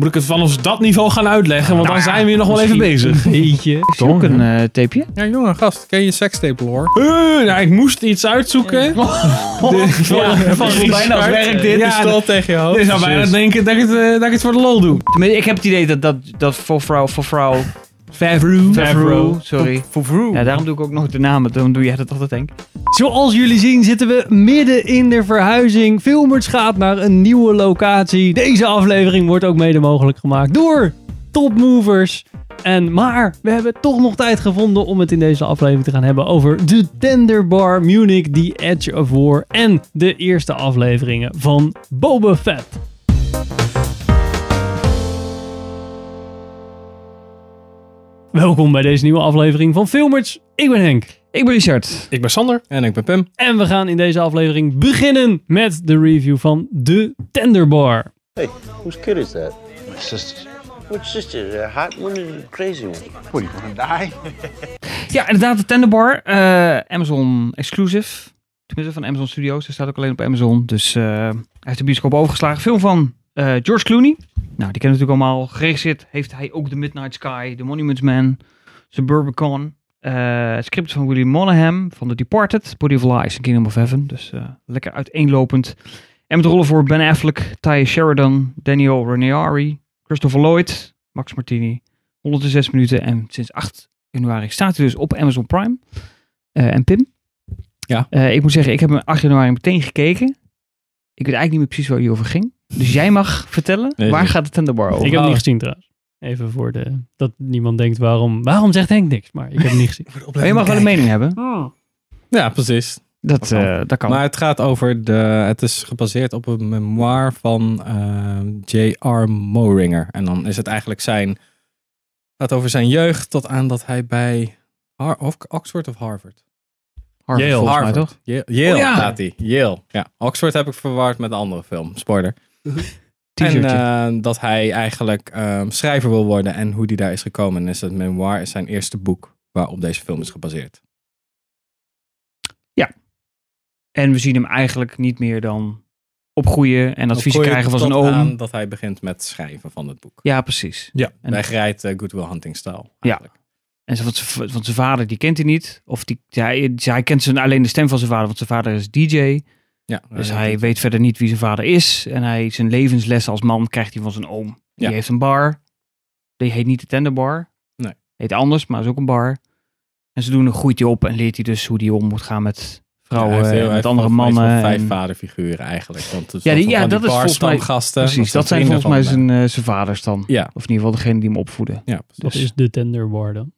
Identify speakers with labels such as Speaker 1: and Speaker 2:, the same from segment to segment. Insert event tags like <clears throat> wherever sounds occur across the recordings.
Speaker 1: Moet ik het vanaf dat niveau gaan uitleggen, want dan zijn we hier nog wel even
Speaker 2: Nou misschien <laughs>
Speaker 1: bezig. Eentje.
Speaker 2: Is ook een eh <laughs> tapeje?
Speaker 3: Ja, jongen, gast, ken je sekstepel hoor.
Speaker 1: nou, ik moest iets uitzoeken.
Speaker 3: Oh,
Speaker 1: De- ja,
Speaker 2: voelt
Speaker 1: precies.
Speaker 2: bijna als werk dit. dus
Speaker 1: Ja,
Speaker 3: Stel tegen je hoofd.
Speaker 1: Je zou bijna denken dat ik, het, eh, dat ik het voor de lol doe.
Speaker 2: Tenminste, ik heb het idee dat dat, dat voor vrouw, voor vrouw,
Speaker 1: Favreau.
Speaker 2: Favreau, sorry.
Speaker 3: Voor vroeg.
Speaker 2: Ja, daarom doe ik ook nog de namen, dan doe jij dat altijd, Henk. Zoals jullie zien zitten we midden in de verhuizing. Filmers gaat naar een nieuwe locatie. Deze aflevering wordt ook mede mogelijk gemaakt door Topmovers. En maar, we hebben toch nog tijd gevonden om het in deze aflevering te gaan hebben over de Tenderbar Munich, The Edge of War en de eerste afleveringen van Boba Fett. Welkom bij deze nieuwe aflevering van Filmers. Ik ben Henk.
Speaker 1: Ik ben Richard. Ik ben Sander.
Speaker 3: En ik ben Pim.
Speaker 2: En we gaan in deze aflevering beginnen met de review van de Tenderbar.
Speaker 4: Hey, whose kid is that?
Speaker 5: My sister's.
Speaker 4: Which sister? Is it A hot one and a crazy one?
Speaker 5: What, do you want to die?
Speaker 2: Ja, inderdaad, de Tenderbar. eh, Amazon exclusive. Tenminste, van Amazon Studios. Hij staat ook alleen op Amazon. Dus eh, hij heeft de bioscoop overgeslagen. Film van eh, George Clooney. Nou, die kennen we natuurlijk allemaal. Geregisseerd heeft hij ook The Midnight Sky, The Monuments Man, Suburbicon. eh script van William Monahan van The Departed, Body of Lies en Kingdom of Heaven. Dus eh, lekker uiteenlopend. En met rollen voor Ben Affleck, Ty Sheridan, Daniel Ranieri, Christopher Lloyd, Max Martini. 106 minuten en sinds 8 januari staat hij dus op Amazon Prime. Eh, en Pim?
Speaker 3: Ja.
Speaker 2: Eh, ik moet zeggen, ik heb hem 8 januari meteen gekeken. Ik weet eigenlijk niet meer precies waar hij over ging. Dus jij mag vertellen,
Speaker 3: Nee,
Speaker 2: waar
Speaker 3: nee.
Speaker 2: gaat de tenderbar over?
Speaker 1: Ik
Speaker 3: Ik
Speaker 1: heb
Speaker 3: heb
Speaker 1: het
Speaker 3: Oh.
Speaker 1: niet
Speaker 3: niet
Speaker 1: gezien trouwens. Even voor de, dat niemand denkt waarom. Waarom zegt Henk niks? Maar ik heb het niet
Speaker 2: <laughs>
Speaker 1: gezien.
Speaker 2: Maar je mag wel een mening hebben.
Speaker 3: Ja, precies.
Speaker 2: Dat,
Speaker 3: Dat kan.
Speaker 2: eh, dat kan.
Speaker 3: Maar het gaat over de. Het is gebaseerd op een memoir van eh, J.R. Moringer. En dan is het eigenlijk zijn. Het gaat over zijn jeugd tot aan dat hij bij. Har- of Oxford of Harvard?
Speaker 2: Harvard,
Speaker 1: Yale,
Speaker 2: volgens mij, toch?
Speaker 3: Yale, Yale
Speaker 1: Oh, ja.
Speaker 3: staat hij. Yale. Ja. Oxford heb ik verward met een andere film. Spoiler. En
Speaker 2: T-shirtje.
Speaker 3: eh, dat hij eigenlijk ehm, schrijver wil worden en hoe die daar is gekomen. En is het memoir is zijn eerste boek waarop deze film is gebaseerd.
Speaker 2: En we zien hem eigenlijk niet meer dan opgroeien en adviezen
Speaker 3: Dan kon je
Speaker 2: krijgen van zijn
Speaker 3: tot
Speaker 2: oom.
Speaker 3: aan dat hij begint met schrijven van het boek.
Speaker 2: Ja, precies.
Speaker 1: Ja.
Speaker 2: En,
Speaker 3: Hij grijpt eh, Good Will Hunting stijl.
Speaker 2: en ze- want, z'n- want zijn vader, die kent hij niet. Of die, hij, hij kent zijn, alleen de stem van zijn vader, want zijn vader is DJ.
Speaker 3: Ja,
Speaker 2: Dus
Speaker 3: eh,
Speaker 2: hij weet verder niet wie zijn vader is. En hij, zijn levenslessen als man krijgt hij van zijn oom. Die
Speaker 3: Ja.
Speaker 2: heeft een bar. Die heet niet de tenderbar.
Speaker 3: Nee.
Speaker 2: Heet anders, maar is ook een bar. En ze doen dan groeit hij op en leert hij dus hoe hij om moet gaan met
Speaker 3: hij
Speaker 2: vrouwen
Speaker 3: heeft heel- hij
Speaker 2: en eh, met
Speaker 3: heeft
Speaker 2: andere
Speaker 3: volgens mij
Speaker 2: mannen.
Speaker 3: zo'n vijf
Speaker 2: en-
Speaker 3: vaderfiguren eigenlijk. Want het
Speaker 2: Ja, die-
Speaker 3: van
Speaker 2: ja,
Speaker 3: die
Speaker 2: dat is volgens mij-
Speaker 3: barstamgasten,
Speaker 2: Precies, dat zijn
Speaker 3: vrienden
Speaker 2: volgens mij
Speaker 3: van
Speaker 2: zijn, eh, zijn vaders dan.
Speaker 3: Ja.
Speaker 2: Of in ieder geval degene die hem opvoeden.
Speaker 3: hem. Ja,
Speaker 1: Dat
Speaker 2: Dus-
Speaker 1: is de Tenderbar dan.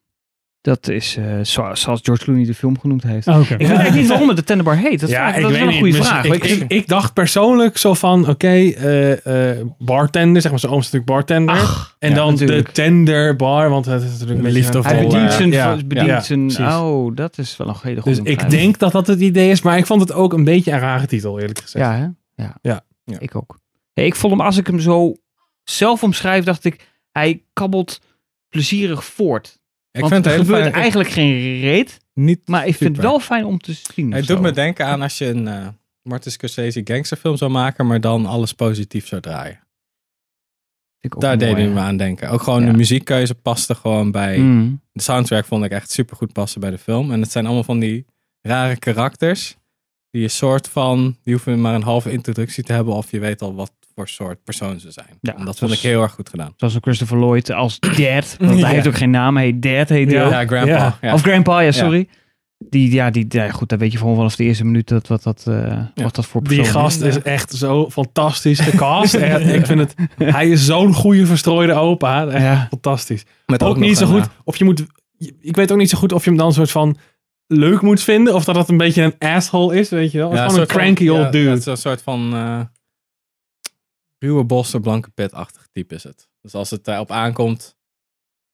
Speaker 2: Dat is eh, zo- zoals George Clooney de film genoemd heeft.
Speaker 1: Ah, Oké.
Speaker 2: Ik weet eigenlijk niet waarom het de tenderbar heet. Dat, vraag- dat is wel een goede
Speaker 1: Misschien-
Speaker 2: vraag.
Speaker 1: Ik, ik, ik dacht persoonlijk zo van, oké, eh, eh, bartender, zeg maar, zijn oom is natuurlijk bartender.
Speaker 2: Ach,
Speaker 1: en
Speaker 2: ja,
Speaker 1: dan de
Speaker 2: natuurlijk.
Speaker 1: tenderbar, want het is natuurlijk een beetje...
Speaker 3: Liefdevol,
Speaker 2: hij bedient
Speaker 3: eh,
Speaker 2: zijn...
Speaker 1: ja,
Speaker 2: bedient
Speaker 1: ja,
Speaker 2: zijn
Speaker 1: precies.
Speaker 2: oh, dat is wel een hele goede
Speaker 1: Dus ik
Speaker 2: omschrijving.
Speaker 1: denk dat dat het idee is, maar ik vond het ook een beetje een rare titel, eerlijk gezegd.
Speaker 2: Ja, hè? Ja.
Speaker 3: Ja, ja.
Speaker 2: Ik ook. Hey, ik vond hem, als ik hem zo zelf omschrijf, dacht ik, hij kabbelt plezierig voort.
Speaker 3: Ik
Speaker 2: Want
Speaker 3: vind het
Speaker 2: er
Speaker 3: heel
Speaker 2: gebeurt
Speaker 3: fijn.
Speaker 2: eigenlijk geen reet,
Speaker 3: niet
Speaker 2: maar ik vind het
Speaker 3: super.
Speaker 2: wel fijn om te zien.
Speaker 3: Het
Speaker 2: of zo.
Speaker 3: doet me denken aan als je een eh Martin Scorsese gangsterfilm zou maken, maar dan alles positief zou draaien.
Speaker 2: Vind ik ook
Speaker 3: Daar
Speaker 2: mooi,
Speaker 3: deed hij me
Speaker 2: hè.
Speaker 3: aan denken. Ook gewoon
Speaker 2: Ja.
Speaker 3: de muziekkeuze paste gewoon bij.
Speaker 2: Mm.
Speaker 3: De soundtrack vond ik echt super goed passen bij de film. En het zijn allemaal van die rare karakters. Die een soort van. Die hoeven maar een halve introductie te hebben. Of je weet al wat voor soort persoon ze zijn.
Speaker 2: Ja, dus
Speaker 3: en dat
Speaker 2: dat
Speaker 3: vond
Speaker 2: is-
Speaker 3: ik heel erg goed gedaan.
Speaker 2: Zoals een Christopher Lloyd als Dad,
Speaker 3: <laughs>
Speaker 2: want
Speaker 1: Ja.
Speaker 2: hij heeft ook geen naam, hij heet Dad, heet hij
Speaker 1: Ja.
Speaker 2: ook.
Speaker 3: Ja, Grandpa.
Speaker 1: Ja.
Speaker 3: Ja.
Speaker 2: Of Grandpa, ja, sorry. Die, ja, die, ja, goed, daar weet je gewoon vanaf de eerste minuut dat, wat, dat, eh,
Speaker 3: Ja.
Speaker 2: wat dat voor persoon
Speaker 1: Die gast is echt zo fantastisch
Speaker 3: <laughs>
Speaker 1: gecast. Echt, ik vind het, hij is zo'n goede verstrooide opa. Echt
Speaker 2: Ja.
Speaker 1: fantastisch.
Speaker 3: Met
Speaker 1: Ook, niet
Speaker 3: nog
Speaker 1: zo
Speaker 3: een,
Speaker 1: goed. Of je moet, ik weet ook niet zo goed of je hem dan soort van leuk moet vinden. Of dat dat een beetje een asshole is, weet je wel.
Speaker 3: eh,
Speaker 1: Ja,
Speaker 3: ja,
Speaker 1: gewoon een
Speaker 3: soort van-
Speaker 1: cranky
Speaker 3: ja,
Speaker 1: old dude.
Speaker 3: ja, het is een soort van. eh ruwe bossen, blanke pit-achtig type is het. Dus als het daarop aankomt.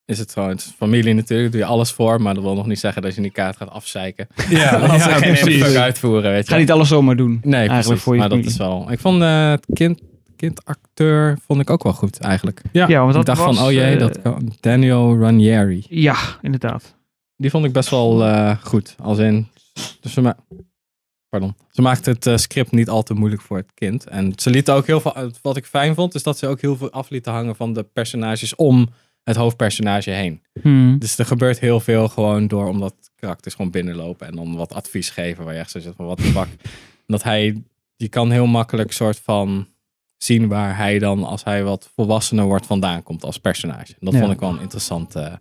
Speaker 3: Is het gewoon het is familie natuurlijk, doe je alles voor, maar dat wil nog niet zeggen dat je die kaart gaat afzeiken.
Speaker 1: Ja,
Speaker 3: <laughs> als ze
Speaker 1: ja,
Speaker 3: geen ene fuck
Speaker 1: precies.
Speaker 3: uitvoeren, weet je.
Speaker 2: Ga niet alles zomaar doen.
Speaker 3: Nee,
Speaker 2: Eigenlijk
Speaker 3: precies.
Speaker 2: voor je
Speaker 3: maar dat
Speaker 2: familie.
Speaker 3: is wel. Ik vond eh, het kind, kindacteur vond ik ook wel goed eigenlijk.
Speaker 1: Ja,
Speaker 2: want dat
Speaker 3: ik dacht
Speaker 2: was,
Speaker 3: van, oh jee,
Speaker 2: eh,
Speaker 3: dat kan- Daniel Ranieri.
Speaker 2: Ja, inderdaad.
Speaker 3: Die vond ik best wel eh, goed. Als in, dus voor mij- Pardon. Ze maakt het eh, script niet al te moeilijk voor het kind. En ze lieten ook heel veel. eh, Wat ik fijn vond, is dat ze ook heel veel af lieten hangen van de personages om het hoofdpersonage heen.
Speaker 2: Hmm.
Speaker 3: Dus er gebeurt heel veel gewoon door omdat karakters gewoon binnenlopen en dan wat advies geven waar je echt zo zit van wat de fuck. En dat hij, je kan heel makkelijk soort van zien waar hij dan als hij wat volwassener wordt vandaan komt als personage. En dat
Speaker 2: Ja.
Speaker 3: vond ik wel een interessant, eh,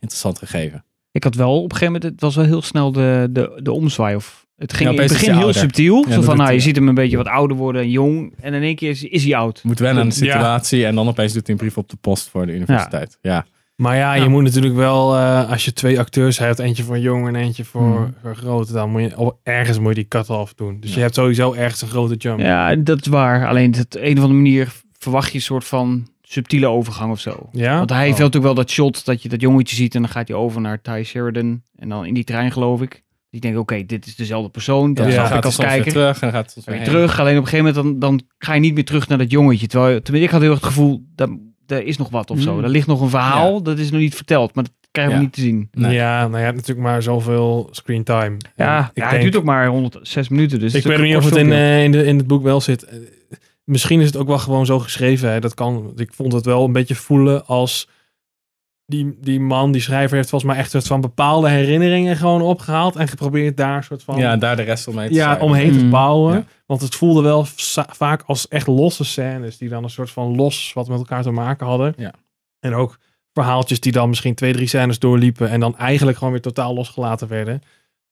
Speaker 3: interessant gegeven.
Speaker 2: Ik had wel op een gegeven moment, het was wel heel snel de, de, de omzwaai. Of, het ging
Speaker 3: Ja,
Speaker 2: in het
Speaker 3: opeens is
Speaker 2: begin
Speaker 3: hij
Speaker 2: heel
Speaker 3: ouder.
Speaker 2: subtiel.
Speaker 3: Ja,
Speaker 2: zo
Speaker 3: dat
Speaker 2: van,
Speaker 3: doet
Speaker 2: nou,
Speaker 3: hij,
Speaker 2: je
Speaker 3: ja.
Speaker 2: ziet hem een beetje wat ouder worden, en jong. En in één keer is, is hij oud.
Speaker 3: Moet wennen aan de
Speaker 1: Ja.
Speaker 3: situatie en dan opeens doet hij een brief op de post voor de universiteit. Ja,
Speaker 1: Maar ja,
Speaker 2: Ja.
Speaker 1: je moet natuurlijk wel, eh, als je twee acteurs hebt, eentje voor jong en eentje voor, voor groot, dan moet je op- ergens moet je die cut-off doen. Dus
Speaker 3: Ja.
Speaker 1: je hebt sowieso ergens een grote jump.
Speaker 2: Ja, dat is waar. Alleen dat een of andere manier verwacht je een soort van subtiele overgang of zo.
Speaker 1: Ja?
Speaker 2: Want hij
Speaker 1: Oh.
Speaker 2: heeft natuurlijk wel dat shot dat je dat jongetje ziet en dan gaat hij over naar Ty Sheridan. En dan in die trein geloof ik. Dus ik denk, oké, dit is dezelfde persoon. Dat
Speaker 3: dan
Speaker 1: Ja.
Speaker 2: snap
Speaker 3: gaat
Speaker 2: ik
Speaker 3: hij
Speaker 2: als
Speaker 3: soms weer
Speaker 2: kijker.
Speaker 3: terug en dan gaat hij soms
Speaker 2: Weer
Speaker 3: weer heen.
Speaker 2: terug. Alleen op een gegeven moment dan, dan ga je niet meer terug naar dat jongetje. Terwijl je- tenminste, ik had heel erg het gevoel, dat er is nog wat of zo.
Speaker 1: Mm.
Speaker 2: Er ligt nog een verhaal, dat is nog niet verteld. Maar dat krijgen we
Speaker 3: Hmm. Ja.
Speaker 2: niet te zien.
Speaker 3: Nee.
Speaker 1: Ja, nou je hebt natuurlijk maar zoveel screen time.
Speaker 2: Ja,
Speaker 1: En
Speaker 2: ja het duurt ook maar 106 minuten. Dus
Speaker 1: Ik
Speaker 2: het is
Speaker 1: weet
Speaker 2: een
Speaker 1: niet of
Speaker 2: kort
Speaker 1: het in,
Speaker 2: filmpje.
Speaker 1: eh, in, de, in het boek wel zit. Eh, Misschien is het ook wel gewoon zo geschreven. Hè? Dat kan. Want Ik vond het wel een beetje voelen als die, die man, die schrijver, heeft volgens mij echt soort van bepaalde herinneringen gewoon opgehaald en geprobeerd daar soort van
Speaker 3: Ja, en daar de rest omheen te
Speaker 1: ja,
Speaker 3: zuigen.
Speaker 1: omheen te
Speaker 2: Mm.
Speaker 1: bouwen.
Speaker 3: Ja.
Speaker 1: Want het voelde wel sa- vaak als echt losse scènes die dan een soort van los wat met elkaar te maken hadden.
Speaker 3: Ja.
Speaker 1: En ook verhaaltjes die dan misschien twee, drie scènes doorliepen en dan eigenlijk gewoon weer totaal losgelaten werden.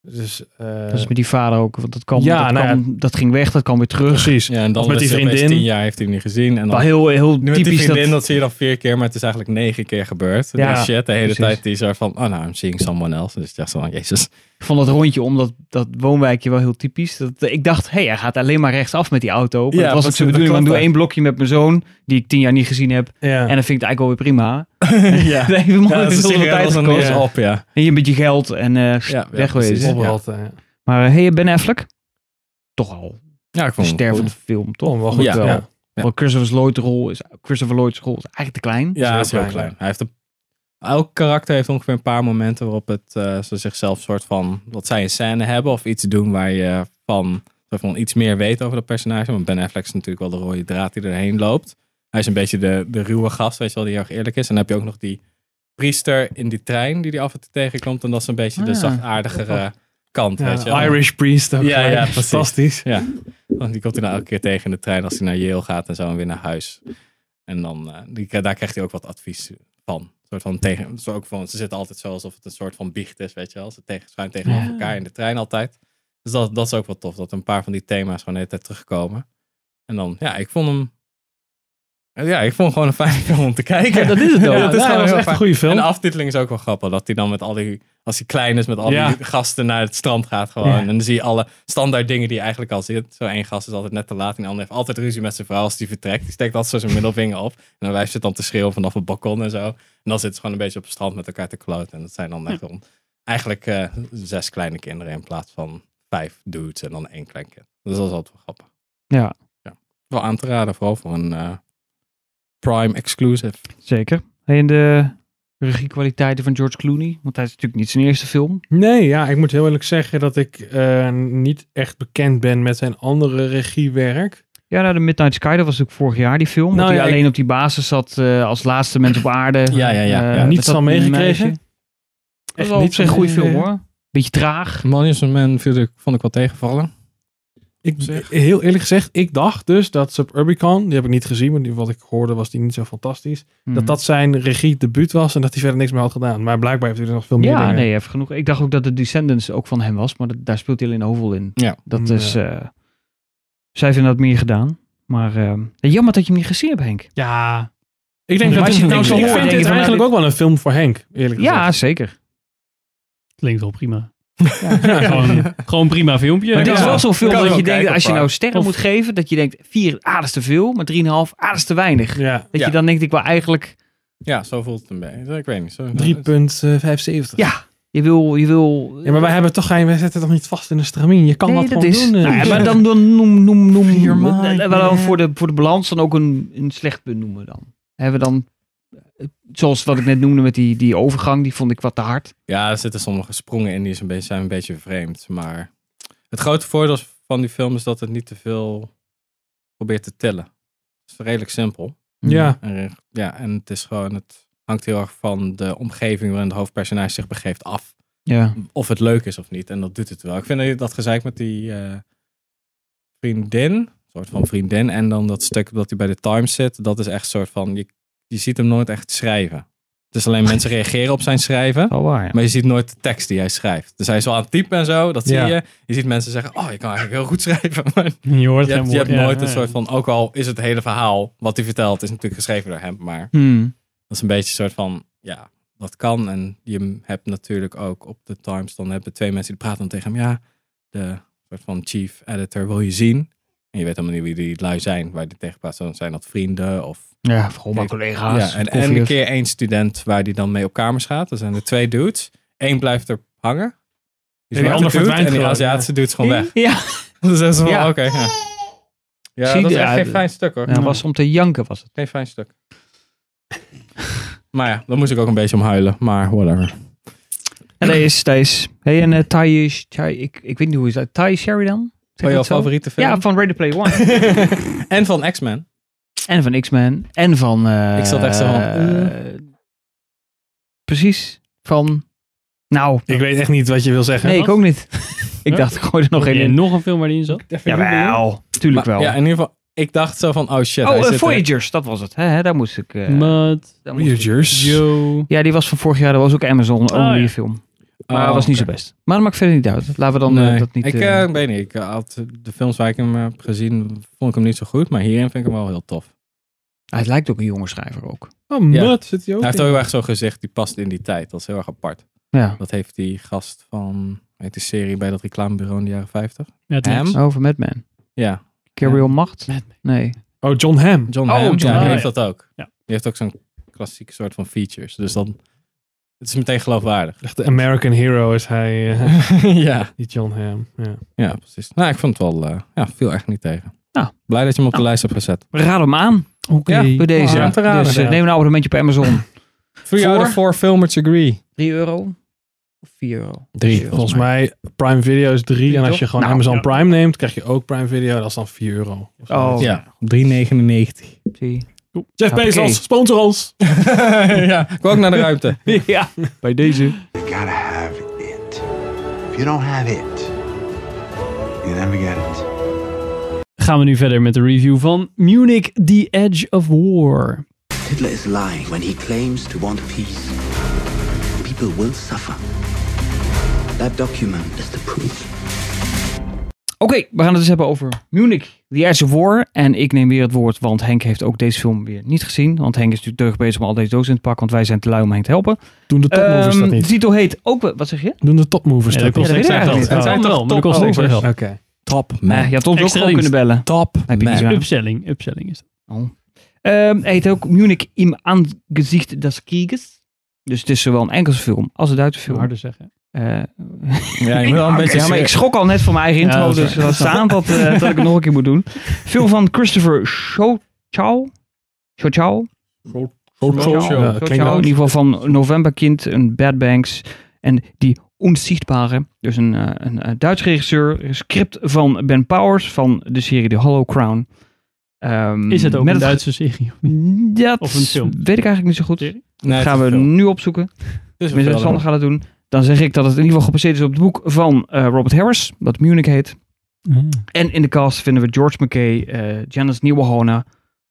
Speaker 1: Dus, eh,
Speaker 2: Dat is met die vader ook. Want dat, kwam,
Speaker 1: Ja,
Speaker 2: dat,
Speaker 1: nou ja.
Speaker 2: kwam- dat ging weg, dat kwam weer terug.
Speaker 1: precies.
Speaker 3: Ja, en dan
Speaker 1: Of met
Speaker 3: is
Speaker 1: die
Speaker 3: hij opeens
Speaker 1: vriendin.
Speaker 3: tien jaar heeft hij hem niet gezien. En dan
Speaker 2: Wel heel, heel
Speaker 3: Nu met die
Speaker 2: typisch
Speaker 3: vriendin,
Speaker 2: dat...
Speaker 3: dat... zie je dan vier keer, maar het is eigenlijk negen keer gebeurd.
Speaker 1: Ja,
Speaker 3: Ja, shit, de hele
Speaker 2: precies.
Speaker 3: tijd die zo van, oh nou, I'm seeing someone else. Dus ik dacht zo van, jezus.
Speaker 2: Ik vond dat rondje om dat, dat woonwijkje wel heel typisch. Dat, eh, ik dacht, hé, hey, hij gaat alleen maar rechtsaf met die auto. Maar
Speaker 3: Ja,
Speaker 2: dat was ook
Speaker 3: precies,
Speaker 2: zijn
Speaker 3: dat
Speaker 2: bedoeling. Want
Speaker 3: klopt
Speaker 2: ik doe één blokje met mijn zoon, die ik tien jaar niet gezien heb.
Speaker 1: Ja.
Speaker 2: En dat vind ik het eigenlijk alweer prima.
Speaker 3: <laughs> ja,
Speaker 2: <laughs> Nee, we moeten
Speaker 3: dat
Speaker 2: er
Speaker 3: is
Speaker 2: zoveel
Speaker 3: serieus,
Speaker 2: tijd
Speaker 3: dat
Speaker 2: gekost.
Speaker 3: is een op, ja.
Speaker 2: En je met je geld en eh
Speaker 3: Ja, ja,
Speaker 2: wegwezen.
Speaker 3: precies.
Speaker 1: Opgehaald, eh,
Speaker 2: Maar eh, hey, Ben Affleck? Toch al
Speaker 3: Ja, ik
Speaker 2: een
Speaker 3: vond hem
Speaker 2: stervende
Speaker 3: goed.
Speaker 2: film, toch?
Speaker 1: Oh, wel goed,
Speaker 2: Moet
Speaker 3: ja.
Speaker 1: ja.
Speaker 3: Ja.
Speaker 2: Want Christopher Lloyd's rol is, Christopher Lloyd's rol is eigenlijk te klein.
Speaker 3: Ja, hij is heel
Speaker 1: klein.
Speaker 3: klein. Hij heeft een, elk karakter heeft ongeveer een paar momenten waarop het, eh, ze zichzelf soort van, dat zij een scène hebben of iets doen waar je van, soort van iets meer weet over dat personage. Want Ben Affleck is natuurlijk wel de rode draad die erheen loopt. Hij is een beetje de, de ruwe gast, weet je wel, die heel erg eerlijk is. En dan heb je ook nog die priester in die trein die die af en toe tegenkomt. En dat is een beetje de
Speaker 2: Ah,
Speaker 3: zachtaardigere kant,
Speaker 1: Ja,
Speaker 3: weet je wel.
Speaker 1: Irish Priest ook.
Speaker 3: Ja,
Speaker 1: gelijk.
Speaker 3: ja, precies.
Speaker 1: Fantastisch.
Speaker 3: Ja, want die komt hij nou elke keer tegen in de trein als hij naar Yale gaat en zo en weer naar huis. En dan, eh, die, daar krijgt hij ook wat advies van. Een soort van tegen, zo ook van, ze zitten altijd zo alsof het een soort van biecht is, weet je wel. Ze tegen, schuin tegenover
Speaker 2: Ja.
Speaker 3: elkaar in de trein altijd. Dus dat, dat is ook wel tof, dat een paar van die thema's gewoon de hele tijd terugkomen. En dan, ja, ik vond hem... Ja, ik vond hem gewoon een fijne film om te kijken.
Speaker 2: Ja, dat is het
Speaker 3: <laughs> Ja,
Speaker 2: ook.
Speaker 1: Ja,
Speaker 3: dat
Speaker 1: dat
Speaker 3: is gewoon
Speaker 1: was
Speaker 3: heel
Speaker 1: echt een
Speaker 3: fijn.
Speaker 1: goede
Speaker 3: En
Speaker 1: film.
Speaker 3: de aftiteling is ook wel grappig. Dat hij dan met al die, als hij klein is, met al
Speaker 1: Ja.
Speaker 3: die gasten naar het strand gaat gewoon.
Speaker 2: Ja.
Speaker 3: En dan zie je alle standaard dingen die je eigenlijk al zit. Zo één gast is altijd net te laat. En de ander heeft altijd ruzie met zijn vrouw als die vertrekt. Die steekt altijd zo zijn middelvinger op. En dan wijst het dan te schreeuwen vanaf het balkon en zo. En dan zitten ze gewoon een beetje op het strand met elkaar te kloten. En dat zijn dan echt om, eigenlijk eh, zes kleine kinderen in plaats van vijf dudes en dan één klein kind. Dus dat is altijd wel grappig.
Speaker 2: Ja.
Speaker 3: Wel aan te raden, vooral voor een eh, prime exclusive.
Speaker 2: Zeker. Hey, En de regiekwaliteiten van George Clooney. Want hij is natuurlijk niet zijn eerste film.
Speaker 1: Nee, ja, ik moet heel eerlijk zeggen dat ik eh, niet echt bekend ben met zijn andere regiewerk.
Speaker 2: Ja, nou, de Midnight Sky, dat was natuurlijk vorig jaar die film.
Speaker 1: Nou
Speaker 2: dat
Speaker 1: ja,
Speaker 2: hij
Speaker 1: ik-
Speaker 2: alleen op die basis zat eh, als laatste mens op aarde.
Speaker 3: Ja, ja, ja.
Speaker 2: Eh,
Speaker 3: Ja,
Speaker 2: met
Speaker 1: niets
Speaker 2: dat
Speaker 1: van meegekregen.
Speaker 2: meisje. Dat
Speaker 1: Echt eh,
Speaker 2: was niet
Speaker 1: niets
Speaker 2: zo'n
Speaker 1: van
Speaker 2: goede film
Speaker 1: meegekregen.
Speaker 2: hoor. Beetje traag.
Speaker 3: Money Man viel ik, vond ik wel tegenvallen.
Speaker 1: Ik,
Speaker 3: Zeg.
Speaker 1: heel eerlijk gezegd, ik dacht dus dat Suburbicon, die heb ik niet gezien, maar die, wat ik hoorde was die niet zo fantastisch,
Speaker 2: Mhm.
Speaker 1: dat dat zijn regiedebuut was en dat hij verder niks meer had gedaan. Maar blijkbaar heeft hij er nog veel meer
Speaker 2: Ja,
Speaker 1: dingen.
Speaker 2: nee, even genoeg. Ik dacht ook dat de Descendants ook van hem was, maar dat- daar speelt hij alleen hoofdrol in.
Speaker 3: Ja.
Speaker 2: Dat
Speaker 1: Ja.
Speaker 2: is. eh, zij heeft inderdaad meer gedaan. Maar eh, jammer dat je hem niet gezien hebt, Henk.
Speaker 1: Ja. Ik denk
Speaker 2: Maar
Speaker 1: dat
Speaker 2: als je het nou zo
Speaker 1: ik
Speaker 2: hoort,
Speaker 1: vind
Speaker 2: denk je
Speaker 1: dit
Speaker 2: van, nou,
Speaker 1: eigenlijk ook wel een film voor Henk, eerlijk gezegd.
Speaker 2: Ja, zeker.
Speaker 5: Klinkt wel prima. <laughs> gewoon, gewoon prima filmpje.
Speaker 2: Maar dit is
Speaker 1: Ja.
Speaker 2: wel zo'n film
Speaker 3: Kan
Speaker 2: dat
Speaker 3: wel
Speaker 2: je
Speaker 3: kijken
Speaker 2: denkt,
Speaker 3: op
Speaker 2: als je
Speaker 3: haar.
Speaker 2: nou sterren moet geven, dat je denkt, vier, ah, dat is te veel, maar drieënhalf, ah, dat is te weinig.
Speaker 1: Ja.
Speaker 2: Dat
Speaker 3: Ja.
Speaker 2: je dan denkt, ik wil eigenlijk,
Speaker 3: Ja, zo voelt het een beetje. Ik weet niet. Zo,
Speaker 1: 3,75.
Speaker 2: ja, je wil, je wil...
Speaker 1: Ja, maar wij hebben toch geen, wij zitten toch niet vast in een stramien. Je kan
Speaker 2: Nee,
Speaker 1: dat,
Speaker 2: dat
Speaker 1: gewoon
Speaker 2: is.
Speaker 1: doen. eh.
Speaker 2: Nou ja, maar dan, dan noem, noem, noem,
Speaker 1: Vier
Speaker 2: noem-
Speaker 1: maanden.
Speaker 2: eh, wel voor de, voor de balans dan ook een, een slecht punt noemen dan. Hebben we dan, eh, zoals wat ik net noemde met die, die overgang, die vond ik wat te hard.
Speaker 3: Ja, er zitten sommige sprongen in die is een beetje, zijn een beetje vreemd. Maar Het grote voordeel van die film is dat het niet te veel probeert te tellen. Het is redelijk simpel.
Speaker 1: <laughs> Ja.
Speaker 3: En, re- ja, en het, is gewoon, het hangt heel erg van de omgeving waarin de hoofdpersonage zich begeeft af.
Speaker 2: Ja.
Speaker 3: Of het leuk is of niet. En dat doet het wel. Ik vind dat gezeik met die eh, vriendin, een soort van vriendin. En dan dat stuk dat hij bij de Times zit. Dat is echt een soort van, je, je ziet hem nooit echt schrijven. Het is alleen mensen reageren op zijn schrijven.
Speaker 2: Wel waar, ja.
Speaker 3: Maar je ziet nooit de tekst die hij schrijft. Dus hij is wel aan het typen en zo, dat zie
Speaker 1: Ja.
Speaker 3: je. Je ziet mensen zeggen, oh, je kan eigenlijk heel goed <laughs> schrijven. Maar
Speaker 5: Je hoort
Speaker 3: je
Speaker 5: geen
Speaker 3: hebt, je
Speaker 5: woord.
Speaker 3: hebt
Speaker 5: Ja,
Speaker 3: nooit
Speaker 5: ja,
Speaker 3: een
Speaker 5: ja.
Speaker 3: soort van, ook al is het hele verhaal wat hij vertelt, is natuurlijk geschreven door hem. Maar
Speaker 2: Hmm.
Speaker 3: dat is een beetje een soort van, ja, dat kan. En je hebt natuurlijk ook op de Times, dan hebben twee mensen die praten dan tegen hem. Ja, de soort van chief editor wil je zien. En je weet helemaal niet wie die lui zijn, waar die tegen praat. Zo Zijn dat vrienden of
Speaker 2: Ja, vooral bij
Speaker 3: Kijk,
Speaker 2: collega's.
Speaker 3: ja, en, en
Speaker 2: koffie-
Speaker 3: een keer één student waar die dan mee op kamers gaat. Er zijn er twee dudes. Eén blijft er hangen.
Speaker 1: En die
Speaker 3: zwarte
Speaker 1: ander
Speaker 3: dude
Speaker 1: verdwijnt
Speaker 3: En die
Speaker 1: gewoon,
Speaker 3: Aziatische dude is gewoon weg. <laughs>
Speaker 2: Ja.
Speaker 3: Dus dat is wel
Speaker 2: Ja.
Speaker 3: oké. ja. ja,
Speaker 2: Zie
Speaker 3: dat is
Speaker 2: je,
Speaker 3: echt
Speaker 2: ja,
Speaker 3: geen
Speaker 2: de-
Speaker 3: fijn stuk hoor.
Speaker 2: Ja, dat was om te janken was het.
Speaker 3: Geen fijn stuk. maar ja, daar moest ik ook een beetje om huilen. Maar whatever.
Speaker 2: En dat is, dat is. Hey, en eh Thai, Thai, ik, ik weet niet hoe is dat. Thai Sheridan? Zeg
Speaker 3: Van jouw
Speaker 2: dat zo?
Speaker 3: favoriete film?
Speaker 2: Oh Ja, van Ready Player One.
Speaker 3: <laughs>
Speaker 2: <laughs>
Speaker 3: en van X-Men.
Speaker 2: en van X-Men. En van... eh,
Speaker 3: Ik zat echt zo van, eh.
Speaker 2: precies. Van... Nou,
Speaker 1: Ik weet echt niet wat je wil zeggen.
Speaker 2: nee, ik ook niet. <laughs> ik
Speaker 5: Huh?
Speaker 2: dacht, ik gooi er nog
Speaker 5: Heb
Speaker 2: één
Speaker 5: je
Speaker 2: in.
Speaker 5: nog een film waar die in zat?
Speaker 2: Jawel, tuurlijk
Speaker 3: Maar
Speaker 2: wel.
Speaker 3: Ja, in ieder geval, ik dacht zo van, oh shit.
Speaker 2: oh,
Speaker 3: hij
Speaker 2: eh,
Speaker 3: zit er.
Speaker 2: Voyagers, dat was het. Hè, hè, daar moest ik... eh,
Speaker 5: Mud.
Speaker 2: daar moest ik-
Speaker 1: Voyagers.
Speaker 5: Yo.
Speaker 2: Ja, die was van vorig jaar. Dat was ook Amazon
Speaker 5: Oh,
Speaker 2: Only
Speaker 5: ja.
Speaker 2: film.
Speaker 3: Oh,
Speaker 2: Maar dat was niet
Speaker 3: oké.
Speaker 2: zo best. Maar dat maakt verder niet uit. Laten we dan eh,
Speaker 3: Nee,
Speaker 2: dat niet...
Speaker 3: ik
Speaker 2: eh,
Speaker 3: eh, weet niet. Ik had de films waar ik hem eh, heb gezien, vond ik hem niet zo goed. Maar hierin vind ik hem wel heel tof.
Speaker 2: Hij lijkt ook een jonge schrijver ook.
Speaker 1: Oh,
Speaker 3: Ja.
Speaker 1: mut. Zit hij ook
Speaker 3: Hij heeft
Speaker 1: in?
Speaker 3: ook heel erg zo'n gezicht, die past in die tijd. Dat is heel erg apart.
Speaker 2: Ja.
Speaker 3: Dat heeft die gast van, weet die serie bij dat reclamebureau in de jaren 50?
Speaker 5: Net
Speaker 3: Hem?
Speaker 5: niks.
Speaker 2: Over Mad Men.
Speaker 3: Ja,
Speaker 2: Gabriel Macht? Nee.
Speaker 1: Oh, John Hamm.
Speaker 3: John
Speaker 2: Oh,
Speaker 3: Hamm.
Speaker 2: John
Speaker 3: ja, die
Speaker 5: Hamm,
Speaker 3: heeft
Speaker 5: ja.
Speaker 3: dat ook.
Speaker 5: Ja.
Speaker 3: Die heeft ook zo'n klassieke soort van features. Dus dan, het is meteen geloofwaardig.
Speaker 2: <laughs>
Speaker 1: Echt de American hero is hij, eh, <laughs>
Speaker 3: ja.
Speaker 1: die John Hamm. Ja.
Speaker 3: ja, precies. Nou, ik vond het wel, eh, ja, viel echt niet tegen.
Speaker 2: Nou.
Speaker 3: Blij dat je hem op de
Speaker 2: Nou.
Speaker 3: lijst hebt gezet.
Speaker 2: Raad hem aan
Speaker 1: Oké.
Speaker 2: bij deze.
Speaker 3: aan te raden,
Speaker 2: dus eh,
Speaker 3: ja.
Speaker 2: neem een abonnementje op Amazon.
Speaker 3: Three
Speaker 2: Voor?
Speaker 3: out of four filmers agree.
Speaker 2: 3 euro? Of 4 euro?
Speaker 3: Drie,
Speaker 1: Volgens mij Prime Video is 3. En als je gewoon
Speaker 2: Nou,
Speaker 1: Amazon
Speaker 5: ja.
Speaker 1: Prime neemt, krijg je ook Prime Video. Dat is dan 4 euro. Of zo.
Speaker 2: Oh.
Speaker 3: Ja, 3,99.
Speaker 2: Zie.
Speaker 1: Jeff
Speaker 2: Oké.
Speaker 1: Bezos, sponsor ons.
Speaker 3: <laughs> ja, ik wil ook naar de ruimte.
Speaker 2: <laughs> ja, bij deze.
Speaker 6: You gotta have it. If you don't have it, you never get it.
Speaker 5: Gaan we nu verder met de review van Munich The Edge of War.
Speaker 6: Hitler is lying when he claims to want peace. People will suffer. That document is the proof.
Speaker 2: Oké, we gaan het dus hebben over Munich, The Edge of War. En ik neem weer het woord, want Henk heeft ook deze film weer niet gezien. Want Henk is natuurlijk terug bezig om al deze dozen in te pakken, want wij zijn te lui om Henk te helpen.
Speaker 1: Doen de topmovers
Speaker 2: Ehm,
Speaker 1: dat
Speaker 2: De
Speaker 1: niet?
Speaker 2: titel heet ook... wel- Wat zeg je?
Speaker 1: Doen de topmovers
Speaker 5: Ja,
Speaker 1: dat
Speaker 5: dat
Speaker 1: niet?
Speaker 5: kost
Speaker 2: Ja,
Speaker 5: niks
Speaker 2: dat weet ik
Speaker 5: geld.
Speaker 2: eigenlijk
Speaker 5: Het
Speaker 2: niet.
Speaker 5: kan wel, maar dat kost niks
Speaker 2: Overigens.
Speaker 5: geld.
Speaker 1: Oké.
Speaker 3: Top
Speaker 2: Eh, je had ons
Speaker 5: Extra
Speaker 2: ook gewoon
Speaker 5: dienst.
Speaker 2: kunnen bellen.
Speaker 3: Top
Speaker 2: Heb je niet gedaan.
Speaker 5: Upselling, upselling is dat.
Speaker 2: Ehm, hij heet ook Munich im Angesicht des Krieges. Dus het is zowel een Engelse film als een Duitse film.
Speaker 5: Harder zeggen.
Speaker 2: Eh,
Speaker 3: Ja, je moet wel een beetje...
Speaker 2: <laughs> ja, maar ik schrok al net van mijn eigen
Speaker 5: Ja,
Speaker 2: intro,
Speaker 5: dat is
Speaker 2: dus laat staan dat, eh, dat ik het nog een keer moet doen. Film van Christopher Chow. Chow.
Speaker 1: Social. Ja, klinkt wel-
Speaker 2: In ieder geval van Novemberkind, een Bad Banks en die Onzichtbare. Dus een, eh, een eh, Duits regisseur, een script van Ben Powers van de serie The Hollow Crown. Ehm,
Speaker 5: Is het ook
Speaker 2: met
Speaker 5: een
Speaker 2: het
Speaker 5: Duitse serie?
Speaker 2: Dat
Speaker 5: Of een film?
Speaker 2: weet ik eigenlijk niet zo goed.
Speaker 5: Serie?
Speaker 3: Nee,
Speaker 2: gaan we nu opzoeken. Tenminste, Sander gaat het doen. Dan zeg ik dat het in ieder geval gebaseerd is op het boek van eh, Robert Harris, dat Munich heet. Hmm.
Speaker 5: Ah,
Speaker 2: En in de cast vinden we George McKay, eh Janice Nieuwenhona,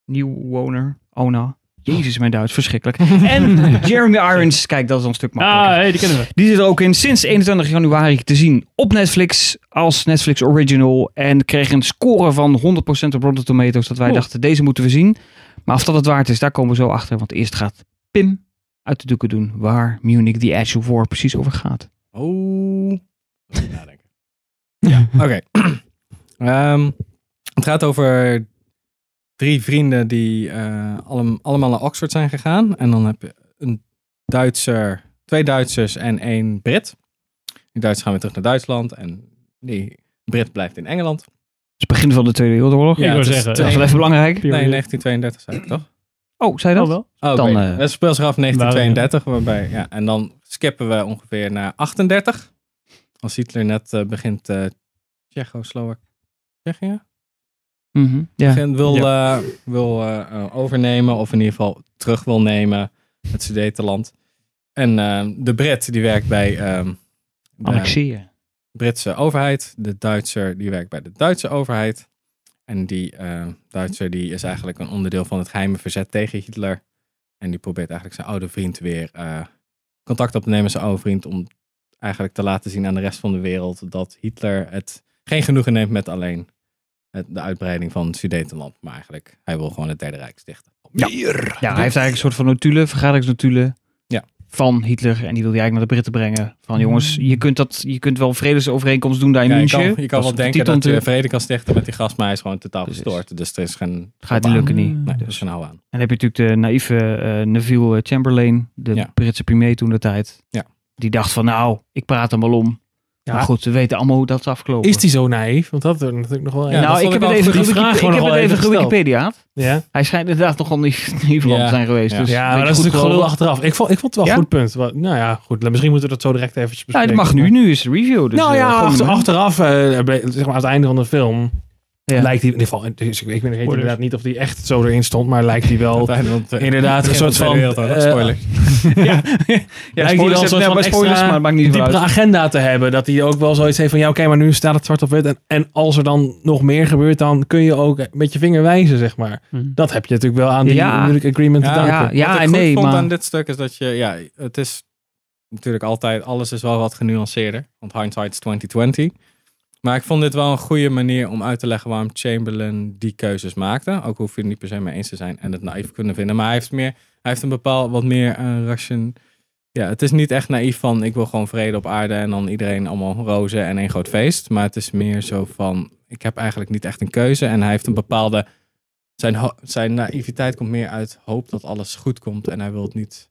Speaker 2: Nieuwwoner, Ona. Jezus, mijn
Speaker 5: <laughs>
Speaker 2: Duits, verschrikkelijk. En Jeremy Irons, kijk, dat is al een stuk makkelijker.
Speaker 5: Ah, hey, die kennen we.
Speaker 2: Die zit er ook in sinds 21 januari te zien op Netflix als Netflix Original. En kreeg een score van 100% op Rotten Tomatoes. Dat wij
Speaker 5: Cool.
Speaker 2: dachten, deze moeten we zien. Maar of dat het waard is, daar komen we zo achter. Want eerst gaat Pim uit de doeken doen waar Munich The Edge of War precies over gaat.
Speaker 3: Oeh. Even nadenken.
Speaker 2: <laughs>
Speaker 3: ja, <laughs> oké. <clears throat> Ehm, het gaat over drie vrienden die eh, allem- allemaal naar Oxford zijn gegaan. En dan heb je een Duitser, twee Duitsers en één Brit. Die Duitsers gaan weer terug naar Duitsland en die Brit blijft in Engeland.
Speaker 2: Het is het begin van de Tweede Wereldoorlog.
Speaker 5: wou
Speaker 3: het is
Speaker 5: zeggen,
Speaker 2: Dat
Speaker 3: twee-
Speaker 2: is wel even belangrijk.
Speaker 3: Nee, 1932 zei ik toch?
Speaker 2: Oh, zei je
Speaker 5: Oh,
Speaker 2: dat?
Speaker 5: wel.
Speaker 3: Oh,
Speaker 2: Dan,
Speaker 3: dan,
Speaker 2: eh,
Speaker 3: het speelt zich af in
Speaker 5: waren we-
Speaker 3: 1932, waarbij, ja, en dan skippen we ongeveer naar 38. Als Hitler net eh, begint eh, Tsjecho, Slowak. Tsjechië?
Speaker 2: Mhm, ja.
Speaker 3: Gent wil, eh, wil eh, eh, overnemen of in ieder geval terug wil nemen het Sudetenland. En eh, de Brit die werkt bij ehm, de
Speaker 2: Annexeren.
Speaker 3: Britse overheid. De Duitser die werkt bij de Duitse overheid. En die eh, Duitser die is eigenlijk een onderdeel van het geheime verzet tegen Hitler. En die probeert eigenlijk zijn oude vriend weer eh, contact op te nemen met zijn oude vriend. Om eigenlijk te laten zien aan de rest van de wereld dat Hitler het geen genoegen neemt met alleen het, de uitbreiding van Sudetenland. Maar eigenlijk, hij wil gewoon het Derde Rijk stichten.
Speaker 2: Ja.
Speaker 3: Bier!
Speaker 2: Ja, hij heeft eigenlijk een soort van notulen, vergaderingsnotulen
Speaker 3: Ja.
Speaker 2: van Hitler. En die wil hij eigenlijk naar de Britten brengen. Van jongens, je kunt, dat, je kunt wel een vredesovereenkomst doen daar in
Speaker 3: Ja, je
Speaker 2: München.
Speaker 3: kan, je kan
Speaker 2: Dat
Speaker 3: wel
Speaker 2: is de
Speaker 3: denken dat
Speaker 2: titel
Speaker 3: eh, je
Speaker 2: natuurlijk.
Speaker 3: vrede kan stichten met die gast, maar hij is gewoon totaal
Speaker 2: Precies.
Speaker 3: verstoord. Dus er is geen...
Speaker 2: Gaat niet lukken
Speaker 5: Hmm.
Speaker 2: niet.
Speaker 3: Nee,
Speaker 2: Dus.
Speaker 3: dus. is geen hou aan.
Speaker 2: En dan heb je natuurlijk de naïeve eh, Neville Chamberlain, de
Speaker 3: Ja.
Speaker 2: Britse premier toen de tijd.
Speaker 3: Ja.
Speaker 2: Die dacht van nou, ik praat hem wel om.
Speaker 1: Ja.
Speaker 2: Maar goed, we weten allemaal hoe dat is afgelopen.
Speaker 1: Is die zo naïef? Want dat is natuurlijk nog wel...
Speaker 3: Ja, dat
Speaker 2: nou, ik
Speaker 3: vond
Speaker 2: heb
Speaker 3: ik
Speaker 2: het
Speaker 3: wel
Speaker 2: even,
Speaker 1: goed. Die
Speaker 2: gewiki-
Speaker 1: vraag
Speaker 2: ik
Speaker 1: gewoon
Speaker 2: heb
Speaker 1: nog
Speaker 2: het
Speaker 1: wel
Speaker 2: even
Speaker 1: even gesteld.
Speaker 2: gewikipedia.
Speaker 1: ja.
Speaker 2: Hij schijnt inderdaad nog niet niet verant
Speaker 3: Ja.
Speaker 2: te zijn geweest.
Speaker 3: Ja.
Speaker 2: Dus
Speaker 1: Ja,
Speaker 2: weet
Speaker 1: maar
Speaker 2: je
Speaker 1: dat is
Speaker 2: goed
Speaker 1: natuurlijk
Speaker 2: gewoon-
Speaker 1: gelul achteraf. Ik vond, ik vond het wel
Speaker 2: Ja?
Speaker 1: een goed punt. Wa- Nou ja, goed. Misschien moeten we dat zo direct even bespreken.
Speaker 2: Ja, dat Nou, mag nu. Nu is het review. Dus,
Speaker 1: nou
Speaker 2: eh,
Speaker 1: ja,
Speaker 2: gewoon
Speaker 1: achter-
Speaker 2: doen.
Speaker 1: achteraf, eh, bij- zeg maar aan het einde van de film,
Speaker 2: Ja.
Speaker 1: lijkt hij in ieder geval, dus ik weet weet
Speaker 5: Spoilers.
Speaker 1: inderdaad niet of die echt zo erin stond, maar lijkt hij
Speaker 3: <laughs>
Speaker 1: wel,
Speaker 3: Uiteindelijk, eh,
Speaker 1: Inderdaad, een
Speaker 3: begin
Speaker 1: soort
Speaker 3: de Tweede
Speaker 1: van,
Speaker 3: Wereldoorlog.
Speaker 1: eh, <laughs>
Speaker 3: Spoiler.
Speaker 2: ja,
Speaker 1: lijkt hij wel een soort van extra
Speaker 2: maakt niet
Speaker 1: diepere agenda te hebben. Dat hij ook wel zoiets heeft van, ja oké, maar nu staat het zwart op wit en, en als er dan nog meer gebeurt, dan kun je ook met je vinger wijzen, zeg maar.
Speaker 5: Hmm.
Speaker 1: Dat heb je natuurlijk wel aan die
Speaker 2: Ja.
Speaker 1: Munich Agreement te
Speaker 3: Ja,
Speaker 1: danken.
Speaker 2: ja, ja
Speaker 3: Wat ik
Speaker 2: en
Speaker 3: goed
Speaker 2: nee,
Speaker 3: vond
Speaker 2: maar...
Speaker 3: aan dit stuk is dat je, ja, het is natuurlijk altijd, alles is wel wat genuanceerder. Want hindsight is 2020. Maar ik vond dit wel een goede manier om uit te leggen waarom Chamberlain die keuzes maakte. Ook hoef je het niet per se mee eens te zijn en het naïef kunnen vinden. Maar hij heeft meer, hij heeft een bepaald wat meer eh ration. Ja, het is niet echt naïef van ik wil gewoon vrede op aarde en dan iedereen allemaal rozen en één groot feest. Maar het is meer zo van ik heb eigenlijk niet echt een keuze en hij heeft een bepaalde zijn, ho- zijn naïviteit komt meer uit hoop dat alles goed komt en hij wil het niet.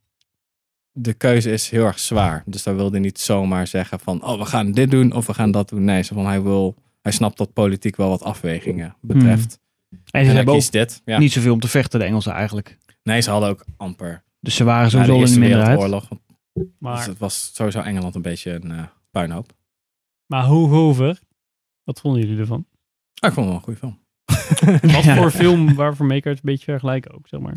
Speaker 3: De keuze is heel erg zwaar. Dus daar wilde hij niet zomaar zeggen van, oh, we gaan dit doen of we gaan dat doen. Nee, zo van, hij, wil, hij snapt dat politiek wel wat afwegingen betreft.
Speaker 2: Hmm. En ze
Speaker 3: En hij
Speaker 2: hebben ook
Speaker 3: kiest dit. Ja.
Speaker 2: niet zoveel om te vechten, de Engelsen eigenlijk.
Speaker 3: Nee, ze hadden ook amper
Speaker 2: Dus ze waren
Speaker 3: na de
Speaker 2: sowieso in de
Speaker 3: Eerste
Speaker 2: minderheid.
Speaker 3: Wereldoorlog. want dus
Speaker 5: Maar,
Speaker 3: het was sowieso Engeland een beetje een eh, puinhoop.
Speaker 5: maar Hoogover, wat vonden jullie ervan?
Speaker 3: Ah, ik vond het wel een goede film.
Speaker 5: Wat
Speaker 2: <laughs> Ja.
Speaker 5: voor film waarvoor Maker het een beetje vergelijken ook, zeg maar.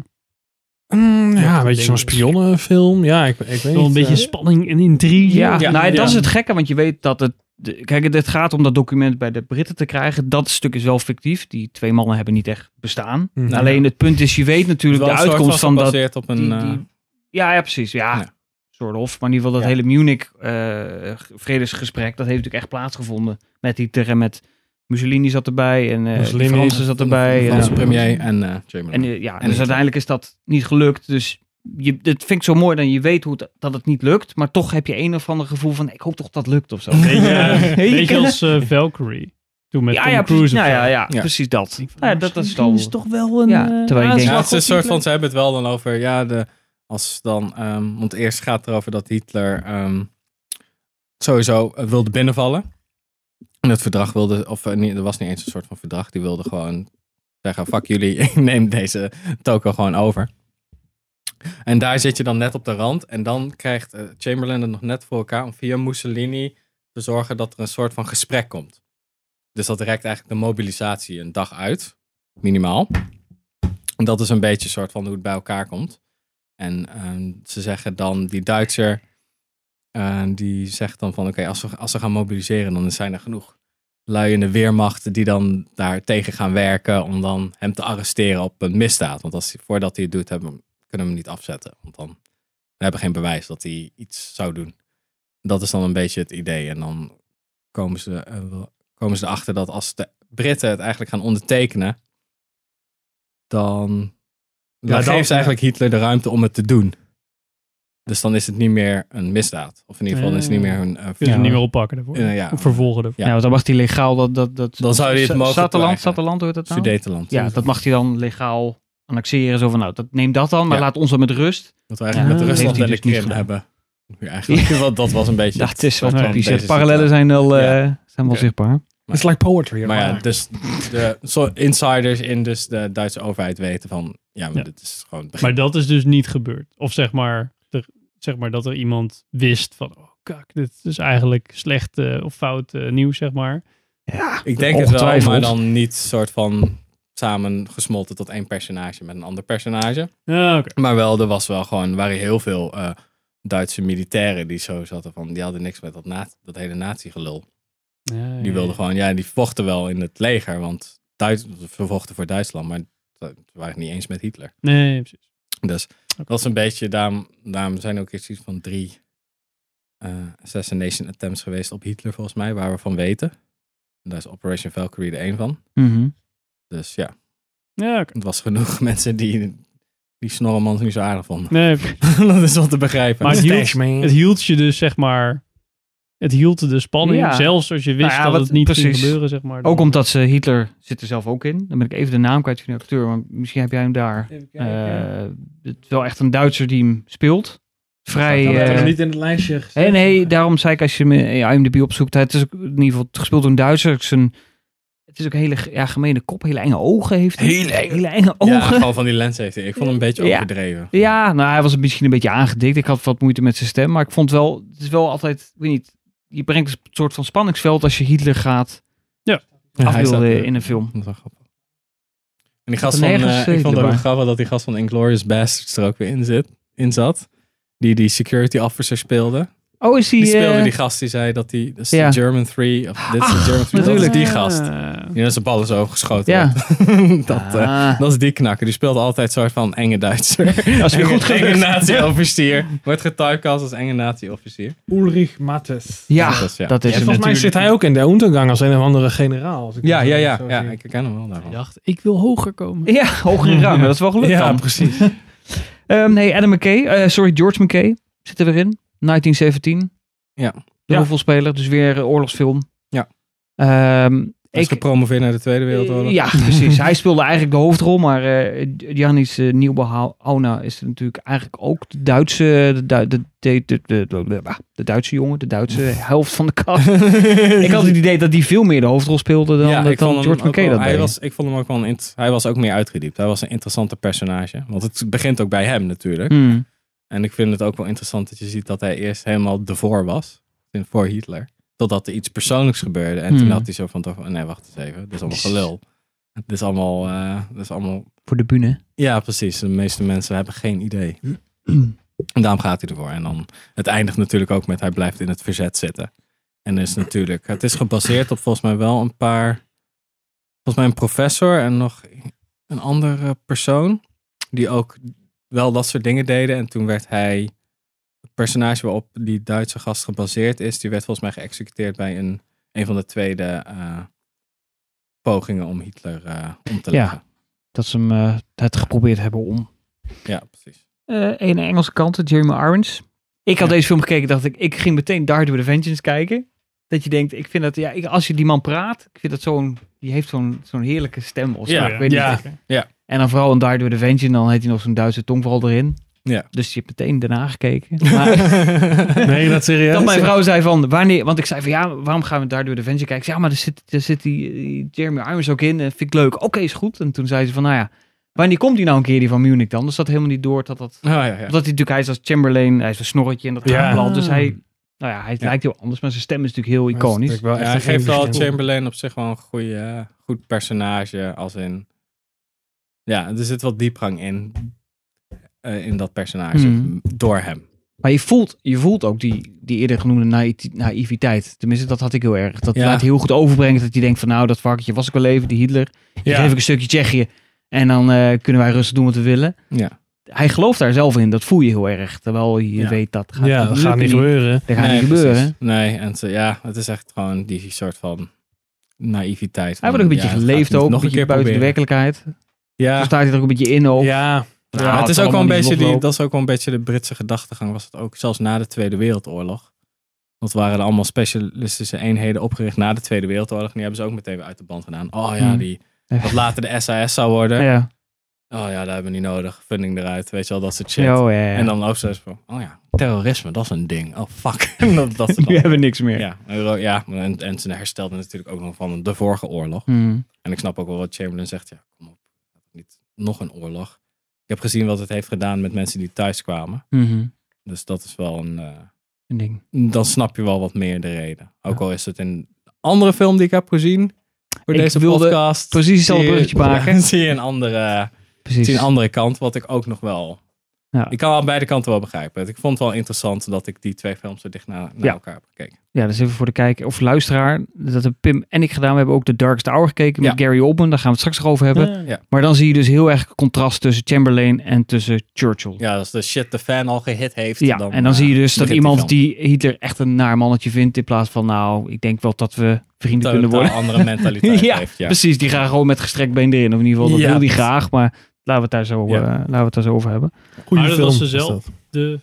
Speaker 1: Mm, ja, een beetje
Speaker 5: denk
Speaker 1: zo'n
Speaker 5: ik.
Speaker 1: spionnenfilm. Ja, ik, ik weet
Speaker 5: Wel een
Speaker 1: niet,
Speaker 5: beetje
Speaker 1: eh,
Speaker 5: spanning en intrigue.
Speaker 2: Ja,
Speaker 1: Ja.
Speaker 2: nou, en dat
Speaker 1: Ja.
Speaker 2: is het gekke, want je weet dat het... de- Kijk, het gaat om dat document bij de Britten te krijgen. Dat stuk is wel fictief. Die twee mannen hebben niet echt bestaan.
Speaker 1: Mm.
Speaker 2: Alleen het punt is, je weet natuurlijk
Speaker 3: Wel
Speaker 2: de
Speaker 3: een soort
Speaker 2: uitkomst van dat...
Speaker 3: gebaseerd op een...
Speaker 2: die-
Speaker 3: eh,
Speaker 2: die- ja, ja, precies. Ja,
Speaker 3: Ja.
Speaker 2: soort of. Maar in ieder geval dat
Speaker 3: Ja.
Speaker 2: hele Munich eh, vredesgesprek, dat heeft natuurlijk echt plaatsgevonden. Met Hitler en met Mussolini zat erbij en eh
Speaker 1: Mussolini,
Speaker 2: de Fransen zat
Speaker 3: de
Speaker 2: erbij. en-
Speaker 3: Franse premier en eh Chamberlain.
Speaker 2: En eh, ja,
Speaker 3: En
Speaker 2: dus
Speaker 3: Hitler.
Speaker 2: uiteindelijk is dat niet gelukt. Dus je, dat vind ik zo mooi dan je weet hoe het, dat het niet lukt. Maar toch heb je een of ander gevoel van ik hoop toch dat het lukt of zo. <laughs>
Speaker 5: Beetje, eh,
Speaker 2: Hey, je
Speaker 5: beetje
Speaker 2: kent-
Speaker 5: als eh, Valkyrie. Toen met
Speaker 2: ja,
Speaker 5: Tom
Speaker 2: ja, precies,
Speaker 5: Cruise.
Speaker 2: nou,
Speaker 5: of zo.
Speaker 2: ja, ja,
Speaker 3: Ja.
Speaker 2: precies dat.
Speaker 5: Ik vond,
Speaker 2: Ja, dat is
Speaker 5: oh, misschien
Speaker 2: dan-
Speaker 5: toch wel een...
Speaker 2: Ja,
Speaker 5: eh,
Speaker 2: terwijl je denkt-
Speaker 3: Ja,
Speaker 5: aanslag
Speaker 3: het is een
Speaker 5: op
Speaker 3: soort van,
Speaker 5: Hitler.
Speaker 3: ze hebben het wel dan over, ja, de, als dan, ehm, want eerst gaat het erover dat Hitler ehm, sowieso eh, wilde binnenvallen. En het verdrag wilde, of eh, niet, er was niet eens een soort van verdrag, die wilde gewoon zeggen, fuck jullie, <laughs> ik neem deze toko gewoon over. En daar zit je dan net op de rand. En dan krijgt eh, Chamberlain het nog net voor elkaar om via Mussolini te zorgen dat er een soort van gesprek komt. Dus dat rekt eigenlijk de mobilisatie een dag uit, minimaal. En dat is een beetje een soort van hoe het bij elkaar komt. En ehm, ze zeggen dan, die Duitser, eh, die zegt dan van, oké, als, we, als we gaan mobiliseren, dan zijn er genoeg lui in de weermacht die dan daar tegen gaan werken om dan hem te arresteren op een misdaad. Want als, hij- voordat hij het doet, hebben, we hem- kunnen we hem niet afzetten. Want dan we hebben geen bewijs dat hij iets zou doen. Dat is dan een beetje het idee. En dan komen ze, eh, wel- komen ze erachter dat als de Britten het eigenlijk gaan ondertekenen, dan, dan
Speaker 1: dan-
Speaker 3: geeft ze eigenlijk Hitler de ruimte om het te doen. Dus dan is het niet meer een misdaad. Of in ieder geval
Speaker 5: Ja,
Speaker 3: is het niet
Speaker 5: ja.
Speaker 3: meer een... eh,
Speaker 5: Kun je
Speaker 3: ja,
Speaker 5: hem niet meer oppakken daarvoor.
Speaker 3: eh, ja,
Speaker 5: Of vervolgen daarvoor.
Speaker 2: Ja, want dan mag hij legaal dat... dat, dat
Speaker 3: Dan zou hij het
Speaker 2: Z-
Speaker 3: mogen
Speaker 2: Zatterland,
Speaker 3: krijgen.
Speaker 2: Zatterland hoort dat nou?
Speaker 3: Sudetenland.
Speaker 2: Ja, dat mag hij dan legaal annexeren. Zo van nou, dat, neem dat dan, maar
Speaker 3: Ja.
Speaker 2: laat ons dan met rust.
Speaker 3: Dat we eigenlijk
Speaker 5: Ja.
Speaker 3: met
Speaker 5: Heeft
Speaker 3: Rusland
Speaker 2: hij
Speaker 3: en de
Speaker 2: dus niet
Speaker 3: Krim
Speaker 2: gedaan.
Speaker 3: hebben. Nu eigenlijk, want dat was een beetje...
Speaker 2: Dat is wel
Speaker 3: soort van
Speaker 2: typisch.
Speaker 3: deze
Speaker 2: Parallellen
Speaker 3: situatie.
Speaker 2: zijn wel, eh,
Speaker 3: Ja.
Speaker 2: zijn wel
Speaker 3: Oké.
Speaker 2: zichtbaar.
Speaker 1: It's like poetry.
Speaker 3: Maar ja,
Speaker 1: right?
Speaker 3: dus de zo insiders in dus de Duitse overheid weten van... Ja, maar
Speaker 5: Ja.
Speaker 3: dit is gewoon... het begin.
Speaker 5: Maar dat is dus niet gebeurd. Of zeg maar, er, zeg maar dat er iemand wist van, oh kak, dit is eigenlijk slecht eh, of fout eh, nieuws, zeg maar.
Speaker 2: Ja.
Speaker 3: Ik denk het wel, maar
Speaker 5: Ongetwijfeld.
Speaker 3: dan niet soort van samen gesmolten tot één personage met een ander personage.
Speaker 5: Ja, Ah, oké.
Speaker 3: Maar wel, er was wel gewoon, er waren heel veel eh, Duitse militairen die zo zaten van, die hadden niks met dat, na- dat hele natiegelul.
Speaker 5: Ja, ja,
Speaker 3: Die wilden gewoon, ja, die vochten wel in het leger, want Duits, ze vochten voor Duitsland, maar ze waren het niet eens met Hitler.
Speaker 5: Nee, precies.
Speaker 3: Dus dat is een beetje, daarom, daarom zijn ook iets van drie eh, assassination attempts geweest op Hitler volgens mij, waar we van weten. En daar is Operation Valkyrie de één van.
Speaker 2: Mhm.
Speaker 3: Dus ja,
Speaker 5: Ja, oké.
Speaker 3: het was genoeg <laughs> mensen die die Snorremans niet zo aardig vonden. <laughs>
Speaker 5: Nee, precies.
Speaker 3: dat is wel te begrijpen. <laughs>
Speaker 5: Maar het hield,
Speaker 1: Stashman.
Speaker 5: het hield je dus, zeg maar... Het hield de spanning,
Speaker 2: Ja.
Speaker 5: zelfs als je wist
Speaker 2: Nou ja,
Speaker 5: dat
Speaker 2: wat-
Speaker 5: het niet ging
Speaker 2: precies.
Speaker 5: gebeuren, zeg maar.
Speaker 2: Ook omdat ze Hitler zit er zelf ook in. Dan ben ik even de naam kwijt van de acteur, maar misschien heb jij hem daar. Eh, het is wel echt een Duitser die hem speelt. Vrij.
Speaker 1: Ik had het
Speaker 2: eh,
Speaker 1: nog niet in het lijstje gezet.
Speaker 2: Nee, nee, daarom zei ik als je hem in IMDb opzoekt, het is ook in ieder geval gespeeld door een Duitser. Het is, een, het is ook een hele ja, gemene kop, hele enge ogen heeft hij. Hele enge, <laughs>
Speaker 3: Ja,
Speaker 2: ogen. Ja,
Speaker 3: gewoon van die lens heeft hij. Ik vond hem een beetje
Speaker 2: Ja.
Speaker 3: overdreven.
Speaker 2: nou hij was misschien een beetje aangedikt. Ik had wat moeite met zijn stem, maar ik vond wel, het is wel altijd, ik weet niet, je brengt een soort van spanningsveld als je Hitler gaat
Speaker 3: hij
Speaker 2: afbeelden
Speaker 3: zat, eh,
Speaker 2: in een film.
Speaker 3: Dat is wel grappig. En die gast
Speaker 2: had
Speaker 3: van,
Speaker 2: er
Speaker 3: eh,
Speaker 2: nergens
Speaker 3: ik vond het ook
Speaker 2: erbij.
Speaker 3: wel grappig dat die gast van Inglourious Bastards er ook weer in, zit, in zat. Die die security officer speelde.
Speaker 2: Oh, is
Speaker 3: Die
Speaker 2: die... eh,
Speaker 3: speelde die gast die zei dat die, dat is
Speaker 2: ja.
Speaker 3: de German 3, of dit is de
Speaker 2: Ach,
Speaker 3: German 3, dat is
Speaker 2: natuurlijk.
Speaker 3: die gast.
Speaker 5: Eh,
Speaker 3: Die is zijn bal is overgeschoten.
Speaker 2: Ja.
Speaker 3: wordt. <laughs> dat, eh,
Speaker 2: Ah.
Speaker 3: dat is die knakker. Die speelt altijd soort van enge Duitser.
Speaker 5: Als
Speaker 3: <laughs>
Speaker 5: je
Speaker 3: Enge-
Speaker 5: goed
Speaker 3: Enge
Speaker 5: gelukt.
Speaker 3: nazi-officier. Wordt getypecast als enge nazi-officier.
Speaker 1: Ulrich Mattes.
Speaker 2: ja,
Speaker 3: dat is- ja.
Speaker 2: dat is
Speaker 3: Ja,
Speaker 2: hem
Speaker 1: Volgens mij
Speaker 2: natuurlijk.
Speaker 1: zit hij ook in de Untergang als een of andere generaal. als ik
Speaker 3: Ja,
Speaker 1: dat
Speaker 3: ja,
Speaker 1: zo-
Speaker 3: ja.
Speaker 1: zo
Speaker 3: ja
Speaker 1: zie.
Speaker 3: ik ken hem wel daarvan.
Speaker 5: Ik dacht, ik wil hoger komen.
Speaker 2: Ja, hoger in rang. Dat is wel gelukt dan.
Speaker 3: precies.
Speaker 2: Ehm, nee, Adam McKay. eh, sorry, George McKay zit er weer in. 1917.
Speaker 3: Ja.
Speaker 2: De
Speaker 5: Ja.
Speaker 2: hoofdrolspeler, dus weer eh, oorlogsfilm.
Speaker 3: Ja.
Speaker 2: Ehm,
Speaker 3: Hij is
Speaker 2: ik,
Speaker 3: gepromoveerd naar de Tweede Wereldoorlog. <laughs>
Speaker 2: ja, precies. Hij speelde eigenlijk de hoofdrol, maar eh Janis uh, is natuurlijk eigenlijk ook de Duitse, de, Du- de, de, de, de, de- de- de Duitse jongen, de Duitse helft van de
Speaker 3: <laughs>
Speaker 2: kast. ik had het idee dat die veel meer de hoofdrol speelde dan,
Speaker 3: Ja,
Speaker 2: dat
Speaker 3: ik
Speaker 2: dan
Speaker 3: vond hem ook
Speaker 2: George McKay
Speaker 3: wel-
Speaker 2: dat
Speaker 3: hij
Speaker 2: deed.
Speaker 3: was, Ik vond hem ook wel een int- hij was ook meer uitgediept. Hij was een interessante personage. Want het begint ook bij hem natuurlijk.
Speaker 2: Hmm.
Speaker 3: En ik vind het ook wel interessant dat je ziet dat hij eerst helemaal de voor was. in- Voor Hitler. Totdat er iets persoonlijks gebeurde. En toen
Speaker 2: Hmm.
Speaker 3: had hij zo van, toch van, nee wacht eens even. Dit is
Speaker 2: <laughs>
Speaker 3: allemaal gelul. Dit is allemaal, eh, dit is allemaal...
Speaker 2: Voor de bühne.
Speaker 3: Ja precies, de meeste mensen hebben geen idee. En daarom gaat hij ervoor. En dan, het eindigt natuurlijk ook met hij blijft in het verzet zitten. En is natuurlijk, het is gebaseerd op volgens mij wel een paar, volgens mij een professor en nog een andere persoon, die ook wel dat soort dingen deden. En toen werd hij, het personage waarop die Duitse gast gebaseerd is, die werd volgens mij geëxecuteerd bij een, een van de tweede eh, pogingen om Hitler eh, om te
Speaker 2: Ja.
Speaker 3: leggen.
Speaker 2: Dat ze hem eh, het geprobeerd hebben om
Speaker 3: Ja, precies.
Speaker 2: eh een Engelse kant, Jeremy Irons. Ik had
Speaker 3: Ja.
Speaker 2: deze film gekeken, dacht ik, ik ging meteen Dark with a Vengeance kijken. Dat je denkt, ik vind dat, ja, ik, als je die man praat, ik vind dat zo'n, die heeft zo'n zo'n heerlijke stem. Of zo,
Speaker 3: Ja,
Speaker 2: ik weet
Speaker 1: ja,
Speaker 2: niet.
Speaker 3: ja.
Speaker 2: En dan vooral in Dark with a Vengeance, dan heeft hij nog zo'n Duitse tongval erin.
Speaker 3: Ja.
Speaker 2: Dus je hebt meteen daarna
Speaker 3: <laughs>
Speaker 2: gekeken. Maar
Speaker 1: Nee, dat serieus.
Speaker 2: dat mijn vrouw zei van, wanneer, want ik zei van, ja, waarom gaan we Dark with a Vengeance kijken? Ik zei, ja, maar daar zit, daar zit die, eh, Jeremy Irons ook in, en vind ik leuk. Oké, is goed. En toen zei ze van, nou ja, wanneer komt die nou een keer die van Munich dan? Dus dat helemaal niet door dat dat
Speaker 3: Oh, ja, ja.
Speaker 2: omdat hij natuurlijk, hij is als Chamberlain, hij is een snorretje en dat
Speaker 1: Ja.
Speaker 2: ja. Dus hij, nou ja, hij
Speaker 3: Ja.
Speaker 2: lijkt heel anders, maar zijn stem is natuurlijk heel iconisch.
Speaker 1: Wel echt
Speaker 3: Ja,
Speaker 1: een
Speaker 3: hij geeft
Speaker 1: hele
Speaker 3: wel
Speaker 1: verschil.
Speaker 3: Chamberlain op zich wel een goede, eh, goed personage. Als in. Ja, er zit wel diepgang in. eh, in dat personage.
Speaker 2: Mhm.
Speaker 3: Door hem.
Speaker 2: Maar je voelt, je voelt ook die, die eerder genoemde naï- naïviteit. Tenminste, dat had ik heel erg. Dat
Speaker 3: Ja.
Speaker 2: laat heel goed overbrengen dat je denkt van, nou, dat varkentje was ik wel even, die Hitler. Die
Speaker 1: Ja.
Speaker 2: geef ik een stukje Tsjechië en dan eh, kunnen wij rustig doen wat we willen.
Speaker 3: Ja.
Speaker 2: Hij gelooft daar zelf in, dat voel je heel erg. Terwijl je
Speaker 3: Ja.
Speaker 2: weet, dat gaat
Speaker 1: Ja, dat gaat niet
Speaker 2: lukken.
Speaker 1: gebeuren.
Speaker 2: Dat gaat niet gebeuren.
Speaker 3: precies. Nee, en ze, ja, het is echt gewoon die soort van naïviteit. van,
Speaker 2: Hij wordt ook een beetje
Speaker 3: ja, het
Speaker 2: geleefd
Speaker 3: gaat niet
Speaker 2: ook, een
Speaker 3: nog
Speaker 2: beetje buiten
Speaker 3: proberen.
Speaker 2: de werkelijkheid. Zo
Speaker 3: Ja,
Speaker 2: staat hij er ook een beetje in ook.
Speaker 1: Ja,
Speaker 3: Ja,
Speaker 2: Nou,
Speaker 3: het is
Speaker 2: kan
Speaker 3: ook wel een
Speaker 2: allemaal niet
Speaker 3: beetje die,
Speaker 2: loslopen.
Speaker 3: dat is ook wel een beetje de Britse gedachtegang. Was het ook zelfs na de Tweede Wereldoorlog. Want waren er allemaal specialistische eenheden opgericht na de Tweede Wereldoorlog. En die hebben ze ook meteen weer uit de band gedaan. Oh ja,
Speaker 2: Hmm.
Speaker 3: die, wat later de SAS zou worden.
Speaker 2: ja.
Speaker 3: Oh ja, dat hebben we niet nodig. Funding eruit. Weet je wel, dat soort shit.
Speaker 2: Ja, oh, ja, ja.
Speaker 3: En dan ook zo van, oh ja, terrorisme, dat is een ding. Oh fuck. <laughs> dat, dat is
Speaker 2: <laughs>
Speaker 3: het dan.
Speaker 2: <laughs> nu hebben we niks meer.
Speaker 3: Ja, euro- ja en, en ze herstelden natuurlijk ook nog van de vorige oorlog.
Speaker 2: Hmm.
Speaker 3: En ik snap ook wel wat Chamberlain zegt. Ja, kom op. Niet nog een oorlog. Ik heb gezien wat het heeft gedaan met mensen die thuis kwamen.
Speaker 2: Mhm.
Speaker 3: Dus dat is wel een... eh,
Speaker 2: Een ding.
Speaker 3: dan snap je wel wat meer de reden. Ook al is het in andere film die ik heb gezien voor
Speaker 2: Ik
Speaker 3: deze
Speaker 2: wilde
Speaker 3: podcast.
Speaker 2: precies hetzelfde
Speaker 3: zie je- <laughs>
Speaker 2: bruggetje maken.
Speaker 3: ja, zie je een andere,
Speaker 2: Precies.
Speaker 3: zie je een andere kant, wat ik ook nog wel...
Speaker 2: Ja.
Speaker 3: Ik kan aan beide kanten wel begrijpen. Ik vond het wel interessant dat ik die twee films zo dicht na- naar
Speaker 2: Ja.
Speaker 3: elkaar heb gekeken.
Speaker 2: Ja, dus even voor de kijker of luisteraar. Dat hebben Pim en ik gedaan. We hebben ook The Darkest Hour gekeken met
Speaker 3: Ja.
Speaker 2: Gary Oldman. Daar gaan we het straks nog over hebben.
Speaker 3: Ja.
Speaker 2: Maar dan zie je dus heel erg contrast tussen Chamberlain en tussen Churchill.
Speaker 3: Ja, als de shit de fan al gehit heeft.
Speaker 2: Ja, en dan
Speaker 3: eh,
Speaker 2: zie je dus dat
Speaker 3: begint
Speaker 2: iemand
Speaker 3: film.
Speaker 2: die Hitler echt een naar mannetje vindt. In plaats van, nou, ik denk wel dat we vrienden
Speaker 3: Totaal
Speaker 2: kunnen worden.
Speaker 3: andere mentaliteit
Speaker 2: Ja,
Speaker 3: heeft. Ja,
Speaker 2: <laughs> Precies, die gaan gewoon met gestrekt been erin. Of in ieder geval, dat
Speaker 3: Ja.
Speaker 2: wil die graag. Maar laten we het daar zo,
Speaker 3: Ja.
Speaker 2: eh, laten we het daar zo over hebben.
Speaker 1: Goeie
Speaker 5: Maar dat
Speaker 1: film.
Speaker 5: was ze
Speaker 1: is
Speaker 5: zelf.
Speaker 1: dat.
Speaker 5: De,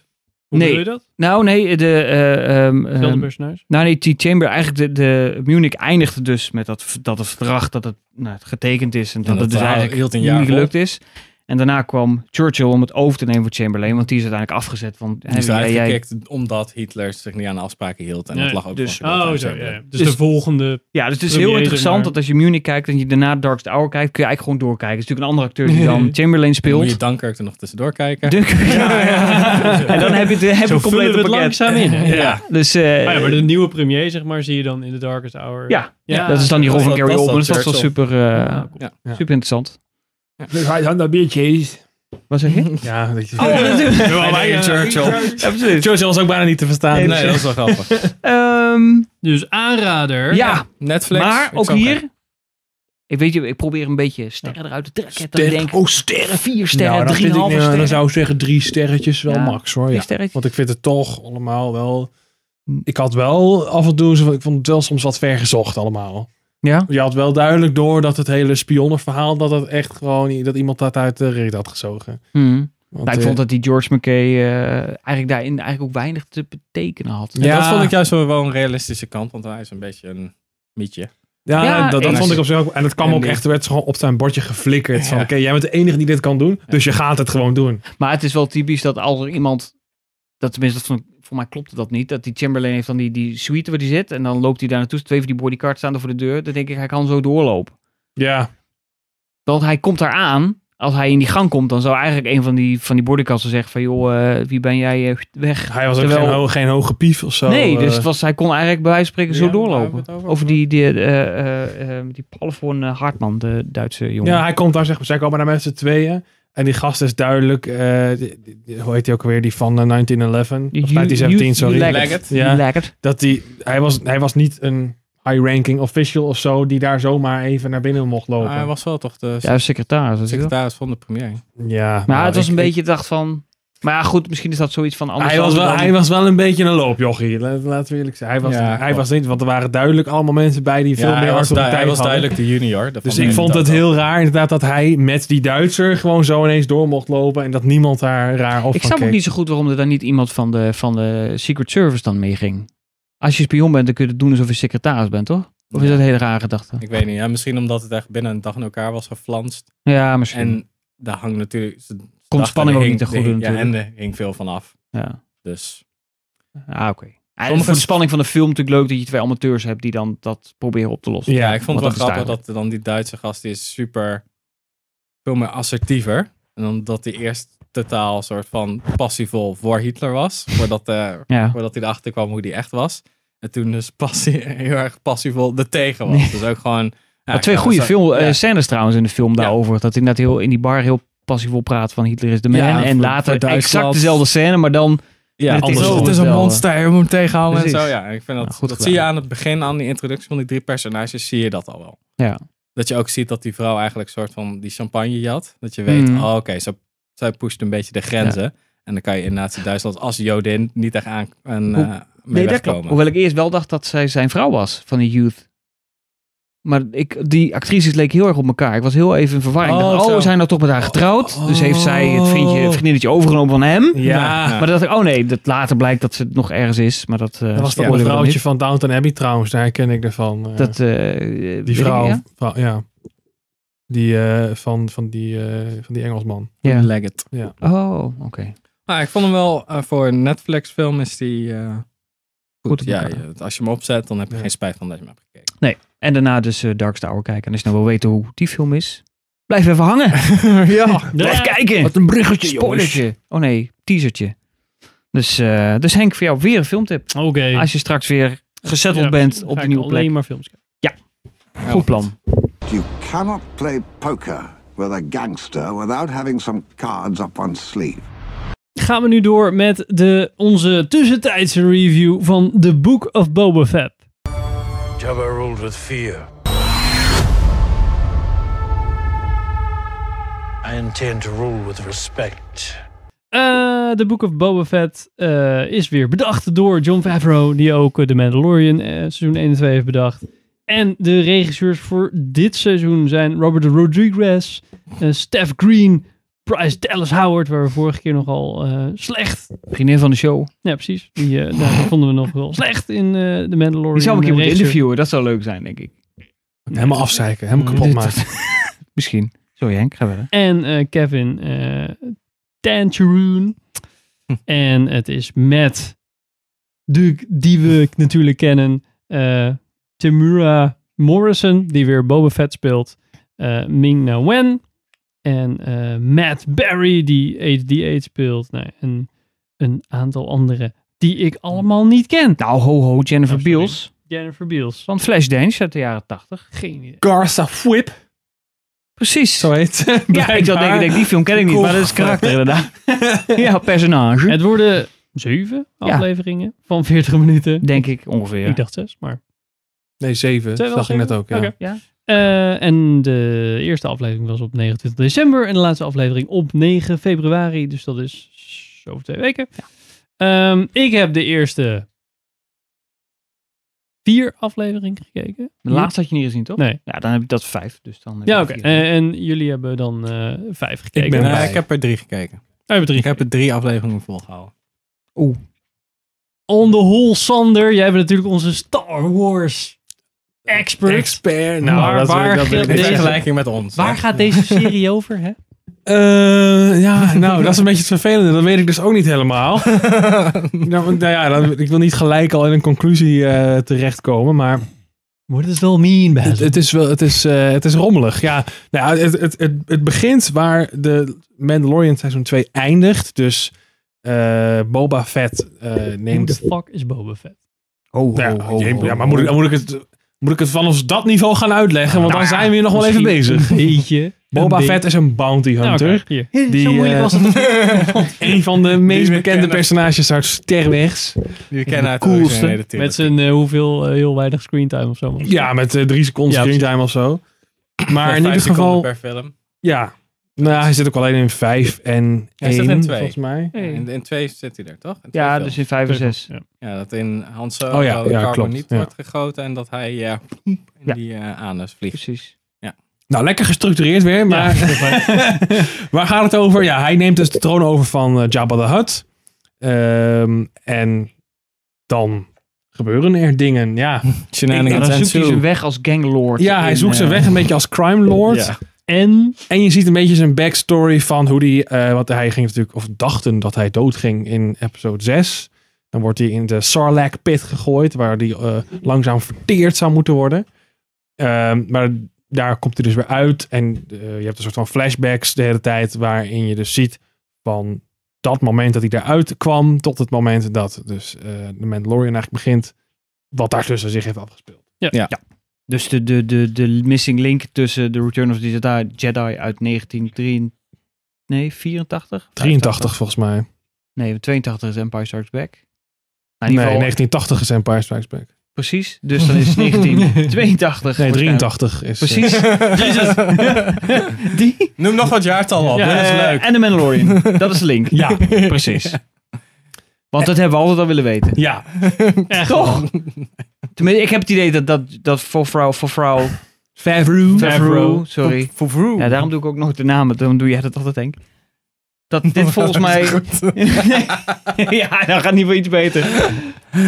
Speaker 5: hoe
Speaker 2: Nee.
Speaker 5: bedoel je dat?
Speaker 2: Nou, nee, de... eh, ehm,
Speaker 5: Zelfde
Speaker 2: ehm,
Speaker 5: personage?
Speaker 2: Nou nee, T-Chamber, eigenlijk de, de Munich eindigde dus met dat, v- dat het verdrag dat het nou, het getekend is en dat,
Speaker 3: En dat
Speaker 2: het dus
Speaker 3: verhaal
Speaker 2: eigenlijk
Speaker 3: hield een
Speaker 2: niet
Speaker 3: jaar vol.
Speaker 2: gelukt is. En daarna kwam Churchill om het over te nemen voor Chamberlain, want die is uiteindelijk afgezet. Want
Speaker 3: Die is
Speaker 2: hè,
Speaker 3: eruit
Speaker 2: jij-
Speaker 3: Dus gekikt omdat Hitler zich niet aan de afspraken hield. En
Speaker 5: Nee,
Speaker 3: dat lag ook
Speaker 2: dus-
Speaker 3: van
Speaker 5: Oh,
Speaker 3: Churchill
Speaker 5: zo,
Speaker 3: aan
Speaker 5: ja. ja. Dus,
Speaker 2: Dus-
Speaker 5: de volgende...
Speaker 2: ja, dus het is
Speaker 5: premier,
Speaker 2: heel
Speaker 5: zeg
Speaker 2: interessant
Speaker 5: maar.
Speaker 2: dat als je Munich kijkt en je daarna Darkest Hour kijkt, kun je eigenlijk gewoon doorkijken. Het is natuurlijk een andere acteur die dan Chamberlain
Speaker 3: Dan Moet
Speaker 2: speelt.
Speaker 3: je
Speaker 2: <laughs>
Speaker 3: Dunkirk er nog tussendoor kijken.
Speaker 2: Dunk- en dan heb je het, heb je
Speaker 5: Zo vullen we
Speaker 2: het complete
Speaker 5: het
Speaker 2: pakket.
Speaker 5: langzaam in. hè?
Speaker 3: Ja.
Speaker 2: <laughs> Dus eh,
Speaker 5: Ah ja, maar de nieuwe premier, zeg maar, zie je dan in The Darkest Hour. Ah,
Speaker 2: ja,
Speaker 5: Ja.
Speaker 2: dat is dan die rol
Speaker 3: Dat
Speaker 2: van
Speaker 3: is-
Speaker 2: Gary
Speaker 3: dat is
Speaker 2: Oldman. Dus
Speaker 3: dan
Speaker 2: dat is wel super, eh,
Speaker 3: Ja.
Speaker 2: super interessant.
Speaker 1: Dus Hij dat biertjes.
Speaker 2: Wat zeg je?
Speaker 1: Ja, dat je... <laughs>
Speaker 2: Oh, natuurlijk.
Speaker 1: Ja,
Speaker 3: nee,
Speaker 1: ja.
Speaker 3: Churchill.
Speaker 2: Ja, precies.
Speaker 1: Churchill was ook bijna niet te verstaan.
Speaker 3: Nee,
Speaker 1: Nee,
Speaker 3: dat is wel grappig.
Speaker 2: Ehm,
Speaker 5: Dus aanrader.
Speaker 2: ja,
Speaker 3: Netflix.
Speaker 2: maar
Speaker 3: ik
Speaker 2: ook
Speaker 3: zou
Speaker 2: hier.
Speaker 3: kijken.
Speaker 2: Ik weet je, ik probeer een beetje sterren eruit te trekken. Dat ik
Speaker 1: Sterren,
Speaker 2: denk,
Speaker 1: oh, sterren.
Speaker 2: vier
Speaker 1: Nou,
Speaker 2: sterren,
Speaker 1: dan vind ik,
Speaker 2: drieënhalve
Speaker 1: nou,
Speaker 2: sterren.
Speaker 1: Dan zou ik zeggen drie sterretjes wel
Speaker 2: Ja.
Speaker 1: max hoor.
Speaker 2: Drie
Speaker 1: Ja.
Speaker 2: sterretjes.
Speaker 1: Want ik vind het toch allemaal wel...
Speaker 2: Hm.
Speaker 1: Ik had wel af en toe... zo- Ik vond het wel soms wat vergezocht allemaal.
Speaker 2: Ja,
Speaker 1: Je had wel duidelijk door dat het hele spionnenverhaal... dat het echt gewoon... dat iemand dat uit de reet had gezogen.
Speaker 2: Hmm.
Speaker 1: Want,
Speaker 2: Nou, ik
Speaker 1: eh,
Speaker 2: vond dat die George McKay eh, eigenlijk daarin eigenlijk ook weinig te betekenen had.
Speaker 1: Ja.
Speaker 3: En dat vond ik juist wel wel een realistische kant. Want hij is een beetje een mietje.
Speaker 1: Ja,
Speaker 2: Ja,
Speaker 1: dat, dat
Speaker 2: en-
Speaker 1: vond ik op zich ook. En het kwam
Speaker 3: en
Speaker 1: ook
Speaker 3: die-
Speaker 1: echt, werd gewoon op zijn bordje geflikkerd. Van
Speaker 3: Ja.
Speaker 1: oké, jij bent de enige die dit kan doen, dus je gaat het gewoon doen.
Speaker 2: Maar het is wel typisch dat als er iemand... Dat tenminste, dat vond ik- voor mij klopte dat niet. Dat die Chamberlain heeft dan die, die suite waar die zit. En dan loopt hij daar naartoe. Twee van die bodyguards staan er voor de deur. Dan denk ik, hij kan zo doorlopen.
Speaker 1: Ja,
Speaker 2: Want hij komt daar aan. Als hij in die gang komt, dan zou eigenlijk een van die, van die boardingkasten zeggen van... joh, eh, wie ben jij? eh, weg.
Speaker 1: hij was ook
Speaker 2: Terwijl-
Speaker 1: geen, ho- geen hoge pief of zo.
Speaker 2: nee, dus
Speaker 1: eh.
Speaker 2: het was, hij kon eigenlijk bij wijze van spreken zo
Speaker 3: Ja, waar hebben
Speaker 2: doorlopen.
Speaker 3: we het
Speaker 2: Over,
Speaker 3: over?
Speaker 2: die, die, eh, eh, eh, die Paul van eh, Hartman, de Duitse jongen.
Speaker 1: Ja, hij komt daar, zeg maar, zij komen daar met z'n tweeën. En die gast is duidelijk, eh, die- die- die- hoe heet hij ook weer, die van eh, 1911?
Speaker 2: Die
Speaker 1: Of
Speaker 2: Hugh-
Speaker 1: 1917,
Speaker 2: Hugh
Speaker 1: sorry.
Speaker 2: Leggett.
Speaker 3: Leggett.
Speaker 2: Die
Speaker 1: Ja,
Speaker 2: Leggett.
Speaker 1: dat die, hij, was, hij was niet een high-ranking official of zo, die daar zomaar even naar binnen mocht
Speaker 3: Maar
Speaker 1: lopen.
Speaker 3: hij was wel toch de
Speaker 2: Ja, secretaris. weet je wel.
Speaker 3: secretaris van de premier.
Speaker 1: ja,
Speaker 2: Maar het was
Speaker 1: ik-
Speaker 2: een beetje, dacht van... Maar ja, goed, misschien is dat zoiets van anders.
Speaker 1: Hij was,
Speaker 2: dan-
Speaker 1: wel, hij was wel een beetje een loopjochie, la- laten we eerlijk zijn. Hij was,
Speaker 3: Ja,
Speaker 1: hij
Speaker 3: klopt.
Speaker 1: was niet, want er waren duidelijk allemaal mensen bij die veel
Speaker 3: Ja,
Speaker 1: meer
Speaker 3: hij, was, du-
Speaker 1: autoriteit
Speaker 3: hij was
Speaker 1: hadden.
Speaker 3: duidelijk de junior.
Speaker 1: Dus ik vond het heel raar inderdaad dat hij met die Duitser gewoon zo ineens door mocht lopen en dat niemand daar raar op
Speaker 2: Ik
Speaker 1: van
Speaker 2: snap ook
Speaker 1: keek.
Speaker 2: niet zo goed waarom er dan niet iemand van de, van de Secret Service dan mee ging. Als je spion bent, dan kun je het doen alsof je secretaris bent, toch? Of is dat een hele rare gedachte?
Speaker 3: Ik weet niet. Ja, misschien omdat het echt binnen een dag in elkaar was geflanst.
Speaker 2: Ja, misschien.
Speaker 3: En daar hangt natuurlijk. ze
Speaker 2: Komt
Speaker 3: dachten, er
Speaker 2: spanning ook
Speaker 3: hing-
Speaker 2: niet te
Speaker 3: er
Speaker 2: goede
Speaker 3: hing- Ja, en
Speaker 2: natuurlijk.
Speaker 3: er hing veel van af.
Speaker 2: Ja.
Speaker 3: Dus
Speaker 2: Ah, oké. Ja,
Speaker 3: Sommige-
Speaker 2: voor de spanning van de film natuurlijk leuk dat je twee amateurs hebt die dan dat proberen op te lossen.
Speaker 3: ja, ik vond
Speaker 2: want
Speaker 3: het
Speaker 2: dat
Speaker 3: wel
Speaker 2: is
Speaker 3: grappig dat dan die Duitse gast die is super veel meer assertiever. En dan dat hij eerst totaal soort van passievol voor Hitler was. Voordat, eh,
Speaker 2: Ja.
Speaker 3: voordat hij erachter kwam hoe die echt was. En toen dus <laughs> passie, heel erg passievol er tegen was. Dus ook gewoon. ja,
Speaker 2: Maar twee
Speaker 3: ik-
Speaker 2: goede
Speaker 3: zo-
Speaker 2: film, eh,
Speaker 3: ja.
Speaker 2: scènes trouwens in de film daarover. Dat hij net heel in die bar heel passievol praat van Hitler is de man.
Speaker 3: Ja,
Speaker 2: en
Speaker 3: voor-
Speaker 2: later
Speaker 3: voor Duitsland.
Speaker 2: exact dezelfde scène, maar dan
Speaker 3: Ja,
Speaker 2: Met
Speaker 3: anders
Speaker 1: die
Speaker 3: is
Speaker 1: zo
Speaker 3: het is een
Speaker 2: wel, eh,
Speaker 3: monster, je moet hem tegenhouden en
Speaker 2: Precies.
Speaker 3: zo. Ja, ik vind dat,
Speaker 2: Ja, goed
Speaker 3: dat
Speaker 2: gedaan.
Speaker 3: zie je aan het begin, aan die introductie van die drie personages, zie je dat al wel.
Speaker 2: Ja.
Speaker 3: Dat je ook ziet dat die vrouw eigenlijk soort van die champagne jat. Dat je weet,
Speaker 2: Mm.
Speaker 3: oh, oké, ze- zij pusht een beetje de grenzen. En dan kan je in Nazi-Duitsland als Jodin niet echt aan en,
Speaker 2: Hoe-
Speaker 3: eh, mee wegkomen.
Speaker 2: Hoewel ik eerst wel dacht dat zij zijn vrouw was van de youth. Maar ik, die actrices leek heel erg op elkaar. Ik was heel even in verwarring. Ik
Speaker 3: Oh,
Speaker 2: dacht, Oh,
Speaker 3: zo. Oh.
Speaker 2: we zijn nou toch met haar getrouwd. Dus heeft zij het vriendje, het vriendinnetje overgenomen van hem.
Speaker 1: Ja,
Speaker 3: Ja.
Speaker 2: Maar dat dacht ik, oh nee, dat later blijkt dat ze nog ergens is. Maar dat, eh
Speaker 1: dat was dat
Speaker 2: spoilen we
Speaker 1: een
Speaker 2: dan
Speaker 1: vrouwtje
Speaker 2: niet.
Speaker 1: van Downton Abbey trouwens, daar ken ik ervan. eh.
Speaker 2: Dat, eh,
Speaker 1: Die vrouw,
Speaker 2: Ja?
Speaker 1: ja. ja. Die eh, van, van, die, eh, van die Engelsman.
Speaker 2: Ja.
Speaker 3: Leggett.
Speaker 2: Oh, oké.
Speaker 3: Ah, ik vond hem wel, eh, voor een Netflix film is die... eh,
Speaker 2: Goed
Speaker 3: goed,
Speaker 2: op
Speaker 3: ja,
Speaker 2: elkaar.
Speaker 3: je- als je hem opzet, dan heb je
Speaker 1: Ja.
Speaker 3: geen spijt van dat je hem hebt gekeken.
Speaker 2: <laughs> En daarna dus eh, Darkest Hour kijken. En als je nou wil weten hoe die film is, blijf even hangen.
Speaker 1: <laughs> ja.
Speaker 2: Blijf kijken.
Speaker 1: een bruggetje,
Speaker 2: Spoilertje. Oh nee, teasertje. Dus, eh, dus Henk, voor jou weer een filmtip.
Speaker 5: Oké.
Speaker 2: Als je straks weer gezetteld
Speaker 5: Ja,
Speaker 2: bent
Speaker 5: dan ga
Speaker 2: op de
Speaker 5: ik
Speaker 2: nieuwe plek.
Speaker 5: Alleen maar films kijken.
Speaker 2: Goed plan.
Speaker 7: You cannot play poker with a gangster without having some cards up one's sleeve.
Speaker 5: Gaan we nu door met de, onze tussentijdse review van The Book of Boba Fett.
Speaker 8: Jabba ruled with fear. I intend to rule with respect.
Speaker 5: Eh, The Book of Boba Fett eh, is weer bedacht door John Favreau, die ook eh, The Mandalorian eh, seizoen 1 en 2 heeft bedacht. En de regisseurs voor dit seizoen zijn Robert Rodriguez, eh, Steph Green, Bryce Dallas Howard, waar we vorige keer nogal eh, slecht...
Speaker 2: Vriendin van de show.
Speaker 5: Ja, precies. Die eh,
Speaker 2: <laughs>
Speaker 5: daar vonden we nog wel slecht in eh The Mandalorian.
Speaker 2: Die zou ik een keer moeten
Speaker 5: Regisseur-
Speaker 2: interviewen. Dat zou leuk zijn, denk ik.
Speaker 1: Helemaal afzeiken, helemaal kapot
Speaker 2: Dit-
Speaker 1: maken. <laughs>
Speaker 2: Misschien. Sorry Henk, ga verder.
Speaker 5: En eh, Kevin eh Tancheroen.
Speaker 2: Hm.
Speaker 5: En het is met Duke, die we
Speaker 2: Hm.
Speaker 5: k- natuurlijk kennen. eh Tamura Morrison, die weer Boba Fett speelt. eh Ming Na Wen. En eh, Matt Berry, die HD8 speelt. Nou, en een aantal anderen die ik allemaal niet ken.
Speaker 2: Nou, ho ho, Jennifer
Speaker 5: Oh, sorry.
Speaker 2: Beals
Speaker 5: Jennifer Beals.
Speaker 2: van Flashdance uit de jaren 80.
Speaker 5: Geen idee.
Speaker 1: Garza Whip,
Speaker 2: Precies.
Speaker 1: zo heet <laughs> ze.
Speaker 2: Ja, ik zat denken, denk, die film ken ik niet,
Speaker 1: Cool.
Speaker 2: maar dat is karakter inderdaad. ja, personage.
Speaker 5: Het worden zeven
Speaker 2: Ja.
Speaker 5: afleveringen van 40 minuten.
Speaker 2: Denk ik ongeveer.
Speaker 5: Ik dacht zes, maar...
Speaker 1: Nee, zeven.
Speaker 5: Zijn we
Speaker 1: Dat dacht ik
Speaker 5: al
Speaker 1: net ook.
Speaker 5: zeven?
Speaker 1: Ja.
Speaker 5: Oké.
Speaker 2: Ja.
Speaker 5: Eh, en de eerste aflevering was op 29 december en de laatste aflevering op 9 februari. Dus dat is over twee weken. Ehm, ik heb de eerste vier afleveringen gekeken.
Speaker 2: De laatste had je niet gezien, toch?
Speaker 5: Nee.
Speaker 2: Ja, dan heb ik dat is vijf. Dus dan heb
Speaker 5: Ja,
Speaker 2: ik
Speaker 5: oké.
Speaker 2: vier.
Speaker 5: Eh, en jullie hebben dan eh, vijf gekeken.
Speaker 1: ben
Speaker 5: Oh,
Speaker 1: erbij.
Speaker 3: Eh, ik heb er drie gekeken.
Speaker 5: je hebt drie.
Speaker 3: Ik heb er drie afleveringen volgehouden.
Speaker 5: On the whole, Sander. Jij bent natuurlijk onze Star Wars expert.
Speaker 1: Expert.
Speaker 5: Maar
Speaker 1: Nou, dat
Speaker 5: waar
Speaker 1: wil ik- dat wil ik
Speaker 3: In
Speaker 5: geldt
Speaker 1: niet
Speaker 5: deze-
Speaker 1: zeggen.
Speaker 3: vergelijking met ons.
Speaker 5: Waar
Speaker 3: hè.
Speaker 5: gaat deze serie over, <laughs> hè?
Speaker 1: Eh, <laughs> ja, nou, dat is een beetje het vervelende. Dat weet ik dus ook niet <laughs> helemaal. nou, want, nou ja, dan, ik wil niet gelijk al in een conclusie eh, terechtkomen, maar
Speaker 5: What does it all mean,
Speaker 1: het,
Speaker 5: Basil?
Speaker 1: het is wel, het is, eh, het is rommelig. Ja, nou, ja, het, het, het, het begint waar de Mandalorian seizoen 2 eindigt. Dus eh, Boba Fett eh,
Speaker 5: Who the
Speaker 1: neemt...
Speaker 5: fuck is Boba Fett?
Speaker 2: Ho,
Speaker 1: Nou
Speaker 2: ho,
Speaker 1: ja,
Speaker 2: ho,
Speaker 1: je-
Speaker 2: ho,
Speaker 1: ja, maar
Speaker 2: ho.
Speaker 1: moet ik, dan moet ik het... Moet ik het vanaf dat niveau gaan uitleggen? Want dan zijn we hier nog wel even
Speaker 5: Nou, Misschien
Speaker 1: bezig.
Speaker 5: <laughs> Een beetje.
Speaker 1: Boba
Speaker 5: Een
Speaker 1: Fett is een bounty
Speaker 5: Nou,
Speaker 1: hunter.
Speaker 5: oké, hier.
Speaker 1: Die,
Speaker 5: Zo moeilijk
Speaker 1: eh,
Speaker 5: was het.
Speaker 1: Een van de meest
Speaker 3: we
Speaker 1: bekende
Speaker 3: kennen.
Speaker 1: personages uit Sterwegs.
Speaker 3: Die we kennen uit de
Speaker 1: Coolste.
Speaker 3: originele trilogie.
Speaker 5: Met zijn eh, hoeveel, eh, heel weinig screentime of zo.
Speaker 1: Ja, met eh, drie seconden
Speaker 5: Ja,
Speaker 1: screentime of zo. Maar
Speaker 3: Vijf
Speaker 1: in ieder
Speaker 3: seconden
Speaker 1: geval,
Speaker 3: per film.
Speaker 1: ja. Nou, ja, hij zit ook alleen in vijf en
Speaker 3: Hij zit
Speaker 1: één,
Speaker 3: in twee.
Speaker 1: volgens mij.
Speaker 5: Hey.
Speaker 3: In, in twee zit hij er, toch? In twee
Speaker 2: Ja,
Speaker 3: films.
Speaker 2: dus in vijf en zes.
Speaker 3: Ja, dat in Han Solo
Speaker 1: Oh ja, ja,
Speaker 3: carboniet
Speaker 1: klopt, ja.
Speaker 3: wordt gegoten en dat hij eh, in
Speaker 2: Ja.
Speaker 3: die eh, anus vliegt.
Speaker 2: Precies.
Speaker 1: Nou, lekker gestructureerd weer, maar <laughs> waar gaat het over? Ja, hij neemt dus de troon over van eh, Jabba the Hutt. Ehm, en dan gebeuren er dingen, ja.
Speaker 2: Ja,
Speaker 3: Shenanigans
Speaker 2: dan
Speaker 3: and
Speaker 2: zoekt hij
Speaker 3: Sue.
Speaker 2: zijn weg als ganglord.
Speaker 1: Ja, hij
Speaker 2: in,
Speaker 1: zoekt zijn
Speaker 2: eh,
Speaker 1: weg een beetje als crime lord.
Speaker 3: Ja.
Speaker 5: En
Speaker 1: En je ziet een beetje zijn backstory van hoe die, eh, want hij ging natuurlijk, of dachten dat hij doodging in episode 6. Dan wordt hij in de Sarlacc pit gegooid, waar die eh, langzaam verteerd zou moeten worden. Ehm, maar daar komt hij dus weer uit. En eh, je hebt een soort van flashbacks de hele tijd, waarin je dus ziet van dat moment dat hij daaruit kwam, tot het moment dat dus eh, de Mandalorian eigenlijk begint, wat daartussen zich heeft afgespeeld.
Speaker 2: Dus de, de, de, de missing link tussen de Return of the Jedi, Jedi uit 1983. Nee, 84?
Speaker 1: 83 volgens mij.
Speaker 2: Nee, 82 is Empire Strikes Back. Nou, in
Speaker 1: Nee,
Speaker 2: ieder geval,
Speaker 1: 1980 is Empire Strikes Back.
Speaker 2: precies. Dus dan is 1982.
Speaker 1: Nee, 83 is. eh,
Speaker 2: Precies.
Speaker 3: <laughs>
Speaker 2: Die?
Speaker 3: Noem nog wat jaartal op, dat is
Speaker 2: Eh,
Speaker 3: leuk.
Speaker 2: En de Mandalorian. Dat is de link.
Speaker 1: Ja,
Speaker 2: precies. <laughs> Want dat hebben we altijd al willen weten.
Speaker 3: <laughs>
Speaker 1: Ja,
Speaker 2: Toch? Tenminste, ik heb het idee dat dat, dat voor vrouw, voor vrouw,
Speaker 1: Favreau.
Speaker 2: Favreau, sorry.
Speaker 3: Voor vroeg.
Speaker 2: Ja, daarom doe ik ook nog de namen, dan doe jij dat altijd, Henk.
Speaker 3: <laughs>
Speaker 2: Dat dit volgens mij... <laughs> ja, dan gaat niet wel iets beter.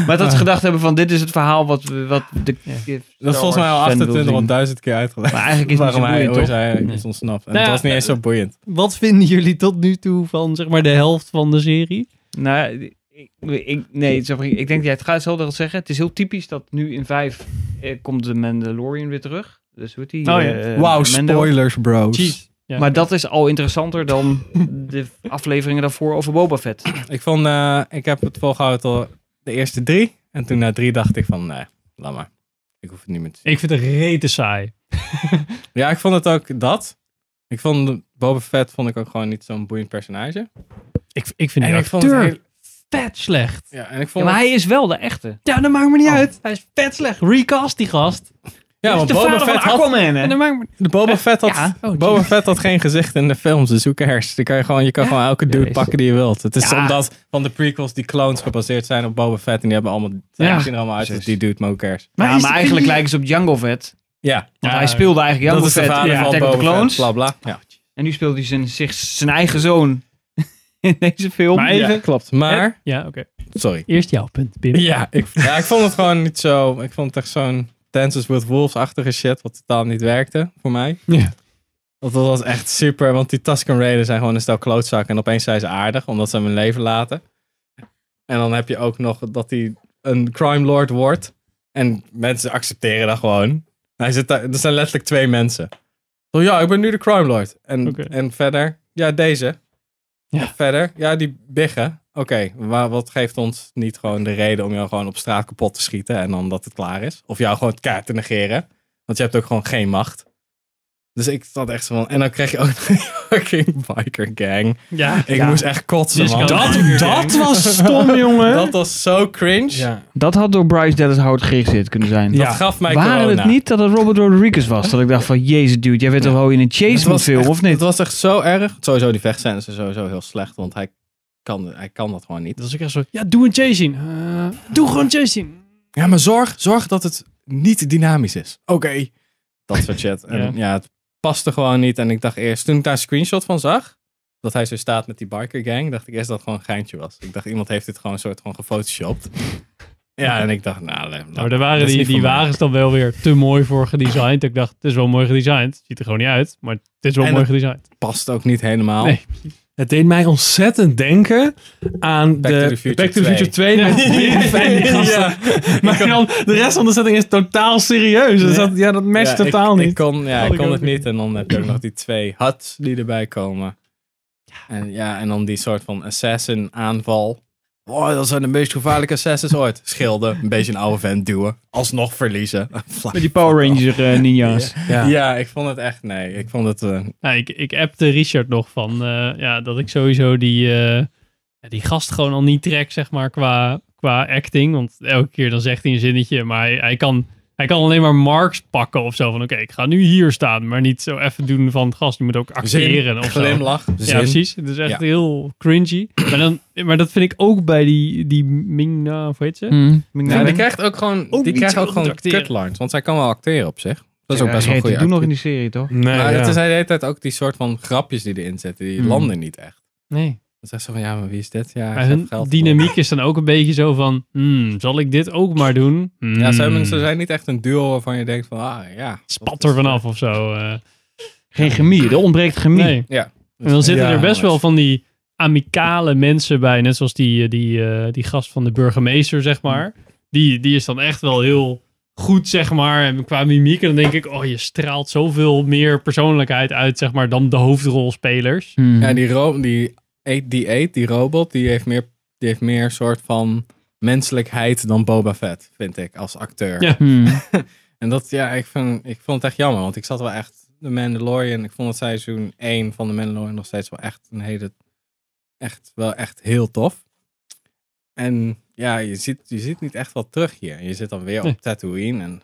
Speaker 2: Maar dat ze gedacht hebben van, dit is het verhaal wat, we- wat de...
Speaker 3: Ah. Dat is volgens mij al 28 of 1000 keer uitgelegd.
Speaker 2: Maar eigenlijk is het niet
Speaker 3: waarom
Speaker 2: zo
Speaker 3: hij
Speaker 2: boeiend,
Speaker 3: ooit
Speaker 2: toch? eh,
Speaker 3: eigenlijk is ontsnapt. En
Speaker 5: Nou
Speaker 3: het
Speaker 5: ja,
Speaker 3: was niet eens zo boeiend.
Speaker 5: wat vinden jullie tot nu toe van zeg maar de helft van de serie?
Speaker 2: Nou, ik, ik, nee, zeg maar, ik denk, jij het gaat hetzelfde al zeggen. Het is heel typisch dat nu in vijf eh, komt de Mandalorian weer terug. Dus hoe heet die?
Speaker 5: Oh ja.
Speaker 2: eh,
Speaker 3: Wauw,
Speaker 2: Mando.
Speaker 3: spoilers bros.
Speaker 5: Jeez. Ja.
Speaker 2: Maar dat is al interessanter dan de afleveringen daarvoor over Boba Fett.
Speaker 3: Ik vond, eh, ik heb het volgehouden tot de eerste drie. En toen na drie dacht ik van, nee, laat maar. Ik hoef het niet meer te zien.
Speaker 5: Ik vind het rete saai.
Speaker 3: Ja, ik vond het ook dat. Ik vond Boba Fett vond ik ook gewoon niet zo'n boeiend personage.
Speaker 5: Ik, ik vind
Speaker 3: En
Speaker 5: die
Speaker 3: ik vond het
Speaker 5: acteur
Speaker 3: heel-
Speaker 5: vet slecht.
Speaker 3: Ja, en ik
Speaker 2: Ja,
Speaker 3: vond
Speaker 2: maar
Speaker 3: het-
Speaker 2: hij is wel de echte.
Speaker 5: Ja, dat maakt me niet
Speaker 2: Oh.
Speaker 5: uit. Hij is vet slecht. Recast die gast.
Speaker 3: ja, want
Speaker 2: de
Speaker 3: Boba
Speaker 2: vader
Speaker 3: Fett
Speaker 2: van
Speaker 3: had,
Speaker 2: Aquaman, hè?
Speaker 5: En dat maakt me...
Speaker 3: de Boba Fett had,
Speaker 2: Ja. Oh,
Speaker 3: Boba Fett had geen gezicht in de films, dus hoe cares? Die kan je, gewoon, je kan gewoon elke dude
Speaker 2: is-
Speaker 3: pakken die je wilt. Het is
Speaker 2: Ja.
Speaker 3: omdat van de prequels die clones gebaseerd zijn op Boba Fett en die hebben allemaal,
Speaker 2: Ja.
Speaker 3: ja. zien er allemaal uit als
Speaker 2: Precies.
Speaker 3: die dude, maar hoe cares?
Speaker 2: Maar,
Speaker 5: is
Speaker 2: ja,
Speaker 5: dat
Speaker 2: maar eigenlijk
Speaker 5: niet-
Speaker 2: lijken ze op Django Vet.
Speaker 3: Ja,
Speaker 2: Want
Speaker 5: Ja,
Speaker 2: hij speelde eigenlijk
Speaker 3: dat
Speaker 2: Django
Speaker 3: is de
Speaker 2: Vet
Speaker 3: vader
Speaker 2: in
Speaker 3: van
Speaker 2: Attack of
Speaker 3: Boba
Speaker 2: the
Speaker 3: Fett,
Speaker 2: Clones.
Speaker 3: bla bla. Ja.
Speaker 2: En nu speelde hij zijn, zich, zijn eigen zoon <laughs> in deze film.
Speaker 5: Maar even-
Speaker 3: Ja, klopt. Maar,
Speaker 5: Ja, oké.
Speaker 3: sorry.
Speaker 5: Eerst jouw punt, Pim.
Speaker 3: Ja ik, ja, ik vond het gewoon niet zo. Ik vond het echt zo'n Dances with Wolves-achtige shit, wat totaal niet werkte voor mij.
Speaker 5: Ja.
Speaker 3: Want dat was echt super, want die Tusken Raiders zijn gewoon een stel klootzakken. En opeens zijn ze aardig, omdat ze hem hun leven laten. En dan heb je ook nog dat hij een crime lord wordt. En mensen accepteren dat gewoon. Hij zit daar, er zijn letterlijk twee mensen. Zo, ja, ik ben nu de crime lord. En,
Speaker 5: Oké.
Speaker 3: en verder, ja, deze.
Speaker 5: Ja.
Speaker 3: En verder, ja, die biggen. Oké, maar wat geeft ons niet gewoon de reden om jou gewoon op straat kapot te schieten en dan dat het klaar is? Of jou gewoon het kaart te negeren? Want je hebt ook gewoon geen macht. Dus ik zat echt zo van... En dan krijg je ook <laughs> een fucking biker gang.
Speaker 5: Ja.
Speaker 3: Ik moest echt kotsen,
Speaker 5: Disco.
Speaker 3: man.
Speaker 5: Dat-
Speaker 3: dat
Speaker 5: was
Speaker 3: <laughs>
Speaker 5: stom, jongen.
Speaker 3: Dat was zo cringe.
Speaker 2: Dat had door Bryce Dallas Howard geregisseerd kunnen zijn.
Speaker 3: Dat
Speaker 5: Ja.
Speaker 3: gaf mij
Speaker 2: Waren
Speaker 3: corona.
Speaker 2: het niet dat het Robert Rodriguez was? Dat ik dacht van, jezus dude, jij bent toch wel in een
Speaker 3: Het
Speaker 2: chase
Speaker 3: was
Speaker 2: film,
Speaker 3: echt-
Speaker 2: of niet?
Speaker 3: Het was echt zo erg. Sowieso, die vechtscènes zijn sowieso heel slecht, want hij kan, hij kan dat gewoon niet.
Speaker 5: Dat is ook echt zo... Ja, doe een chase zien. Eh, doe gewoon een chase zien.
Speaker 3: Ja, maar zorg, zorg dat het niet dynamisch is. Oké. Dat soort shit. En
Speaker 5: <laughs> Ja.
Speaker 3: ja. het paste gewoon niet. En ik dacht eerst, toen ik daar een screenshot van zag, dat hij zo staat met die biker gang, dacht ik eerst dat het gewoon een geintje was. Ik dacht, iemand heeft dit gewoon een soort van gefotoshopt. Ja, en ik dacht, nou, nee,
Speaker 5: Nou,
Speaker 3: dat-
Speaker 5: daar
Speaker 3: dat
Speaker 5: waren
Speaker 3: is
Speaker 5: die,
Speaker 3: niet
Speaker 5: die
Speaker 3: voor mij.
Speaker 5: wagens dan wel weer te mooi voor gedesigned. Ik dacht, het is wel mooi gedesigned. Ziet er gewoon niet uit, maar het is wel
Speaker 3: En
Speaker 5: mooi
Speaker 3: dat-
Speaker 5: gedesigned.
Speaker 3: past ook niet helemaal. <laughs>
Speaker 5: Nee.
Speaker 1: Het deed mij ontzettend denken aan
Speaker 3: Back
Speaker 1: de
Speaker 3: to the Future
Speaker 1: Back to the Future 2. met Biff en die gasten.
Speaker 3: <laughs> Ja.
Speaker 1: Maar dan, de rest van de setting is totaal serieus. Dus
Speaker 3: Ja.
Speaker 1: dat, ja, dat matcht
Speaker 3: Ja, ik-
Speaker 1: totaal
Speaker 3: ik
Speaker 1: niet.
Speaker 3: kon, ja,
Speaker 5: Had
Speaker 3: ik
Speaker 5: ik
Speaker 3: kon
Speaker 5: ook
Speaker 3: het
Speaker 5: niet.
Speaker 3: niet. En dan heb je ook nog die twee huts die erbij komen. En, ja, en dan die soort van assassin aanval. Oh, dat zijn de meest gevaarlijke assassins ooit. Schilden, een beetje een oude vent duwen. Alsnog verliezen. <laughs>
Speaker 2: Met die Power Ranger eh, ninja's.
Speaker 3: Ja. ik vond het echt, nee. Ik vond het, eh,
Speaker 5: Ja, Nou, ik, ik appte Richard nog van eh, ja, dat ik sowieso die, eh, ja, die gast gewoon al niet trek, zeg maar, qua, qua acting. Want elke keer dan zegt hij een zinnetje, maar hij, hij, kan, hij kan alleen maar marks pakken of zo. Van oké, ik ga nu hier staan, maar niet zo even doen van gast, je moet ook acteren
Speaker 3: zin,
Speaker 5: of zo.
Speaker 3: glimlach, zin.
Speaker 5: Ja, precies. Het is echt
Speaker 3: Ja.
Speaker 5: heel cringy. Maar, dan, maar dat vind ik ook bij die, die Ming-Na, of hoe heet ze?
Speaker 2: Hmm.
Speaker 3: Ja, die krijgt ook gewoon, die
Speaker 5: niet
Speaker 3: krijgt
Speaker 5: zo
Speaker 3: ook
Speaker 5: goed
Speaker 3: gewoon
Speaker 5: acteren.
Speaker 3: cutlines. Want zij kan wel acteren op zich. Dat is ook
Speaker 2: Ja,
Speaker 3: best wel een
Speaker 2: Geert,
Speaker 3: goede
Speaker 2: die doen nog in
Speaker 3: actrice.
Speaker 2: die serie, toch?
Speaker 1: Nee,
Speaker 3: Maar
Speaker 1: ja.
Speaker 3: het is de hele tijd ook die soort van grapjes die erin zitten. Die
Speaker 2: Hmm.
Speaker 3: landen niet echt.
Speaker 5: Nee.
Speaker 3: Dan zegt ze van, ja, maar wie is dit? Ja,
Speaker 5: Maar
Speaker 3: hij
Speaker 5: hun
Speaker 3: heeft geld
Speaker 5: dynamiek is dan ook een beetje zo van, hmm, zal ik dit ook maar doen? Hmm.
Speaker 3: Ja, ze, hebben, ze zijn niet echt een duo waarvan je denkt van, ah ja.
Speaker 5: Spat er vanaf of zo. eh.
Speaker 2: Geen chemie, er ontbreekt chemie.
Speaker 5: nee. En dan zitten er best wel van die amicale mensen bij. Net zoals die, eh, die, eh, die gast van de burgemeester, zeg maar. Die, die is dan echt wel heel goed, zeg maar. En qua mimiek. En dan denk ik, oh, je straalt zoveel meer persoonlijkheid uit, zeg maar, dan de hoofdrolspelers.
Speaker 2: Hmm.
Speaker 3: Ja, die, ro die, eet, die eet, die robot, die heeft meer, die heeft meer soort van menselijkheid dan Boba Fett, vind ik, als acteur.
Speaker 5: Ja.
Speaker 2: Hmm.
Speaker 3: En dat, ja, ik, vind, ik vond het echt jammer, want ik zat wel echt de Mandalorian, ik vond het seizoen 1 van de Mandalorian nog steeds wel echt een hele, echt wel echt heel tof. En ja, je ziet, je ziet niet echt wat terug hier. Je zit dan weer
Speaker 5: Nee.
Speaker 3: op Tatooine en...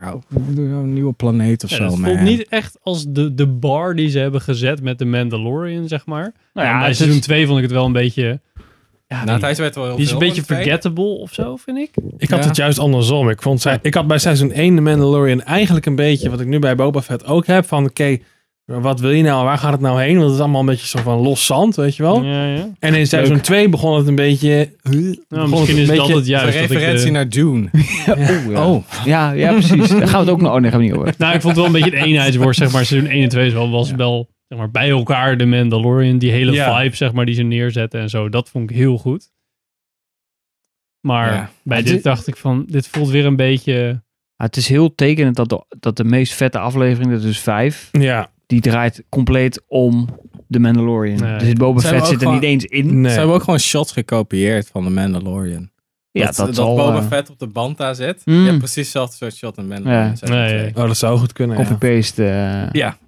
Speaker 3: Ja, doe nou een nieuwe planeet of
Speaker 5: Ja,
Speaker 3: zo,
Speaker 5: dat voelt
Speaker 3: man.
Speaker 5: niet echt als de, de bar die ze hebben gezet met de Mandalorian, zeg maar.
Speaker 2: Nou
Speaker 5: ja,
Speaker 2: ja,
Speaker 5: bij
Speaker 2: het
Speaker 5: seizoen
Speaker 2: is-
Speaker 5: 2 vond ik het wel een beetje... Ja,
Speaker 3: Nou,
Speaker 5: die,
Speaker 3: Thijs werd wel heel
Speaker 5: die is een
Speaker 3: veel
Speaker 5: beetje
Speaker 3: van de twee.
Speaker 5: forgettable of zo, vind ik.
Speaker 1: Ik had
Speaker 3: Ja.
Speaker 1: het juist andersom. Ik, vond zij, ik had bij seizoen 1 de Mandalorian eigenlijk een beetje wat ik nu bij Boba Fett ook heb. Van oké, wat wil je nou? Waar gaat het nou heen? Want het is allemaal een beetje zo van los zand, weet je wel.
Speaker 5: Ja, ja.
Speaker 1: En in seizoen 2 begon het een beetje...
Speaker 5: Nou,
Speaker 1: begon
Speaker 5: misschien
Speaker 1: een
Speaker 5: is dat
Speaker 1: beetje-
Speaker 5: het juist.
Speaker 3: een
Speaker 5: dat ik de-
Speaker 3: referentie naar Dune. Oh,
Speaker 2: Ja, ja, precies. Daar gaan we het ook nog... Oh nee, gaan we <laughs> niet over.
Speaker 5: Nou, ik vond het wel een beetje een eenheidsworst, zeg maar. Seizoen 1 en 2 is wel, was wel zeg maar, bij elkaar de Mandalorian. Die hele
Speaker 1: Ja.
Speaker 5: vibe, zeg maar, die ze neerzetten en zo. Dat vond ik heel goed. Maar
Speaker 3: Ja.
Speaker 5: bij
Speaker 2: Maar
Speaker 5: dit
Speaker 2: dit-
Speaker 5: dacht ik van, dit voelt weer een beetje...
Speaker 2: Ja, het is heel tekenend dat de, dat de meest vette aflevering, dat is dus vijf,
Speaker 1: Ja,
Speaker 2: die draait compleet om de Mandalorian.
Speaker 5: Nee.
Speaker 2: Dus Boba
Speaker 3: Zijn we
Speaker 2: Fett
Speaker 3: ook
Speaker 2: zit er
Speaker 3: gewoon-
Speaker 2: niet eens in.
Speaker 1: nee.
Speaker 3: Ze hebben ook gewoon shots gekopieerd van de Mandalorian.
Speaker 2: Ja, dat,
Speaker 3: dat, dat
Speaker 2: zal...
Speaker 3: Boba
Speaker 2: eh,
Speaker 3: Fett op de band daar zit.
Speaker 2: Mm.
Speaker 3: Je hebt precies hetzelfde soort shot in Man of
Speaker 2: Ja.
Speaker 3: Iron zijn er
Speaker 1: Nee,
Speaker 3: twee.
Speaker 1: Oh, dat zou goed kunnen. ja.
Speaker 2: Copy-paste. eh. <clears throat>
Speaker 3: Ja.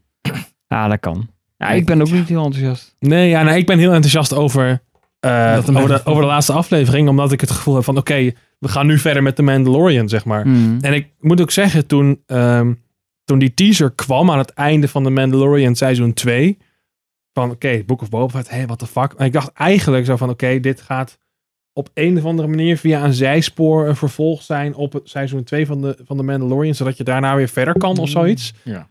Speaker 2: Ja, dat kan. Ja, ik ben ook niet heel enthousiast.
Speaker 1: Nee, ja, nee, ik ben heel enthousiast over, eh,
Speaker 3: Dat de
Speaker 1: over, de,
Speaker 3: Mandalorian-
Speaker 1: over de laatste aflevering. Omdat ik het gevoel heb van, oké, we gaan nu verder met de Mandalorian, zeg maar.
Speaker 2: Mm.
Speaker 1: En ik moet ook zeggen, toen, ehm, toen die teaser kwam aan het einde van de Mandalorian seizoen 2. Van oké, Book of Boba Fett, hey, what the fuck. En ik dacht eigenlijk zo van oké, dit gaat op een of andere manier via een zijspoor een vervolg zijn op het seizoen 2 van de, van de Mandalorian. Zodat je daarna weer verder kan of zoiets.
Speaker 3: Ja.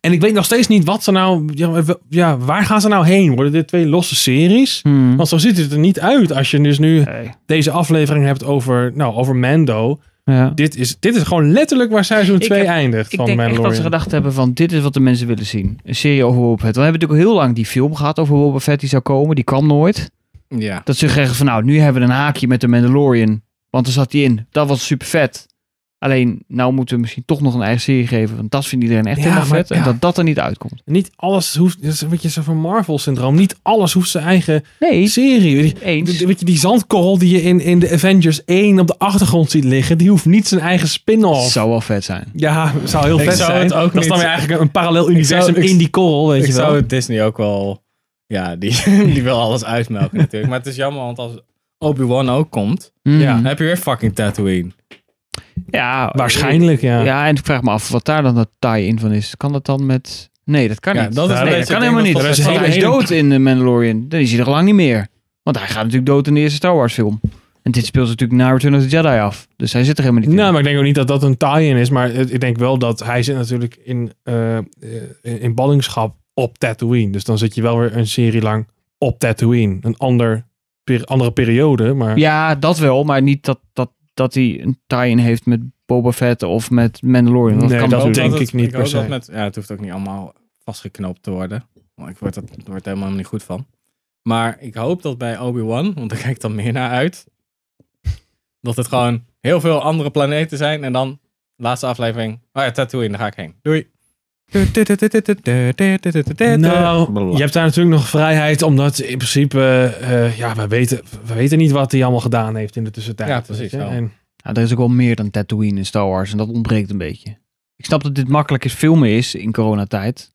Speaker 1: En ik weet nog steeds niet wat ze nou, ja, w- ja, waar gaan ze nou heen? Worden dit twee losse series?
Speaker 2: Mm.
Speaker 1: Want zo ziet het er niet uit als je dus nu
Speaker 2: Nee.
Speaker 1: deze aflevering hebt over, nou, over Mando.
Speaker 2: Ja.
Speaker 1: Dit is, dit is gewoon letterlijk waar seizoen
Speaker 2: Ik
Speaker 1: 2
Speaker 2: heb-
Speaker 1: eindigt
Speaker 2: Ik
Speaker 1: van
Speaker 2: denk echt dat
Speaker 1: Mandalorian.
Speaker 2: ze gedacht hebben van dit is wat de mensen willen zien. Een serie over Boba Fett. We hebben natuurlijk al heel lang die film gehad over Boba Fett die zou komen. Die kwam nooit.
Speaker 3: Ja.
Speaker 2: Dat ze zeggen van nou, nu hebben we een haakje met de Mandalorian. Want er zat die in. Dat was super vet. Alleen, nou moeten we misschien toch nog een eigen serie geven. Want dat vindt iedereen echt
Speaker 1: Ja,
Speaker 2: helemaal
Speaker 1: maar-
Speaker 2: vet. En
Speaker 1: ja.
Speaker 2: dat dat er niet uitkomt.
Speaker 1: Niet alles hoeft, dat is een beetje zo van Marvel-syndroom. Niet alles hoeft zijn eigen
Speaker 2: Nee,
Speaker 1: serie. Weet je,
Speaker 2: eens.
Speaker 1: die- weet je, die zandkorrel die je in, in de Avengers 1 op de achtergrond ziet liggen, die hoeft niet zijn eigen spin-off.
Speaker 2: Zou wel vet zijn.
Speaker 1: Ja, zou heel
Speaker 3: Ik
Speaker 1: vet
Speaker 3: zou
Speaker 1: zijn.
Speaker 3: het ook
Speaker 1: dat is dan
Speaker 3: niet-
Speaker 1: weer eigenlijk een parallel universum
Speaker 3: zou- ik-
Speaker 1: in die korrel, weet
Speaker 3: Ik
Speaker 1: je wel.
Speaker 3: zou het Disney ook wel... Ja, die, <laughs> die wil alles uitmelken natuurlijk. Maar het is jammer, want als Obi-Wan ook komt,
Speaker 2: Mm.
Speaker 1: Ja.
Speaker 3: dan heb je weer fucking Tatooine.
Speaker 2: ja,
Speaker 1: Waarschijnlijk, ja.
Speaker 2: Ja, en ik vraag me af wat daar dan dat tie-in van is. Kan dat dan met... Nee, dat kan
Speaker 3: Ja,
Speaker 2: niet.
Speaker 3: dat is
Speaker 1: Ja,
Speaker 3: een
Speaker 1: dat
Speaker 2: Nee,
Speaker 3: beetje
Speaker 2: dat
Speaker 3: het ding
Speaker 2: kan helemaal niet.
Speaker 3: dat
Speaker 1: dat is
Speaker 3: dat
Speaker 1: een
Speaker 2: hij is
Speaker 1: hele-
Speaker 2: dood in de Mandalorian. Dan is hij er lang niet meer. Want hij gaat natuurlijk dood in de eerste Star Wars film. En dit speelt zich natuurlijk na Return of the Jedi af. Dus hij zit er helemaal niet
Speaker 1: Nou,
Speaker 2: in.
Speaker 1: maar ik denk ook niet dat dat een tie-in is. Maar het- ik denk wel dat hij zit natuurlijk in, eh, eh, in ballingschap op Tatooine. Dus dan zit je wel weer een serie lang op Tatooine. Een ander, per- andere periode, maar...
Speaker 2: Ja, dat wel. Maar niet dat, dat, dat hij een tie-in heeft met Boba Fett of met Mandalorian. Dat
Speaker 1: Nee,
Speaker 2: kan
Speaker 1: dat
Speaker 2: natuurlijk.
Speaker 1: denk ik niet
Speaker 3: hoop
Speaker 1: per se.
Speaker 3: dat Met, ja, het hoeft ook niet allemaal vastgeknoopt te worden. Want ik word, dat, ik word er helemaal niet goed van. Maar ik hoop dat bij Obi-Wan, want daar kijk ik dan meer naar uit, dat het gewoon heel veel andere planeten zijn. En dan, laatste aflevering, oh ja, Tatooine, daar ga ik heen. Doei.
Speaker 1: Nou, je hebt daar natuurlijk nog vrijheid, omdat in principe, eh, ja, we weten, we weten niet wat hij allemaal gedaan heeft in de tussentijd.
Speaker 3: Ja, precies,
Speaker 1: weet je.
Speaker 3: wel.
Speaker 1: En,
Speaker 2: Ja, Nou, er is ook wel meer dan Tatooine in Star Wars. En dat ontbreekt een beetje. Ik snap dat dit makkelijk is filmen is in coronatijd.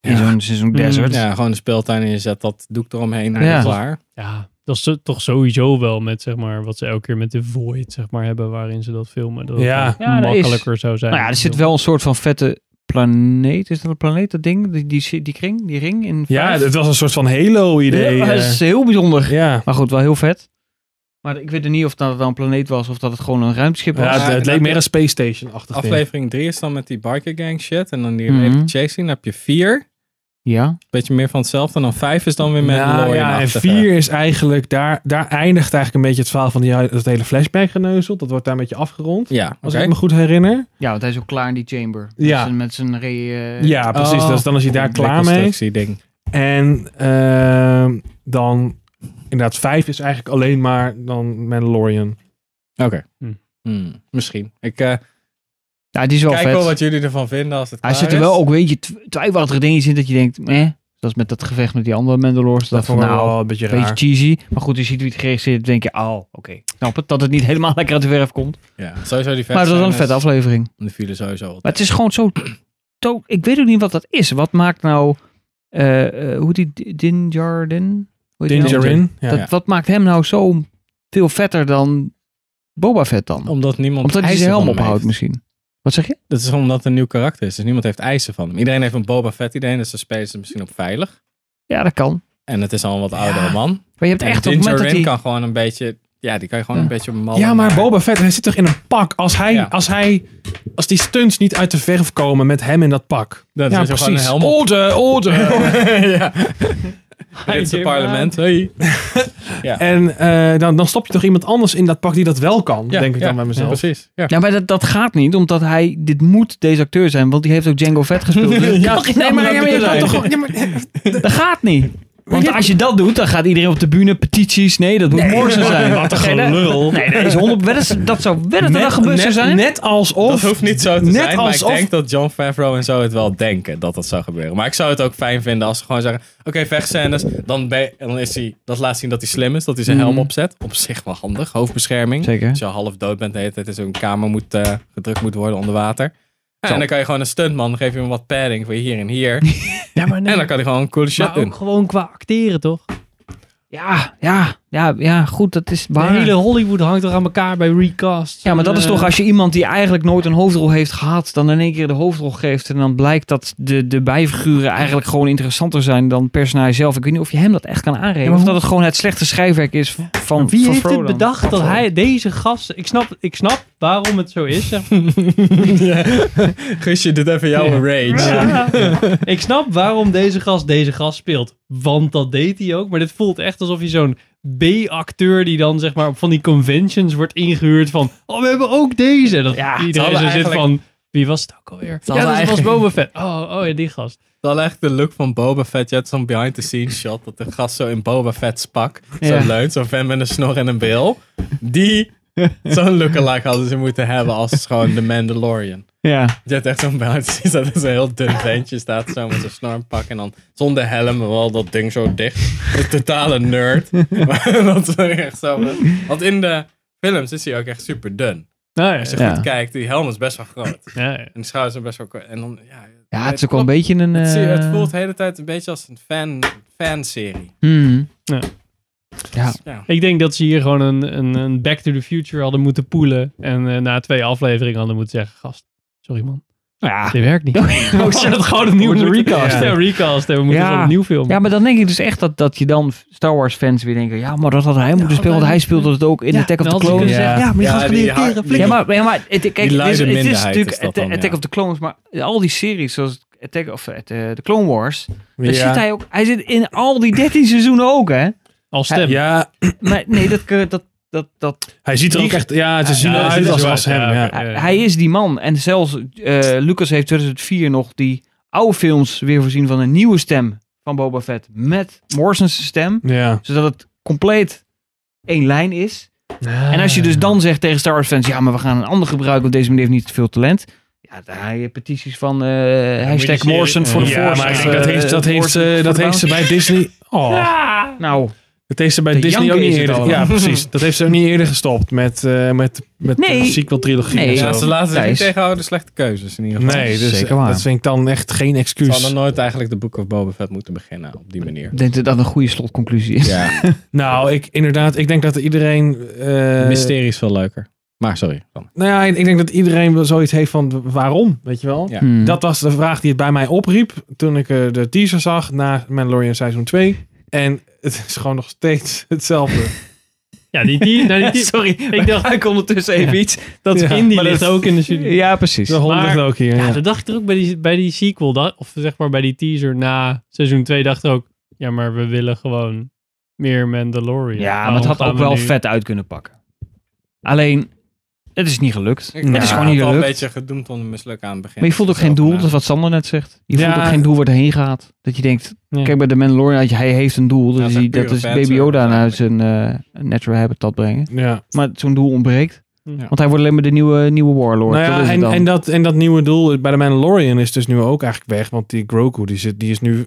Speaker 2: In
Speaker 3: Ja.
Speaker 2: zo'n,
Speaker 1: Mm,
Speaker 2: zo'n desert.
Speaker 3: Ja, gewoon de speeltuin en je zet dat doek eromheen en
Speaker 2: Ja.
Speaker 3: ja. klaar.
Speaker 5: Ja, dat is to- toch sowieso wel met, zeg maar, wat ze elke keer met de Void, zeg maar, hebben waarin ze dat filmen. Dat het
Speaker 1: Ja.
Speaker 5: dan
Speaker 2: Ja, dat is-
Speaker 5: makkelijker zou zijn.
Speaker 2: Nou ja, er zit wel een soort van vette planeet. Is dat een planeet, dat ding? Die, die, die kring, die ring in
Speaker 1: ja,
Speaker 2: vijf?
Speaker 1: het was een eh. soort van Halo-idee.
Speaker 2: Ja,
Speaker 1: Ja,
Speaker 2: dat is heel bijzonder.
Speaker 1: ja.
Speaker 2: Maar goed, wel heel vet. Maar ik weet er niet of dat wel een planeet was of dat het gewoon een ruimteschip was.
Speaker 1: Ja, het, het
Speaker 3: Ja,
Speaker 1: leek meer een Space Station-achtig ding.
Speaker 3: Aflevering 3 is dan met die biker gang shit. En dan die
Speaker 2: Mhm.
Speaker 3: hele chase scene, dan heb je 4.
Speaker 2: Ja.
Speaker 3: Beetje meer van hetzelfde. En dan 5 is dan weer met
Speaker 1: Nou, ja, en
Speaker 3: Mandalorian-achtige.
Speaker 1: vier is eigenlijk, daar, daar eindigt eigenlijk een beetje het verhaal van die, dat hele flashback geneuzel. Dat wordt daar een beetje afgerond,
Speaker 3: Ja,
Speaker 1: als
Speaker 3: oké.
Speaker 1: ik me goed herinner.
Speaker 2: ja, want hij is ook klaar in die chamber.
Speaker 1: Ja.
Speaker 2: Met zijn- Met zijn re... eh,
Speaker 1: Ja, precies.
Speaker 3: Oh.
Speaker 1: Dus dan is hij daar klaar mee.
Speaker 3: Ding.
Speaker 1: En ehm, dan, inderdaad, vijf is eigenlijk alleen maar dan Mandalorian.
Speaker 3: Oké.
Speaker 5: Hm.
Speaker 2: Mm.
Speaker 3: Hmm, misschien. Ik eh,
Speaker 2: Ja, die is wel
Speaker 3: kijk
Speaker 2: vet.
Speaker 3: wel wat jullie ervan vinden als het
Speaker 2: Hij
Speaker 3: klaar
Speaker 2: zit er
Speaker 3: is.
Speaker 2: wel ook, weet je, tw- twijfelachtige dingetjes in dat je denkt, eh, zoals met dat gevecht met die andere Mandalorians. Dat,
Speaker 1: Dat
Speaker 2: van
Speaker 1: vond ik
Speaker 2: nou,
Speaker 1: wel een beetje
Speaker 2: een beetje
Speaker 1: raar.
Speaker 2: cheesy. Maar goed, je ziet wie het geregisseerd heeft, denk je, oh, oké. Snap het, dat het niet <laughs> helemaal lekker uit de verf komt.
Speaker 3: Ja, sowieso die vet
Speaker 2: maar het was wel een
Speaker 3: scènes,
Speaker 2: vette aflevering.
Speaker 3: Die vielen sowieso wel
Speaker 2: Maar het is gewoon zo. to- ik weet ook niet wat dat is. Wat maakt nou. eh, eh, hoe die D- Din Djarin? Hoe heet die nou?
Speaker 1: Dingerin. Ja.
Speaker 2: Dat,
Speaker 3: ja.
Speaker 2: Wat maakt hem nou zo veel vetter dan Boba Fett dan?
Speaker 3: tegen. Omdat niemand
Speaker 2: Omdat hij
Speaker 3: eisen
Speaker 2: zijn
Speaker 3: van
Speaker 2: helm
Speaker 3: hem
Speaker 2: ophoudt
Speaker 3: heeft.
Speaker 2: misschien. Wat zeg je?
Speaker 3: Dat is omdat het een nieuw karakter is. Dus niemand heeft eisen van hem. Iedereen heeft een Boba Fett idee. Dus dan spelen ze misschien op veilig.
Speaker 2: Ja, dat kan.
Speaker 3: En het is al een wat oudere man.
Speaker 2: Maar je hebt
Speaker 3: En
Speaker 2: echt op het
Speaker 3: Din
Speaker 2: moment dat
Speaker 3: Djarin
Speaker 2: hij...
Speaker 3: kan gewoon een beetje... Ja, die kan je gewoon
Speaker 2: Ja.
Speaker 3: een beetje mallen
Speaker 1: Ja, maar
Speaker 3: maken.
Speaker 1: Boba Fett, hij zit toch in een pak. Als hij,
Speaker 3: Ja.
Speaker 1: als hij, als die stunts niet uit de verf komen met hem in dat pak.
Speaker 3: Dat
Speaker 1: ja,
Speaker 3: is gewoon een
Speaker 1: precies.
Speaker 3: helm op.
Speaker 1: Orde, orde.
Speaker 3: <laughs> ja. Britse parlement. Hey.
Speaker 1: En eh, dan, dan stop je toch iemand anders in dat pak die dat wel kan, denk ik dan bij mezelf.
Speaker 3: precies. Ja.
Speaker 2: Ja, maar dat, dat gaat niet, omdat hij... Dit moet deze
Speaker 3: <laughs>
Speaker 2: acteur zijn, want die heeft ook Django Fett gespeeld. Dus dat kan geen
Speaker 1: nee, maar,
Speaker 2: andere
Speaker 1: ja, maar je
Speaker 2: acteur
Speaker 1: kan
Speaker 2: zijn.
Speaker 1: toch gewoon- ja, maar-
Speaker 2: Dat gaat niet. Want als je dat doet, dan gaat iedereen op de bühne petities. Nee, dat moet Morrison zijn.
Speaker 1: Wat
Speaker 2: Nee,
Speaker 1: een
Speaker 2: dat-
Speaker 1: gelul.
Speaker 2: Nee, dat, is 100, wel eens- dat zou wel eens dat gebeurd zou
Speaker 1: net,
Speaker 2: zijn.
Speaker 1: net alsof.
Speaker 3: dat hoeft niet zo te
Speaker 1: net
Speaker 3: zijn, maar
Speaker 1: alsof-
Speaker 3: ik denk dat John Favreau en zo het wel denken dat dat zou gebeuren. Maar ik zou het ook fijn vinden als ze gewoon zeggen, oké, vechtscènes, dan, ben je- dan is hij, dat laat zien dat hij slim is, dat hij zijn helm
Speaker 2: Mhm.
Speaker 3: opzet. Op zich wel handig, hoofdbescherming.
Speaker 2: Zeker.
Speaker 3: Als je half dood bent de hele tijd in zo'n kamer moet, eh, gedrukt moet worden onder water. Ja,
Speaker 2: Zo.
Speaker 3: en dan kan je gewoon een stuntman, dan geef je hem wat padding voor hier en hier. En dan kan hij gewoon coole shit
Speaker 5: Maar
Speaker 3: doen.
Speaker 5: ook gewoon qua acteren, toch?
Speaker 2: Ja, ja, ja, ja, goed, dat is
Speaker 5: De
Speaker 2: waar.
Speaker 5: hele Hollywood hangt toch aan elkaar bij recast.
Speaker 2: Ja, maar dat is
Speaker 5: Eh,
Speaker 2: toch als je iemand die eigenlijk nooit een hoofdrol heeft gehad, dan in één keer de hoofdrol geeft. En dan blijkt dat de, de bijfiguren eigenlijk gewoon interessanter zijn dan het personage zelf. Ik weet niet of je hem dat echt kan aanrekenen.
Speaker 5: maar
Speaker 2: of
Speaker 5: hoe-
Speaker 2: dat het gewoon het slechte schrijfwerk is van, van
Speaker 5: Wie heeft
Speaker 2: Frodo
Speaker 5: het
Speaker 2: dan.
Speaker 5: bedacht dat hij deze gast... Ik snap, ik snap waarom het zo is. zeg maar.
Speaker 3: Gusje, dit even jouw rage.
Speaker 5: <laughs> ik snap waarom deze gast deze gast speelt. Want dat deed hij ook. Maar dit voelt echt alsof je zo'n B-acteur die dan zeg maar op van die conventions wordt ingehuurd van... Oh, we hebben ook deze. Dat
Speaker 3: Ja, ze
Speaker 5: iedereen
Speaker 3: hadden
Speaker 5: zo zit
Speaker 3: eigenlijk-
Speaker 5: van... Wie was het ook alweer? Ja,
Speaker 3: hadden
Speaker 5: dat was
Speaker 3: eigenlijk-
Speaker 5: Boba Fett. Oh, oh ja, die gast.
Speaker 3: Dat is echt de look van Boba Fett. Je had zo'n behind-the-scenes shot. Dat de gast zo in Boba Fett's pak.
Speaker 2: Ja.
Speaker 3: Zo leunt. Zo'n vent met een snor en een bril. Die, zo'n lookalike hadden ze moeten hebben als gewoon The Mandalorian.
Speaker 2: Ja,
Speaker 3: Je hebt echt zo'n behind-the-scenes dat er zo'n heel dun ventje staat. Zo met zo'n snor en pak. En dan zonder helm. maar Wel dat ding zo dicht. Een totale nerd. <laughs> Maar dat is echt zo. Want in de films is hij ook echt super dun.
Speaker 5: Nou
Speaker 3: Als je
Speaker 2: Ja.
Speaker 3: goed kijkt, die helm is best wel groot.
Speaker 5: ja, ja.
Speaker 3: En de schouders zijn best wel kort. En dan, ja,
Speaker 2: ja het is ook wel een beetje een...
Speaker 3: het, zie- het
Speaker 2: eh,
Speaker 3: voelt de hele tijd een beetje als een fan, fanserie. Dus
Speaker 2: hmm.
Speaker 5: Ja.
Speaker 2: Ja. Dus
Speaker 3: Ja.
Speaker 5: Ik denk dat ze hier gewoon een, een, een Back to the Future hadden moeten poelen. En eh, na twee afleveringen hadden moeten zeggen: Gast, sorry man.
Speaker 2: Ja.
Speaker 5: Dit werkt niet.
Speaker 2: Oh,
Speaker 5: We
Speaker 2: zo.
Speaker 5: zullen het gewoon opnieuw
Speaker 2: Moeten
Speaker 5: moeten
Speaker 2: recasten.
Speaker 5: recasten. Ja, recasten. We moeten
Speaker 2: Ja.
Speaker 5: gewoon opnieuw filmen.
Speaker 2: Ja, maar dan denk ik dus echt dat, dat je dan Star Wars fans weer denken... Ja, maar dat had hij moeten spelen, want hij speelde het ook in
Speaker 5: Ja,
Speaker 2: Attack of
Speaker 5: dan
Speaker 2: the
Speaker 5: hadden ze
Speaker 2: Clones.
Speaker 5: kunnen zeggen,
Speaker 3: Ja,
Speaker 5: maar je gaat
Speaker 3: ja,
Speaker 5: het
Speaker 3: die
Speaker 5: leren
Speaker 3: ha-
Speaker 5: keren,
Speaker 3: die-
Speaker 5: flik.
Speaker 2: Ja, maar, ja, maar het, kijk,
Speaker 3: Die
Speaker 2: het is,
Speaker 3: luide
Speaker 2: het is
Speaker 3: minderheid
Speaker 2: natuurlijk
Speaker 3: is dat
Speaker 2: Atta-
Speaker 3: dan,
Speaker 2: Attack
Speaker 3: ja.
Speaker 2: of the Clones, maar al die series zoals Attack of eh, de Clone Wars, daar
Speaker 3: Ja.
Speaker 2: zit hij ook. Hij zit in al die 13 seizoenen ook, hè?
Speaker 5: Al stem.
Speaker 1: Ja,
Speaker 2: Maar nee, dat kun- dat dat dat.
Speaker 1: hij ziet er ook echt. Ja, ze zien
Speaker 5: ja,
Speaker 1: eruit
Speaker 5: het is
Speaker 1: als,
Speaker 5: wel-
Speaker 1: als hem.
Speaker 5: ja,
Speaker 3: Eh.
Speaker 1: Ja.
Speaker 5: oké.
Speaker 2: hij- Hij is die man. En zelfs eh, Lucas heeft 2004 nog die oude films weer voorzien van een nieuwe stem van Boba Fett met Morrison's stem,
Speaker 1: Ja.
Speaker 2: zodat het compleet één lijn is. En als je dus dan zegt tegen Star Wars fans, ja, maar we gaan een ander gebruiken, want deze meneer heeft niet te veel talent. Ja, daar heb je petities van eh, hashtag
Speaker 3: serie-
Speaker 2: Morrison voor de
Speaker 1: ja,
Speaker 2: Force.
Speaker 1: maar ik
Speaker 2: of,
Speaker 1: denk dat
Speaker 2: eh,
Speaker 1: heeft, dat heeft,
Speaker 2: Morrison
Speaker 1: ze-
Speaker 2: voor
Speaker 1: dat
Speaker 2: de
Speaker 1: heeft ze
Speaker 2: Bounty.
Speaker 1: bij Disney. Oh,
Speaker 2: Nou,
Speaker 1: dat heeft ze bij
Speaker 2: Te
Speaker 1: Disney ook
Speaker 2: janken
Speaker 1: niet
Speaker 2: is het
Speaker 1: eerder. Ja,
Speaker 2: allemaal.
Speaker 1: precies. Dat heeft ze ook niet eerder gestopt met, eh, met, met
Speaker 2: Nee.
Speaker 1: de sequel trilogie.
Speaker 2: Nee.
Speaker 1: en
Speaker 3: Ja,
Speaker 1: zo.
Speaker 3: ze laten zich niet
Speaker 2: Thijs.
Speaker 3: tegenhouden slechte keuzes in ieder geval.
Speaker 1: nee, dus
Speaker 2: Zeker waar.
Speaker 1: dat vind ik dan echt geen
Speaker 3: Ze
Speaker 1: excuus.
Speaker 3: hadden nooit eigenlijk de Book of Boba Fett moeten beginnen op die
Speaker 2: <laughs>
Speaker 3: manier.
Speaker 2: ik denk dat dat een goede slotconclusie is.
Speaker 3: Ja,
Speaker 1: Nou, ik inderdaad, ik denk dat iedereen. eh,
Speaker 3: mysterie is veel leuker. Maar sorry. Dan.
Speaker 1: Nou ja, ik ik denk dat iedereen wel zoiets heeft van waarom, weet je wel?
Speaker 3: Ja.
Speaker 2: Hmm.
Speaker 1: Dat was de vraag die het bij mij opriep toen ik eh, de teaser zag na Mandalorian seizoen 2. En het is gewoon nog steeds <laughs> hetzelfde.
Speaker 5: Ja, die die. nou, die, die-
Speaker 2: <laughs> <laughs> Sorry, ik
Speaker 5: dacht-
Speaker 2: dacht ik ondertussen even iets.
Speaker 5: Dat
Speaker 1: Ja,
Speaker 5: Indy
Speaker 1: maar dat-
Speaker 5: ligt ook in de studio.
Speaker 2: Ja, precies.
Speaker 1: De hond ligt
Speaker 5: Maar-
Speaker 1: ook hier.
Speaker 5: Ja,
Speaker 1: Ja.
Speaker 5: dat dacht ik er ook bij die, bij die sequel. da- of zeg maar bij die teaser na seizoen 2 dacht ik ook... Ja, maar we willen gewoon meer Mandalorian.
Speaker 2: Ja, maar
Speaker 5: Waarom
Speaker 2: het had
Speaker 5: gaan
Speaker 2: ook
Speaker 5: we
Speaker 2: wel
Speaker 5: nu-
Speaker 2: vet uit kunnen pakken. Alleen, het is niet gelukt.
Speaker 3: Ik
Speaker 2: het is gewoon
Speaker 3: had
Speaker 2: niet
Speaker 3: al een
Speaker 2: gelukt.
Speaker 3: beetje gedoemd om te mislukken aan het begin.
Speaker 2: Maar je voelt ook geen doel, dat is wat Sander net zegt. Je
Speaker 1: Ja.
Speaker 2: voelt ook geen doel waar het heen gaat. Dat je denkt,
Speaker 5: Ja.
Speaker 2: kijk bij de Mandalorian, had je- hij heeft een doel.
Speaker 3: Ja,
Speaker 2: Dus
Speaker 3: het is
Speaker 2: die-
Speaker 3: pure
Speaker 2: dat is
Speaker 3: fanservice
Speaker 2: Baby Yoda naar zijn eh, natural habitat brengen.
Speaker 1: Ja.
Speaker 2: Maar zo'n doel ontbreekt.
Speaker 5: Ja.
Speaker 2: Want hij wordt alleen maar de nieuwe, nieuwe warlord.
Speaker 1: Nou ja,
Speaker 2: dat is het
Speaker 1: en,
Speaker 2: dan.
Speaker 1: en, dat, en dat nieuwe doel bij de Mandalorian is dus nu ook eigenlijk weg. Want die Grogu, die, zit, die is nu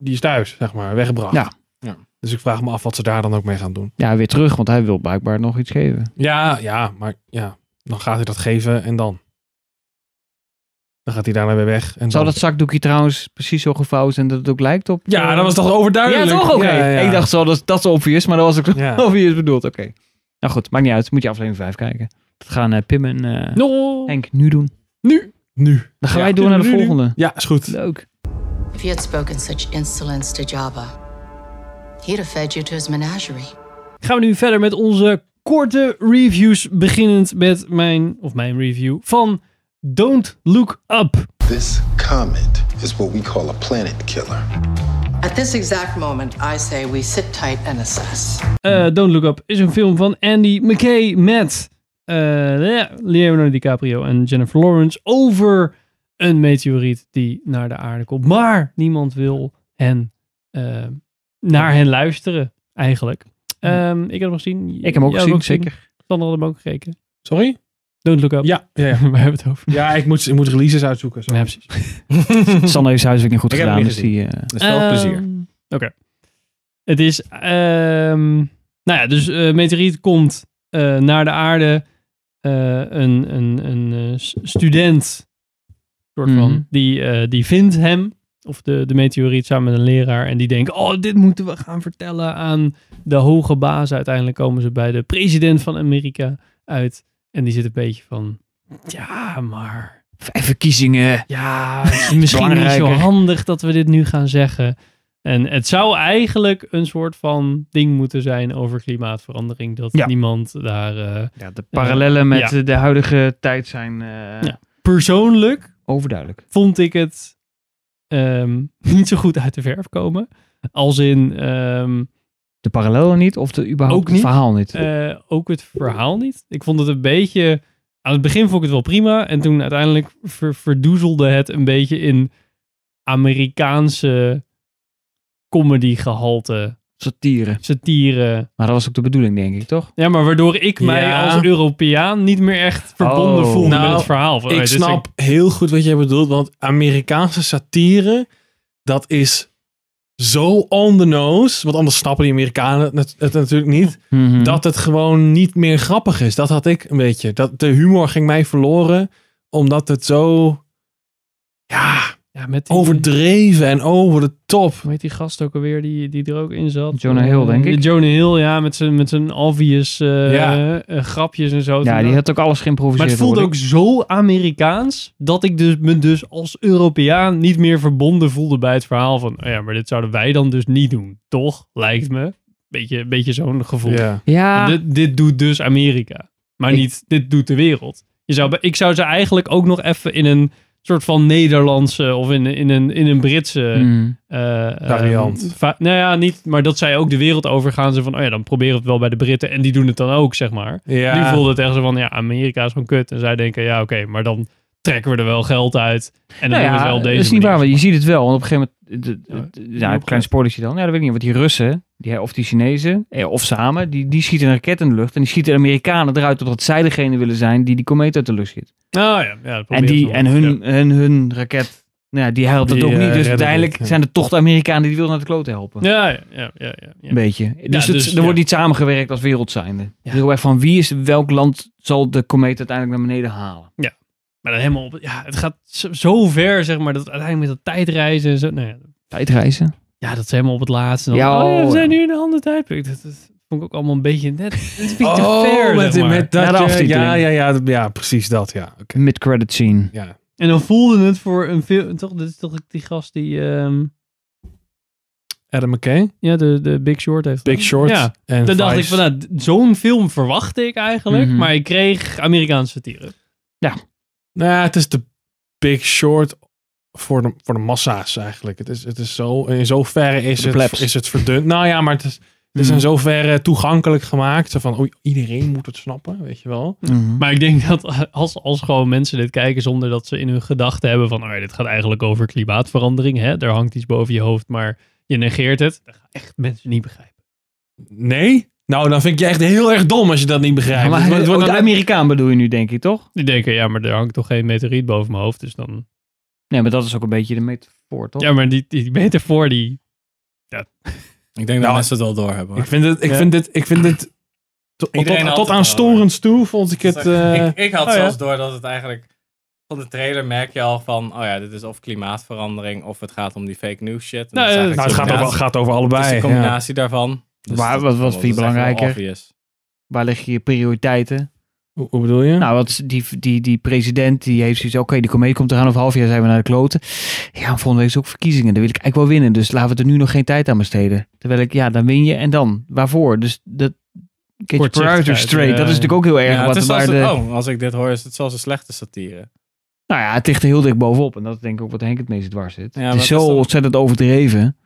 Speaker 1: die is thuis, zeg maar, weggebracht.
Speaker 2: Ja.
Speaker 3: Ja.
Speaker 1: Dus ik vraag me af wat ze daar dan ook mee gaan doen.
Speaker 2: Ja, weer terug, want hij wil blijkbaar nog iets geven.
Speaker 1: Ja, ja, maar ja, dan gaat hij dat geven en dan? Dan gaat hij daarna weer weg. En
Speaker 2: Zou
Speaker 1: dan?
Speaker 2: dat zakdoekje trouwens precies zo gevouwd zijn dat het ook lijkt op...
Speaker 1: Ja,
Speaker 2: eh,
Speaker 1: dat was toch overduidelijk?
Speaker 2: Ja, toch? Oké.
Speaker 1: Ja, ja.
Speaker 2: Ik dacht zo, dat, is- dat is obvious, maar dat was ook
Speaker 1: Ja.
Speaker 2: <laughs> obvious bedoeld. Oké. Nou goed, maakt niet uit. Moet je aflevering 5 kijken. Dat gaan eh, Pim en eh,
Speaker 1: No.
Speaker 2: Henk nu doen.
Speaker 1: Nu.
Speaker 2: Dan gaan
Speaker 1: Ja.
Speaker 2: wij door naar de
Speaker 1: Nu, nu, nu.
Speaker 2: volgende.
Speaker 1: Ja, is goed.
Speaker 2: Leuk.
Speaker 9: If you had spoken such insolence to Jabba, he'd have fed you to his menagerie.
Speaker 5: Gaan we nu verder met onze korte reviews. Beginnend met mijn, of mijn review van Don't Look Up.
Speaker 10: This comet is what we call a planet killer.
Speaker 9: At this exact moment, I say we sit tight and assess.
Speaker 5: Eh, Don't Look Up is een film van Andy McKay met eh, Leonardo DiCaprio en Jennifer Lawrence over een meteoriet die naar de aarde komt. Maar niemand wil hen eh, naar hen luisteren, eigenlijk. Ehm, ik heb hem gezien.
Speaker 2: Ik heb hem ook
Speaker 5: Jij
Speaker 2: gezien,
Speaker 5: hebt
Speaker 2: zeker.
Speaker 5: Sander had hem ook gekeken.
Speaker 1: Sorry?
Speaker 5: Don't look up.
Speaker 1: Ja, ja, ja.
Speaker 5: <laughs> We hebben het over.
Speaker 1: ja ik, moet, ik moet releases uitzoeken. Zo.
Speaker 5: Ja, precies.
Speaker 2: Sander heeft zijn huiswerk niet goed
Speaker 3: Ik heb
Speaker 2: gedaan.
Speaker 3: hem
Speaker 2: Dus
Speaker 3: niet
Speaker 2: die, eh,
Speaker 3: Dat is wel
Speaker 5: Ehm,
Speaker 3: plezier.
Speaker 5: Oké. Het is, ehm, nou ja, dus eh meteoriet komt eh, naar de aarde. Eh, een een, een eh, s- student, soort van,
Speaker 2: Mhm.
Speaker 5: die, eh, die vindt hem, of de, de meteoriet samen met een leraar. En die denkt, oh, dit moeten we gaan vertellen aan de hoge baas. Uiteindelijk komen ze bij de president van Amerika uit. En die zit een beetje van, ja, maar...
Speaker 2: vijf verkiezingen. <laughs>
Speaker 5: Ja, misschien niet zo
Speaker 2: Belangrijker.
Speaker 5: handig dat we dit nu gaan zeggen. En het zou eigenlijk een soort van ding moeten zijn over klimaatverandering. Dat
Speaker 2: Ja.
Speaker 5: niemand daar eh,
Speaker 2: Ja, de parallellen met
Speaker 5: Ja.
Speaker 2: eh, de huidige tijd zijn eh,
Speaker 5: Ja. persoonlijk
Speaker 2: overduidelijk.
Speaker 5: vond ik het ehm, niet zo goed uit de verf komen. Als in ehm,
Speaker 2: De parallellen niet of de, überhaupt
Speaker 5: Ook
Speaker 2: het
Speaker 5: niet.
Speaker 2: verhaal niet.
Speaker 5: eh, ook het verhaal niet. Ik vond het een beetje. Aan het begin vond ik het wel prima. En toen uiteindelijk ver- verdoezelde het een beetje in Amerikaanse comedy gehalte.
Speaker 2: Satire.
Speaker 5: satire.
Speaker 2: Maar dat was ook de bedoeling, denk ik, toch?
Speaker 5: Ja, maar waardoor ik mij
Speaker 1: Ja.
Speaker 5: als Europeaan niet meer echt verbonden
Speaker 2: Oh.
Speaker 5: voelde
Speaker 1: Nou,
Speaker 5: met het verhaal. Van, oh,
Speaker 1: Ik
Speaker 2: dus
Speaker 5: dit is
Speaker 1: snap heel goed wat jij bedoelt, want Amerikaanse satire, dat is zo on the nose, want anders snappen die Amerikanen het, nat- het natuurlijk
Speaker 2: Mhm.
Speaker 1: niet,
Speaker 5: Mhm.
Speaker 1: dat het gewoon niet meer grappig is. Dat had ik een beetje. Dat, de humor ging mij verloren, omdat het zo ja,
Speaker 5: een- ja, met die,
Speaker 1: overdreven en over de top.
Speaker 5: Hoe heet die gast ook alweer die, die er ook in zat?
Speaker 2: Jonah Hill, denk
Speaker 5: Eh,
Speaker 2: ik.
Speaker 5: Jonah Hill, ja, met zijn, met zijn obvious eh,
Speaker 1: Ja.
Speaker 5: eh, grapjes en zo.
Speaker 2: ja,
Speaker 5: Toen-
Speaker 2: die had ook alles
Speaker 5: maar
Speaker 2: geïmproviseerd.
Speaker 5: het voelde ook zo Amerikaans dat ik dus, me dus als Europeaan niet meer verbonden voelde bij het verhaal van, oh ja, maar dit zouden wij dan dus niet doen, toch? Lijkt me. Beetje, beetje zo'n gevoel.
Speaker 2: Ja,
Speaker 5: Dit, dit doet dus Amerika. Maar
Speaker 2: Ah. Ik-
Speaker 5: niet, dit doet de wereld. Je zou, be- ik zou ze eigenlijk ook nog even in een soort van Nederlandse of in, in, een, in een Britse
Speaker 2: Mm.
Speaker 5: eh, eh,
Speaker 1: Variant.
Speaker 5: va- nou ja, niet, maar dat zij ook de wereld overgaan. Ze van, oh ja, dan proberen we het wel bij de Britten. En die doen het dan ook, zeg maar.
Speaker 1: Ja.
Speaker 5: Die voelden het echt zo van, ja, Amerika is gewoon kut. En zij denken, ja, oké, maar dan trekken we er wel geld uit. En dan
Speaker 2: Nou
Speaker 5: doen we
Speaker 2: ja,
Speaker 5: het wel op
Speaker 2: dat
Speaker 5: deze
Speaker 2: is niet
Speaker 5: manier.
Speaker 2: waar, want je ziet het wel. Want op een gegeven moment, de- de-
Speaker 5: Ja, die
Speaker 2: de- ja, een klein
Speaker 5: opgelet.
Speaker 2: spoilertje dan. Ja, dat weet ik niet. Want die Russen, die, of die Chinezen, eh, of samen, die, die schieten een raket in de lucht. En die schieten de Amerikanen eruit omdat zij degene willen zijn die die komeet uit de lucht schiet.
Speaker 5: Nou ja, ja dat
Speaker 2: En,
Speaker 5: proberen ze
Speaker 2: die,
Speaker 5: wel.
Speaker 2: en hun, hun, hun raket, nou ja, die helpt het
Speaker 1: Die,
Speaker 2: ook
Speaker 1: eh,
Speaker 2: niet. Dus
Speaker 1: redden
Speaker 2: uiteindelijk
Speaker 1: het, ja.
Speaker 2: zijn er toch de Amerikanen die willen naar de kloten helpen.
Speaker 5: Ja, ja, ja, ja, ja, ja.
Speaker 2: Een beetje. Dus, het,
Speaker 5: dus,
Speaker 2: er
Speaker 5: ja.
Speaker 2: wordt niet samengewerkt als wereldzijnde.
Speaker 5: Ja.
Speaker 2: Heel erg van wie is, welk land zal de komeet uiteindelijk naar beneden halen?
Speaker 5: Maar dan helemaal op. Ja, het gaat zo, zo ver, zeg maar, dat uiteindelijk met dat tijdreizen en zo. Nou ja,
Speaker 2: Tijdreizen.
Speaker 5: ja, dat is helemaal op het laatste. Dan,
Speaker 2: Ja,
Speaker 5: oh, ja, we
Speaker 2: oh,
Speaker 5: zijn
Speaker 2: ja.
Speaker 5: nu in een ander tijdperk. Dat, dat vond ik ook allemaal een beetje net. Dat vind ik
Speaker 1: Oh,
Speaker 5: te ver,
Speaker 1: met,
Speaker 5: zeg maar.
Speaker 1: met dat
Speaker 2: Na de
Speaker 1: je-
Speaker 2: aftiteling.
Speaker 1: ja, ja, ja, ja, precies dat, ja. Oké.
Speaker 2: Mid-credit scene.
Speaker 1: ja.
Speaker 5: En dan voelde het voor een film. Toch, dit is toch die gast die. ehm,
Speaker 1: Adam McKay,
Speaker 5: ja, de, de Big Short heeft.
Speaker 1: Big Short.
Speaker 5: Ja.
Speaker 1: en
Speaker 5: Dan dacht ik
Speaker 1: Vice.
Speaker 5: van, nou, d- zo'n film verwachtte ik eigenlijk.
Speaker 2: Mhm.
Speaker 5: Maar ik kreeg Amerikaanse satire.
Speaker 1: Nou ja, het is de big short voor de, voor de massa's eigenlijk. Het is, het is zo, in zoverre is,
Speaker 2: Voor de
Speaker 1: het,
Speaker 2: plebs.
Speaker 1: is het verdund. Nou ja, maar het is, het is
Speaker 2: Mm.
Speaker 1: in zoverre eh, toegankelijk gemaakt. Zo van, oei, iedereen moet het snappen, weet je wel.
Speaker 2: Mhm.
Speaker 5: Maar ik denk <laughs> dat als, als gewoon mensen dit kijken zonder dat ze in hun gedachten hebben van, oh ja, dit gaat eigenlijk over klimaatverandering. Hè? Daar hangt iets boven je hoofd, maar je negeert het. Dat gaan echt mensen niet begrijpen.
Speaker 1: Nee? Nou, dan vind ik je echt heel erg dom als je dat niet begrijpt.
Speaker 2: Ja, maar
Speaker 1: Het wordt- het wordt
Speaker 2: ook de
Speaker 1: dan net-
Speaker 2: Amerikaan bedoel je nu, denk ik, toch?
Speaker 5: Die denken, ja, maar er hangt toch geen meteoriet boven mijn hoofd. Dus dan...
Speaker 2: Nee, maar dat is ook een beetje de metafoor, toch?
Speaker 5: Ja, maar die, die metafoor, die...
Speaker 3: Ik denk dat
Speaker 1: Nou,
Speaker 3: mensen het wel door hebben.
Speaker 1: ik vind het, ik
Speaker 5: Ja.
Speaker 1: vind dit, ik vind dit, tot, tot,
Speaker 3: Iedereen had
Speaker 1: tot
Speaker 3: het
Speaker 1: aan
Speaker 3: al,
Speaker 1: storend toe vond ik het... eh,
Speaker 3: ik, ik had
Speaker 1: oh ja.
Speaker 3: zelfs door dat het eigenlijk... Van de trailer merk je al van... Oh ja, dit is of klimaatverandering... of het gaat om die fake news shit. En
Speaker 5: Nou,
Speaker 3: dat is
Speaker 5: eh,
Speaker 3: eigenlijk
Speaker 1: nou, het
Speaker 3: de
Speaker 1: gaat over,
Speaker 3: combinatie- het is
Speaker 1: gaat over allebei.
Speaker 3: dus de
Speaker 1: ja.
Speaker 3: combinatie daarvan. Dus
Speaker 2: Maar
Speaker 3: dat-
Speaker 2: wat- wat
Speaker 3: dat
Speaker 2: vind je
Speaker 3: is echt wel
Speaker 2: belangrijker?
Speaker 3: obvious.
Speaker 2: Waar liggen je prioriteiten?
Speaker 1: Hoe, hoe bedoel je?
Speaker 2: Nou, wat, die, die, die president die heeft zoiets... Oké, die komeet komt eraan. Over half jaar zijn we naar de kloten. Ja, volgende week is ook verkiezingen. Daar wil ik eigenlijk wel winnen. Dus laten we er nu nog geen tijd aan besteden. Terwijl ik... Ja, dan win je. En dan? Waarvoor? Dus dat... Get your priorities
Speaker 5: Kortzichtigheid,
Speaker 2: straight.
Speaker 5: ja.
Speaker 2: Dat is natuurlijk ook heel erg
Speaker 3: eh, Ja, het
Speaker 2: wat
Speaker 3: is
Speaker 2: waar
Speaker 3: als,
Speaker 2: de...
Speaker 3: oh, als ik dit hoor, is het zelfs een slechte satire.
Speaker 2: Nou ja, het ligt er heel dicht bovenop. En dat is denk ik ook wat Henk het meest dwars zit.
Speaker 3: maar
Speaker 2: het
Speaker 3: het
Speaker 2: is
Speaker 3: is
Speaker 2: zo
Speaker 3: toch-
Speaker 2: ontzettend overdreven.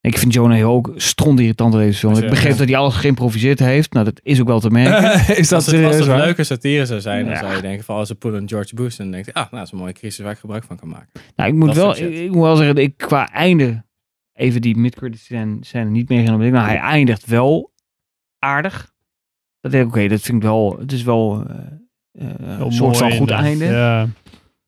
Speaker 2: Ik vind Jonah Hill ook strondirritant in deze film.
Speaker 3: Dus
Speaker 2: ik
Speaker 3: ja,
Speaker 2: begreep
Speaker 3: ja.
Speaker 2: dat hij alles geïmproviseerd heeft. Nou, dat <laughs> is ook wel
Speaker 3: <laughs>
Speaker 2: te merken.
Speaker 1: is
Speaker 3: Als
Speaker 1: dat
Speaker 3: het, als
Speaker 1: serieus
Speaker 3: het
Speaker 1: waar?
Speaker 3: leuke satire zou zijn, dan
Speaker 2: Ja.
Speaker 3: zou je denken van... als ze poelen George Bush, dan denk je... Ah, nou, dat is een mooie crisis waar ik gebruik van kan maken.
Speaker 2: Nou, ik moet
Speaker 3: Dat
Speaker 2: wel,
Speaker 3: soort shit.
Speaker 2: ik, ik moet wel zeggen, dat ik, qua einde even die mid-credits scène, scène niet meegenomen. Ik denk, Nou, hij eindigt wel aardig. Dat denk ik, oké, dat vind ik wel, het is wel eh, eh,
Speaker 5: Heel
Speaker 2: een soort van
Speaker 5: Oh, mooi
Speaker 2: goed
Speaker 5: inderdaad.
Speaker 2: einde.
Speaker 5: Ja.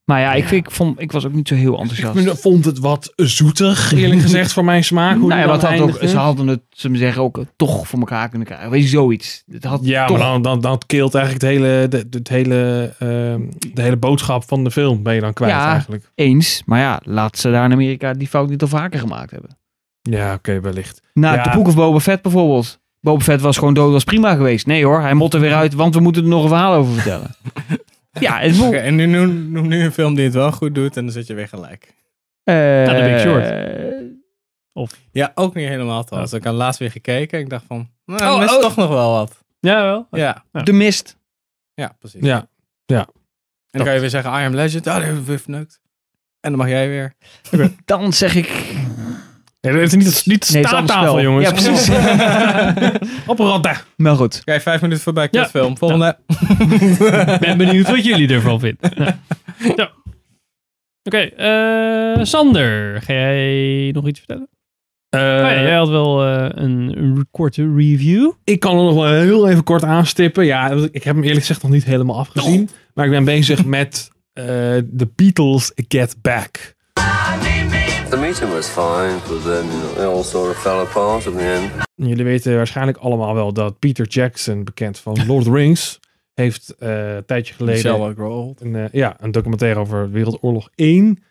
Speaker 2: Maar ja, ik, vind- ik, vond, ik was ook niet zo heel enthousiast.
Speaker 1: Ik vond het wat zoetig, <laughs> eerlijk gezegd, voor mijn smaak. Hoe
Speaker 2: nou ja,
Speaker 1: die
Speaker 2: want
Speaker 1: dan
Speaker 2: het had ook,
Speaker 1: eindigde.
Speaker 2: ze hadden het, ze zeggen ook, eh, toch voor elkaar kunnen krijgen. Weet je, zoiets. Het had
Speaker 1: Ja,
Speaker 2: toch-
Speaker 1: maar dan, dan, dan keelt eigenlijk het hele, de, de- het hele, ehm, de hele boodschap van de film ben je dan kwijt
Speaker 2: Ja.
Speaker 1: eigenlijk.
Speaker 2: eens. Maar ja, laat ze daar in Amerika die fout niet al vaker gemaakt hebben.
Speaker 1: Ja, oké, wellicht.
Speaker 2: Nou,
Speaker 1: Ja.
Speaker 2: de boek of Boba Fett bijvoorbeeld. Boba Fett was gewoon dood, was prima geweest. Nee hoor, hij mot er weer uit, want we moeten er nog een verhaal over
Speaker 1: <laughs>
Speaker 2: vertellen. ja, het
Speaker 3: Oké, en nu noem, noem nu een film die het wel goed doet en dan zit je weer gelijk.
Speaker 2: Ja,
Speaker 5: The Big Short.
Speaker 3: Ja, ook niet helemaal trouwens. Ik had laatst weer gekeken en ik dacht van, nou,
Speaker 2: Oh,
Speaker 3: er is
Speaker 2: oh.
Speaker 3: toch nog wel wat.
Speaker 5: Ja, wel.
Speaker 3: Ja,
Speaker 2: De Mist.
Speaker 3: Oh. ja precies.
Speaker 1: Ja,
Speaker 3: En dan kan je weer zeggen, I am Legend. Ah, die hebben we weer verneukt. En dan mag jij <laughs> weer.
Speaker 2: Dan zeg ik...
Speaker 1: Nee, het is niet, het- niet de
Speaker 2: Nee, het is een ander
Speaker 1: staattafel,
Speaker 2: spel.
Speaker 1: jongens.
Speaker 2: Ja,
Speaker 3: <laughs>
Speaker 2: precies.
Speaker 1: <laughs> Op een rand daar.
Speaker 2: maar goed.
Speaker 3: Kijk, vijf minuten voorbij,
Speaker 5: Ja.
Speaker 3: kutfilm. Volgende.
Speaker 5: Ik ben benieuwd wat jullie ervan vinden. Ja. Ja. Oké, eh, Sander, ga jij nog iets vertellen?
Speaker 1: Eh,
Speaker 5: Oh ja, jij had wel eh, een, een korte review.
Speaker 1: Ik kan er nog wel heel even kort aanstippen. Ja, ik heb hem eerlijk gezegd nog niet helemaal
Speaker 5: Oh.
Speaker 1: afgezien. Maar ik ben
Speaker 5: <laughs>
Speaker 1: bezig met eh, The Beatles Get Back.
Speaker 4: The meeting was fine, but then it all sort of fell apart at the end.
Speaker 1: Jullie weten waarschijnlijk allemaal wel dat Peter Jackson, bekend
Speaker 5: <laughs>
Speaker 1: van Lord of the Rings, heeft eh, een tijdje geleden
Speaker 3: Michelle Grohl.
Speaker 1: een, eh, ja, een documentaire over Wereldoorlog 1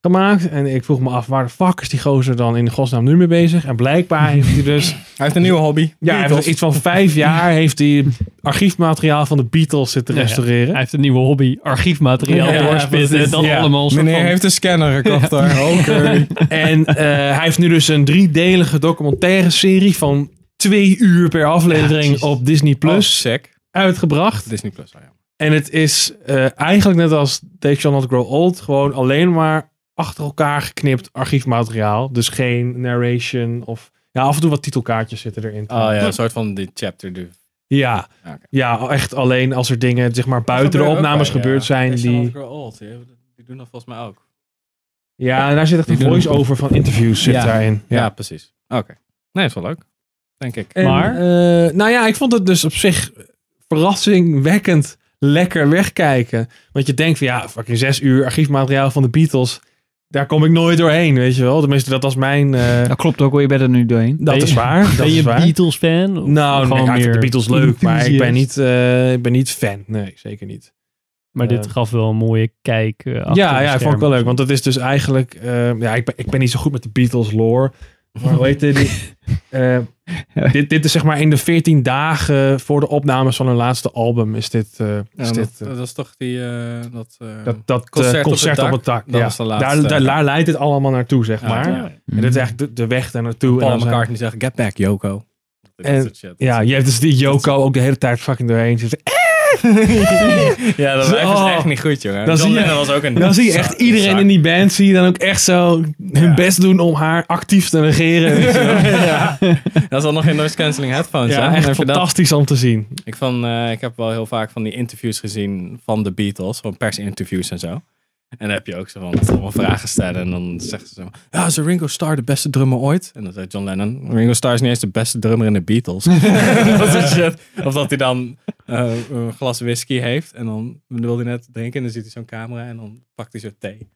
Speaker 1: gemaakt. En ik vroeg me af, waar de fuck is die gozer dan in de godsnaam nu mee bezig? En blijkbaar heeft hij
Speaker 5: <laughs>
Speaker 1: dus
Speaker 3: Hij heeft een nieuwe hobby.
Speaker 1: Ja, hij heeft
Speaker 3: Beatles.
Speaker 1: iets van vijf jaar heeft hij archiefmateriaal van de Beatles zitten
Speaker 5: Ja, ja.
Speaker 1: restaureren.
Speaker 5: Hij heeft een nieuwe hobby, archiefmateriaal
Speaker 1: Ja,
Speaker 5: doorspitten.
Speaker 1: precies.
Speaker 5: dan
Speaker 1: Ja.
Speaker 5: allemaal een soort
Speaker 3: Meneer
Speaker 5: van-
Speaker 3: heeft een scanner gekocht <laughs> daar. Oké. Oh,
Speaker 1: En eh, hij heeft nu dus een driedelige documentaire serie van twee uur per
Speaker 5: Ja,
Speaker 1: aflevering
Speaker 5: jezus.
Speaker 1: op Disney
Speaker 3: Plus.
Speaker 1: Plus uitgebracht.
Speaker 3: Disney Plus, oh ja.
Speaker 1: En het is eh, eigenlijk net als They Shall Not Grow Old, gewoon alleen maar achter elkaar geknipt archiefmateriaal. Dus geen narration of... Ja, af en toe wat titelkaartjes zitten erin.
Speaker 3: Oh ja, een soort van die chapter do.
Speaker 1: Ja,
Speaker 3: Oké.
Speaker 1: ja, echt alleen als er dingen zeg maar, buiten de opnames gebeurd zijn. Die,
Speaker 3: Die doen dat volgens mij ook.
Speaker 1: Ja, en daar zit echt een
Speaker 3: Die doen-
Speaker 1: voice-over van interviews zit
Speaker 3: Ja.
Speaker 1: daarin.
Speaker 3: Ja, precies. Oké. Nee, is wel leuk. Denk ik.
Speaker 1: En,
Speaker 5: Maar?
Speaker 1: eh, nou ja, ik vond het dus op zich verrassingwekkend lekker wegkijken. Want je denkt van ja, fucking zes uur archiefmateriaal van de Beatles. Daar kom ik nooit doorheen, weet je wel. Tenminste, dat was mijn... eh,
Speaker 2: Dat klopt ook, hoor, je bent er nu doorheen.
Speaker 1: dat
Speaker 5: je-
Speaker 1: is waar. Dat
Speaker 5: Ben je
Speaker 1: is waar.
Speaker 5: Beatles-fan? Of
Speaker 1: Nou, nee,
Speaker 5: gewoon
Speaker 1: ja, ik vind de
Speaker 5: meer
Speaker 1: Beatles leuk, maar ik ben,
Speaker 5: enthusiast?
Speaker 1: niet, eh, ik ben niet fan. Nee, zeker niet.
Speaker 5: Maar dit
Speaker 1: Eh.
Speaker 5: gaf wel een mooie kijk. eh, achter
Speaker 1: ja,
Speaker 5: de
Speaker 1: ja, ik vond ik
Speaker 5: schermen.
Speaker 1: wel leuk. Want dat is dus eigenlijk... eh, ja, ik ben, ik ben niet zo goed met de Beatles lore. Maar hoe heet
Speaker 5: <laughs>
Speaker 1: die? Eh, dit, dit is zeg maar in de 14 dagen voor de opnames van hun laatste album is dit... eh, is
Speaker 3: Ja,
Speaker 1: dit
Speaker 3: dat,
Speaker 1: eh,
Speaker 3: dat is toch die... eh, dat, eh,
Speaker 1: dat, dat eh,
Speaker 3: Concert
Speaker 1: concert,
Speaker 3: op het
Speaker 1: op
Speaker 3: dak,
Speaker 1: het dak.
Speaker 3: dat
Speaker 1: ja.
Speaker 3: was de laatste. eh,
Speaker 1: daar, daar, daar leidt het allemaal naartoe, zeg
Speaker 3: ja,
Speaker 1: maar.
Speaker 3: ja.
Speaker 1: En dit is echt de, de weg daar naartoe. En
Speaker 3: Paul
Speaker 1: dan zijn-
Speaker 3: McCartney zegt, get back, Yoko. Dat
Speaker 1: En-
Speaker 3: soort shit.
Speaker 1: Ja, je hebt dus die Joko ook de hele tijd fucking
Speaker 5: <laughs>
Speaker 1: doorheen zitten.
Speaker 3: <laughs> ja, dat
Speaker 1: Zo-
Speaker 3: lijf
Speaker 1: oh.
Speaker 3: is echt niet goed, jongen.
Speaker 1: Dan
Speaker 3: John
Speaker 1: zie je-
Speaker 3: Lennon was ook een...
Speaker 1: Dan zie je echt
Speaker 3: zak-
Speaker 1: iedereen
Speaker 3: zak.
Speaker 1: in die band, zie je dan ook echt zo hun
Speaker 3: Ja.
Speaker 1: best doen om haar actief te negeren. weet je <laughs> wel.
Speaker 3: <laughs> ja. Dat is al nog geen noise cancelling headphones. hè?
Speaker 1: ja,
Speaker 3: Dan
Speaker 1: echt
Speaker 3: heb je dat.
Speaker 1: fantastisch om te zien.
Speaker 3: Ik, van, eh, ik heb wel heel vaak van die interviews gezien van de Beatles, van persinterviews en zo. En dan heb je ook zo van dat ze allemaal vragen stellen. En dan zegt ze zo: Ja, is Ringo Starr de beste drummer ooit? En dan zegt John Lennon: Ringo Starr is niet eens de beste drummer in de Beatles. <laughs> dat soort shit. Of dat hij dan eh, een glas whisky heeft. En dan wil hij net drinken. En dan ziet hij zo'n camera. En dan pakt hij zo thee.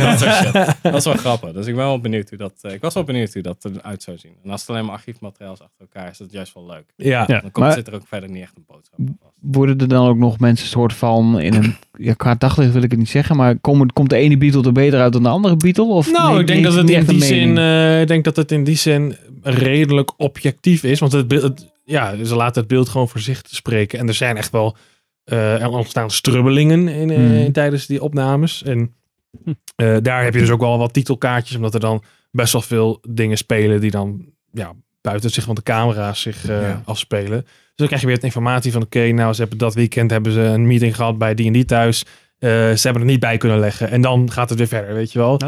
Speaker 3: dat soort shit. Dat is wel grappig. Dus ik ben wel benieuwd hoe dat. eh, ik was wel benieuwd hoe dat eruit zou zien. En als het alleen maar archiefmateriaal is achter elkaar, is dat juist wel leuk.
Speaker 1: Ja.
Speaker 5: Ja.
Speaker 3: Dan komt,
Speaker 2: maar-
Speaker 3: zit er ook verder niet echt een boodschap aan vast.
Speaker 2: Worden er dan ook nog mensen soort van in een... Ja, qua daglicht wil ik het niet zeggen, maar komen- komt de ene Beatle er beter uit dan de andere Beatle? Of
Speaker 1: Nou,
Speaker 2: nee,
Speaker 1: ik denk
Speaker 2: nee,
Speaker 1: dat het
Speaker 2: niet
Speaker 1: in
Speaker 2: echt
Speaker 1: die
Speaker 2: een mening?
Speaker 1: zin, eh, ik denk dat het in die zin redelijk objectief is, want het, beeld- het- ja, ze laten het beeld gewoon voor zich te spreken. En er zijn echt wel eh, er ontstaan strubbelingen in, eh,
Speaker 2: Mhm.
Speaker 1: tijdens die opnames. En eh, daar heb je dus ook wel wat titelkaartjes, omdat er dan best wel veel dingen spelen die dan ja, buiten het zicht van de camera's zich eh,
Speaker 3: Ja.
Speaker 1: afspelen. Dus dan krijg je weer het informatie van oké, nou ze hebben dat weekend hebben ze een meeting gehad bij die en die thuis. Eh, ze hebben er niet bij kunnen leggen. En dan gaat het weer verder, weet je wel.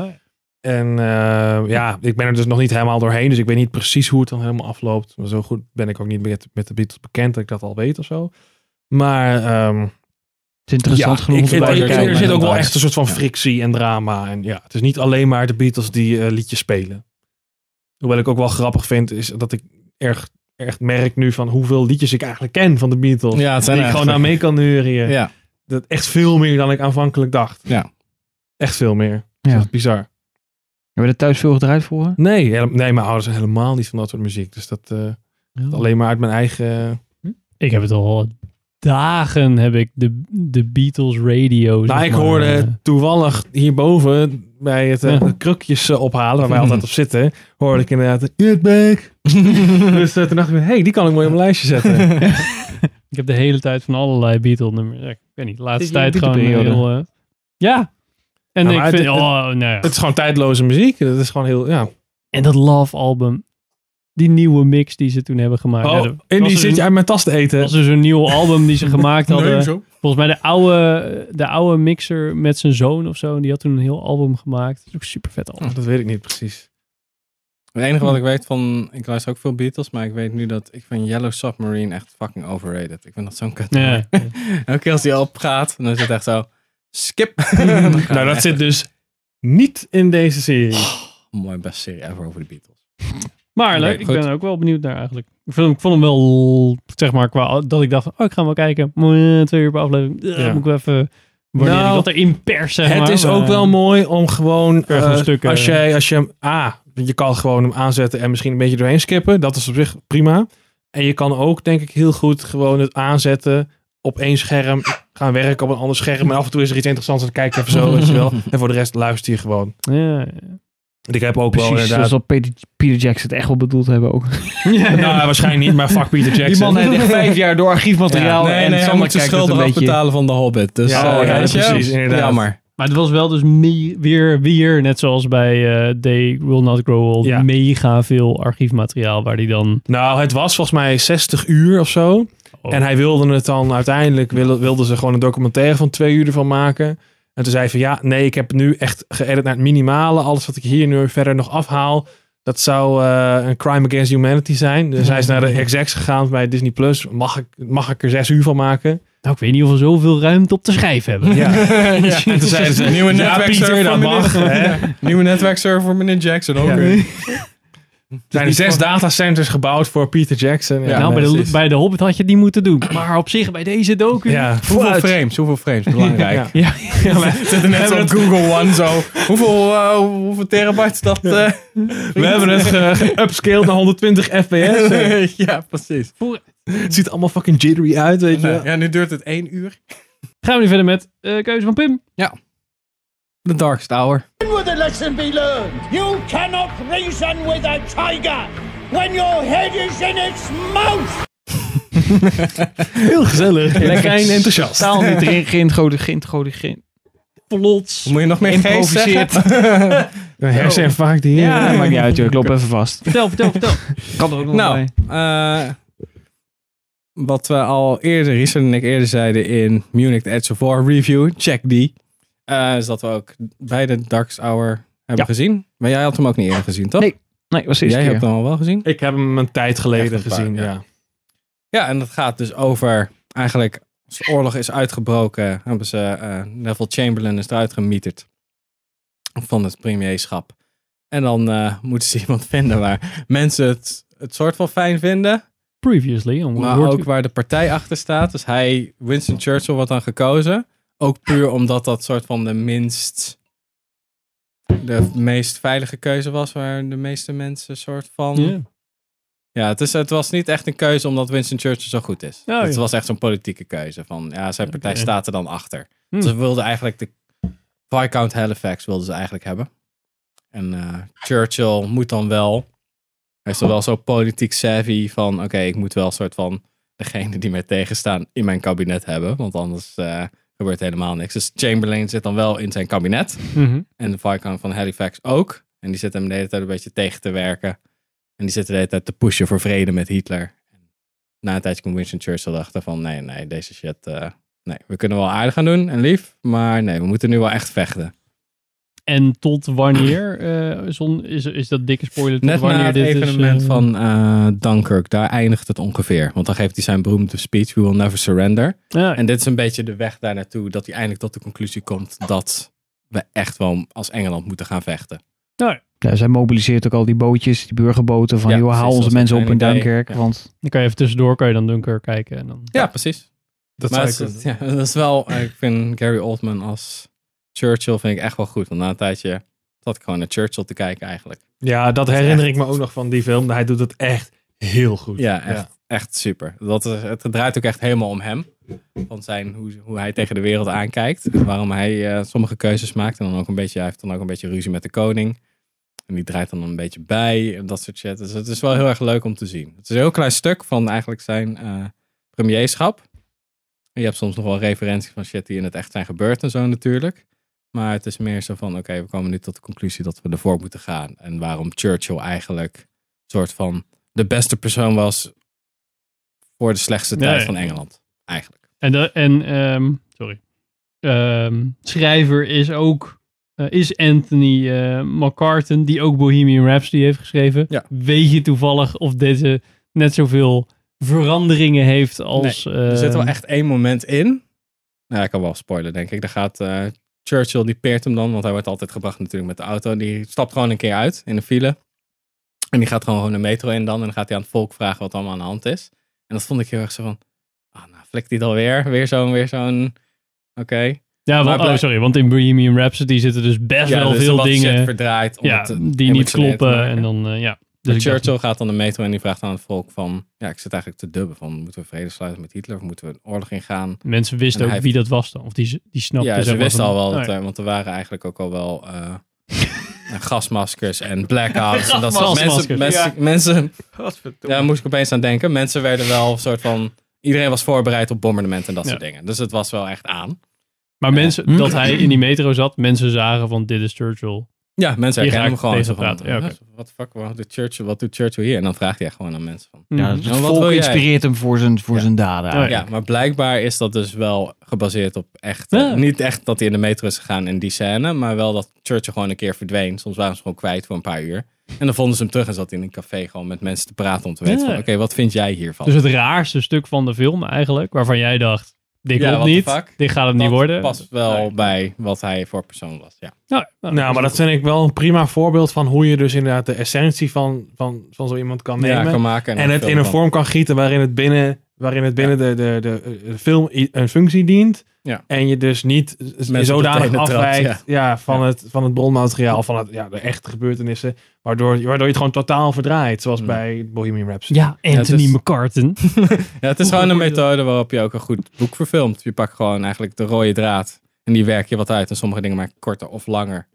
Speaker 1: En eh, ja, ik ben er dus nog niet helemaal doorheen. Dus ik weet niet precies hoe het dan helemaal afloopt. Maar zo goed ben ik ook niet met, met de Beatles bekend dat ik dat al weet of zo. Maar ehm,
Speaker 2: Het is interessant
Speaker 1: ja,
Speaker 2: genoeg
Speaker 1: ik
Speaker 2: om
Speaker 1: vind-
Speaker 2: erbij te
Speaker 1: er-
Speaker 3: kijken.
Speaker 1: er zit ook wel
Speaker 3: Inderdaad.
Speaker 1: echt een soort van
Speaker 3: Ja.
Speaker 1: frictie en drama. En ja, het is niet alleen maar de Beatles die eh, liedjes spelen. Hoewel ik ook wel grappig vind, is dat ik erg, erg merk nu van hoeveel liedjes ik eigenlijk ken van de Beatles.
Speaker 3: Ja, het zijn
Speaker 1: die ik
Speaker 3: er
Speaker 1: gewoon naar mee
Speaker 3: eigenlijk.
Speaker 1: kan neurien.
Speaker 3: Ja.
Speaker 1: Dat echt veel meer dan ik aanvankelijk dacht.
Speaker 3: Ja.
Speaker 1: Echt veel meer. Dat is
Speaker 2: Ja.
Speaker 1: echt bizar.
Speaker 2: Hebben we er thuis veel gedraaid voor?
Speaker 1: Nee, hele- nee, mijn ouders zijn helemaal niet van dat soort muziek. Dus dat eh,
Speaker 3: Oh.
Speaker 1: alleen maar uit mijn eigen...
Speaker 5: Ik heb het al dagen heb ik de, de Beatles radio. zeg
Speaker 1: Nou, ik
Speaker 5: maar,
Speaker 1: hoorde
Speaker 5: eh,
Speaker 1: toevallig hierboven bij het eh,
Speaker 5: Ja.
Speaker 1: krukjes eh, ophalen,
Speaker 5: <laughs>
Speaker 1: waar wij altijd op zitten, hoorde ik inderdaad Get Back. dus eh, toen dacht ik, hé, hey, die kan ik mooi op mijn lijstje
Speaker 5: <laughs>
Speaker 1: zetten.
Speaker 5: ik heb de hele tijd van allerlei Beatles nummers. Ik weet niet, de laatste
Speaker 2: Zit je in
Speaker 5: tijd
Speaker 2: de
Speaker 5: gewoon
Speaker 2: Beatle-periode?
Speaker 5: heel... eh, ja. En
Speaker 1: Nou,
Speaker 5: ik
Speaker 1: maar
Speaker 5: vind...
Speaker 1: het-
Speaker 5: oh, nou ja.
Speaker 1: Het is gewoon tijdloze muziek. Dat is gewoon heel, ja.
Speaker 5: En dat Love album. Die nieuwe mix die ze toen hebben gemaakt. Ja,
Speaker 1: Oh,
Speaker 5: dat- was
Speaker 1: en die
Speaker 5: dus
Speaker 1: zit
Speaker 5: een-
Speaker 1: je uit mijn tas te eten. eh,
Speaker 5: Dat was dus een nieuw album die ze
Speaker 1: <laughs>
Speaker 5: gemaakt hadden.
Speaker 1: zo.
Speaker 5: Volgens mij de oude, de oude mixer met zijn zoon of zo. En die had toen een heel album gemaakt. Dat is ook super vet album.
Speaker 1: Oh, dat weet ik niet precies.
Speaker 3: Het enige wat ik weet van, ik luister ook veel Beatles, maar ik weet nu dat ik vind Yellow Submarine echt fucking overrated. Ik vind dat zo'n kut.
Speaker 5: Ja.
Speaker 3: <laughs> Elke keer als die opgaat, dan is het echt zo, <laughs> skip.
Speaker 1: Nou, dat zit dus niet in deze serie.
Speaker 3: Mooi best serie ever over de Beatles.
Speaker 5: Maar leuk,
Speaker 3: Oké,
Speaker 5: ik
Speaker 3: goed.
Speaker 5: ben er ook wel benieuwd naar eigenlijk. Ik vond, ik vond hem wel, zeg maar, qua, dat ik dacht, van, oh, ik ga hem wel kijken. Mooi, eh, Twee uur per aflevering. Eh,
Speaker 1: Ja.
Speaker 5: Moet ik wel even, wanneer
Speaker 1: Nou,
Speaker 5: ik wat erin pers, zeg
Speaker 1: Het
Speaker 5: maar.
Speaker 1: is
Speaker 5: Maar,
Speaker 1: ook wel mooi om gewoon,
Speaker 5: Kun je gewoon
Speaker 1: eh,
Speaker 5: stukken-
Speaker 1: als, jij, als je hem, ah, je kan gewoon hem aanzetten en misschien een beetje doorheen skippen. Dat is op zich prima. En je kan ook, denk ik, heel goed gewoon het aanzetten op één scherm, gaan werken op een ander scherm. En af en toe is er iets interessants en dan kijk je even zo, weet je wel. En voor de rest luister je gewoon.
Speaker 5: eh, Ja,
Speaker 1: Ik heb ook wel
Speaker 2: Precies,
Speaker 1: inderdaad...
Speaker 2: zoals dat Peter, Peter Jackson het echt wel bedoeld hebben ook.
Speaker 5: <laughs> ja.
Speaker 1: Nou, waarschijnlijk niet, maar fuck Peter Jackson.
Speaker 2: Die man
Speaker 1: <laughs>
Speaker 2: heeft echt vijf jaar door archiefmateriaal
Speaker 3: nee,
Speaker 2: en
Speaker 3: nee, hij
Speaker 2: Sander
Speaker 3: moet zijn
Speaker 2: kijkt het
Speaker 3: schulden
Speaker 2: een beetje...
Speaker 3: afbetalen van de Hobbit. Dus,
Speaker 1: Ja,
Speaker 3: eh,
Speaker 1: ja,
Speaker 3: weet je?
Speaker 1: precies, inderdaad.
Speaker 3: Jammer.
Speaker 5: Maar het was wel dus me- weer, weer, net zoals bij eh They Will Not Grow Old,
Speaker 1: Ja.
Speaker 5: mega veel archiefmateriaal waar die dan...
Speaker 1: Nou, het was volgens mij 60 uur of zo.
Speaker 5: Oh.
Speaker 1: En hij wilde het dan uiteindelijk, wilde, wilden ze gewoon een documentaire van twee uur ervan maken. En toen zei hij van ja, nee, ik heb nu echt geëdit naar het minimale. Alles wat ik hier nu verder nog afhaal, dat zou eh, een crime against humanity zijn. Dus hij is <laughs> naar de execs gegaan bij Disney Plus. Mag ik, mag ik er zes uur van maken?
Speaker 5: Nou, ik weet niet of we zoveel ruimte op te schrijven hebben. <laughs>
Speaker 1: <laughs> Ja. En toen zeiden ze,
Speaker 3: Nieuwe
Speaker 1: ja Pieter,
Speaker 3: netwerkserver
Speaker 1: dat
Speaker 3: meneer-
Speaker 1: mag. Hè?
Speaker 3: Nieuwe netwerkserver voor meneer Jackson ook
Speaker 1: Ja.
Speaker 3: weer.
Speaker 1: Er zijn zes datacenters gebouwd voor Peter Jackson. Ja,
Speaker 5: nou, bij de,
Speaker 1: precies.
Speaker 5: bij de Hobbit had je het niet moeten doen. Maar op zich, bij deze docu...
Speaker 1: ja.
Speaker 3: Hoeveel frames? Hoeveel
Speaker 1: <laughs>
Speaker 3: frames? Belangrijk.
Speaker 1: Ja.
Speaker 5: Ja.
Speaker 3: We zitten net zo op Google One zo. Hoeveel, eh, hoeveel terabyte is dat? eh?
Speaker 1: We hebben het ge-
Speaker 2: <laughs>
Speaker 1: geupscaled naar 120 fps.
Speaker 3: <laughs> ja, precies.
Speaker 1: Het ziet er allemaal fucking jittery uit, weet je.
Speaker 3: Nou, ja, nu duurt het één uur.
Speaker 5: Gaan we nu verder met eh, keuze van Pim.
Speaker 3: The Darkest Hour.
Speaker 1: Heel
Speaker 5: <laughs>
Speaker 1: gezellig. Lekker en enthousiast.
Speaker 2: Taal
Speaker 3: <laughs>
Speaker 2: niet erin, geïntroduceerd, geïntroduceerd. Plots.
Speaker 3: Moet je nog meer geest zeggen?
Speaker 2: Geïmproviseerd. <laughs>
Speaker 1: Een herseninfarct hier.
Speaker 2: Ja, maakt niet uit joh, ik loop even vast.
Speaker 5: Vertel, vertel, vertel.
Speaker 2: Kan er ook nog
Speaker 3: Nou,
Speaker 2: bij.
Speaker 3: eh, wat we al eerder, Richard en ik eerder zeiden in Munich The Edge of War review, check die. Eh, is dat we ook beide Darkest Hour hebben gezien. Maar jij had hem ook niet eerder gezien, toch?
Speaker 2: Nee, Nee, was de eerste
Speaker 3: jij
Speaker 2: keer.
Speaker 3: hebt hem al wel gezien.
Speaker 1: <laughs> Ik heb hem een tijd geleden
Speaker 3: Echt een paar,
Speaker 1: gezien,
Speaker 3: ja.
Speaker 1: ja.
Speaker 3: Ja, en dat gaat dus over eigenlijk als de oorlog is uitgebroken, hebben ze eh, Neville Chamberlain is eruit gemieterd van het premierschap. En dan eh, <laughs> moeten ze iemand vinden waar mensen het, het soort van fijn vinden,
Speaker 5: Previously. on
Speaker 3: maar
Speaker 5: Word-
Speaker 3: ook waar de partij achter staat. Dus hij, Winston Churchill, wordt dan gekozen. Ook puur omdat dat soort van de minst, de meest veilige keuze was, waar de meeste mensen soort van...
Speaker 5: Ja.
Speaker 3: Ja, het, is, het was niet echt een keuze omdat Winston Churchill zo goed is.
Speaker 5: Oh, ja.
Speaker 3: Het was echt zo'n politieke keuze. Van ja, zijn partij
Speaker 5: Oké.
Speaker 3: staat er dan achter.
Speaker 5: Hmm.
Speaker 3: Ze wilden eigenlijk de Viscount Halifax wilden ze eigenlijk hebben. En eh, Churchill moet dan wel. Hij is dan wel zo politiek savvy van oké, ik moet wel een soort van degene die mij tegenstaan in mijn kabinet hebben. Want anders eh, gebeurt helemaal niks. Dus Chamberlain zit dan wel in zijn kabinet.
Speaker 5: Mhm.
Speaker 3: En de Viscount van Halifax ook. En die zit hem de hele tijd een beetje tegen te werken. En die zit de hele tijd te pushen voor vrede met Hitler. Na een tijdje kwam Winston Churchill erachter van... Nee, nee, deze shit... eh, nee, we kunnen wel aardig gaan doen en lief. Maar nee, we moeten nu wel echt vechten.
Speaker 5: En tot wanneer, eh, zon, is, is dat dikke spoiler, tot
Speaker 3: Net
Speaker 5: wanneer
Speaker 3: na het
Speaker 5: dit is,
Speaker 3: evenement
Speaker 5: eh,
Speaker 3: van eh, Dunkirk. Daar eindigt het ongeveer. Want dan geeft hij zijn beroemde speech... We will never surrender.
Speaker 5: Ja,
Speaker 3: En dit is een beetje de weg daar naartoe... dat hij eindelijk tot de conclusie komt dat we echt wel als Engeland moeten gaan vechten.
Speaker 5: Ja.
Speaker 2: Ja, zij mobiliseert ook al die bootjes, die burgerboten van
Speaker 3: Ja,
Speaker 2: joh,
Speaker 3: precies,
Speaker 2: haal
Speaker 3: dat
Speaker 2: onze
Speaker 3: is
Speaker 2: mensen
Speaker 3: een
Speaker 2: op in
Speaker 3: idee.
Speaker 2: Duinkerk.
Speaker 3: Ja.
Speaker 2: Want
Speaker 5: Dan kan je even tussendoor kan je dan Dunker kijken. En dan...
Speaker 3: Ja, precies.
Speaker 1: Dat
Speaker 3: maar
Speaker 1: zou
Speaker 3: het
Speaker 1: ik-
Speaker 3: is- ja, <laughs> dat is wel, ik vind Gary Oldman als Churchill vind ik echt wel goed. Want na een tijdje zat ik gewoon naar Churchill te kijken eigenlijk.
Speaker 1: Ja, dat
Speaker 3: is
Speaker 1: herinner
Speaker 3: echt-
Speaker 1: ik me ook nog van die film. Hij doet het echt heel goed.
Speaker 3: Ja, echt, echt super. Dat is, het draait ook echt helemaal om hem. Van zijn, hoe, hoe hij tegen de wereld aankijkt. En waarom hij eh, sommige keuzes maakt. En dan ook een beetje, hij heeft dan ook een beetje ruzie met de koning. En die draait dan een beetje bij. En dat soort shit. Dus het is wel heel erg leuk om te zien. Het is een heel klein stuk van eigenlijk zijn eh premierschap. En je hebt soms nog wel referenties van shit die in het echt zijn gebeurd en zo natuurlijk. Maar het is meer zo van, oké, we komen nu tot de conclusie dat we ervoor moeten gaan. En waarom Churchill eigenlijk een soort van de beste persoon was voor de slechtste
Speaker 5: Ja,
Speaker 3: tijd
Speaker 5: ja.
Speaker 3: van Engeland. Eigenlijk.
Speaker 5: En, de, en ehm, sorry. Ehm, schrijver is ook eh, is Anthony eh, McCartan, die ook Bohemian Rhapsody heeft geschreven.
Speaker 3: Ja.
Speaker 5: Weet je toevallig of deze net zoveel veranderingen heeft als...
Speaker 3: Er zit wel
Speaker 5: ehm,
Speaker 3: echt één moment in. Nou, ik kan wel spoilen, denk ik. Daar gaat eh, Churchill, die peert hem dan, want hij wordt altijd gebracht natuurlijk met de auto. Die stapt gewoon een keer uit in de file. En die gaat gewoon gewoon de metro in dan. En dan gaat hij aan het volk vragen wat allemaal aan de hand is. En dat vond ik heel erg zo van, ah, nou, flikt hij het alweer? Weer zo'n, weer zo'n, oké.
Speaker 5: Ja, want,
Speaker 3: Maar
Speaker 5: oh,
Speaker 3: blij-
Speaker 5: sorry, want in Bohemian Rhapsody zitten dus best
Speaker 3: Ja,
Speaker 5: wel
Speaker 3: er is
Speaker 5: veel
Speaker 3: wat shit
Speaker 5: dingen
Speaker 3: verdraaid om
Speaker 5: ja,
Speaker 3: het, eh,
Speaker 5: die niet
Speaker 3: emotioneel te
Speaker 5: kloppen.
Speaker 3: maken.
Speaker 5: En dan, eh, ja.
Speaker 3: Dus
Speaker 5: ik dacht-
Speaker 3: Churchill gaat dan de metro en die vraagt aan het volk van... Ja, ik zit eigenlijk te dubben van... Moeten we vrede sluiten met Hitler of moeten we een oorlog ingaan?
Speaker 5: mensen
Speaker 3: En
Speaker 5: wisten ook
Speaker 3: hij-
Speaker 5: wie dat was dan. Of die, die snapten.
Speaker 3: ja,
Speaker 5: zeg
Speaker 3: ze
Speaker 5: maar,
Speaker 3: wisten
Speaker 5: van-
Speaker 3: al wel, dat, eh,
Speaker 5: Oh, ja.
Speaker 3: er- want er waren eigenlijk ook al wel eh, <laughs> gasmaskers en blackouts. en dat soort
Speaker 5: Gasmaskers,
Speaker 3: mensen, mensen, mensen, daar moest ik opeens aan denken. Mensen werden wel een soort van... Iedereen was voorbereid op bombardementen en dat
Speaker 5: Ja.
Speaker 3: soort dingen. Dus het was wel echt aan.
Speaker 5: Maar mensen, dat hij in die metro zat, mensen zagen van dit is
Speaker 3: Oh.
Speaker 5: Churchill.
Speaker 3: Ja, mensen
Speaker 5: Hier ga
Speaker 3: herkennen hem
Speaker 5: ik
Speaker 3: gewoon. zo
Speaker 5: tegen
Speaker 3: van,
Speaker 5: praten. Ja, oké.
Speaker 3: Wat de fuck, wat doet Churchill- wat doet Churchill hier? En dan vraagt hij gewoon aan mensen van...
Speaker 2: ja,
Speaker 5: Mhm.
Speaker 2: het
Speaker 3: nou, wat wil
Speaker 2: volk
Speaker 3: jij?
Speaker 2: inspireert hem voor zijn, voor
Speaker 3: Ja.
Speaker 2: zijn daden.
Speaker 5: ja.
Speaker 2: eigenlijk.
Speaker 3: Ja, maar blijkbaar is dat dus wel gebaseerd op echt. eh,
Speaker 5: Ja.
Speaker 3: Niet echt dat hij in de metro is gegaan in die scène, maar wel dat Churchill gewoon een keer verdween. Soms waren ze gewoon kwijt voor een paar uur. En dan vonden ze hem terug en zat hij in een café gewoon met mensen te praten om te weten
Speaker 5: Ja.
Speaker 3: van, oké, wat vind jij hiervan?
Speaker 5: Dus het raarste stuk van de film eigenlijk, waarvan jij dacht, dit
Speaker 3: Ja,
Speaker 5: klopt
Speaker 3: what the
Speaker 5: niet,
Speaker 3: fuck?
Speaker 5: dit gaat het
Speaker 3: dat
Speaker 5: niet worden.
Speaker 3: past wel
Speaker 5: Nee.
Speaker 3: bij wat hij voor persoon was. Ja.
Speaker 5: Ja,
Speaker 1: Nou, maar dat vind ik wel een prima voorbeeld van hoe je dus inderdaad de essentie van, van, van zo iemand kan nemen.
Speaker 3: Ja, kan maken
Speaker 1: en het in
Speaker 3: film
Speaker 1: een
Speaker 3: van-
Speaker 1: vorm kan gieten waarin het binnen, waarin het binnen de, de, de, de film i- een functie dient.
Speaker 3: Ja.
Speaker 1: En je dus niet z-
Speaker 3: op de
Speaker 1: zodanig
Speaker 3: tenen trapt,
Speaker 1: afwijkt
Speaker 3: ja.
Speaker 1: ja. van, Het, van het bronmateriaal, van het, ja, de echte gebeurtenissen. Waardoor, waardoor je het gewoon totaal verdraait. Zoals
Speaker 3: Ja.
Speaker 1: bij Bohemian Rhapsody.
Speaker 5: Ja, Anthony
Speaker 3: is-
Speaker 5: McCartan. <laughs>
Speaker 3: Ja, het is gewoon een methode waarop je ook een goed boek verfilmt. Je pakt gewoon eigenlijk de rode draad en die werk je wat uit. En sommige dingen maak je korter of langer.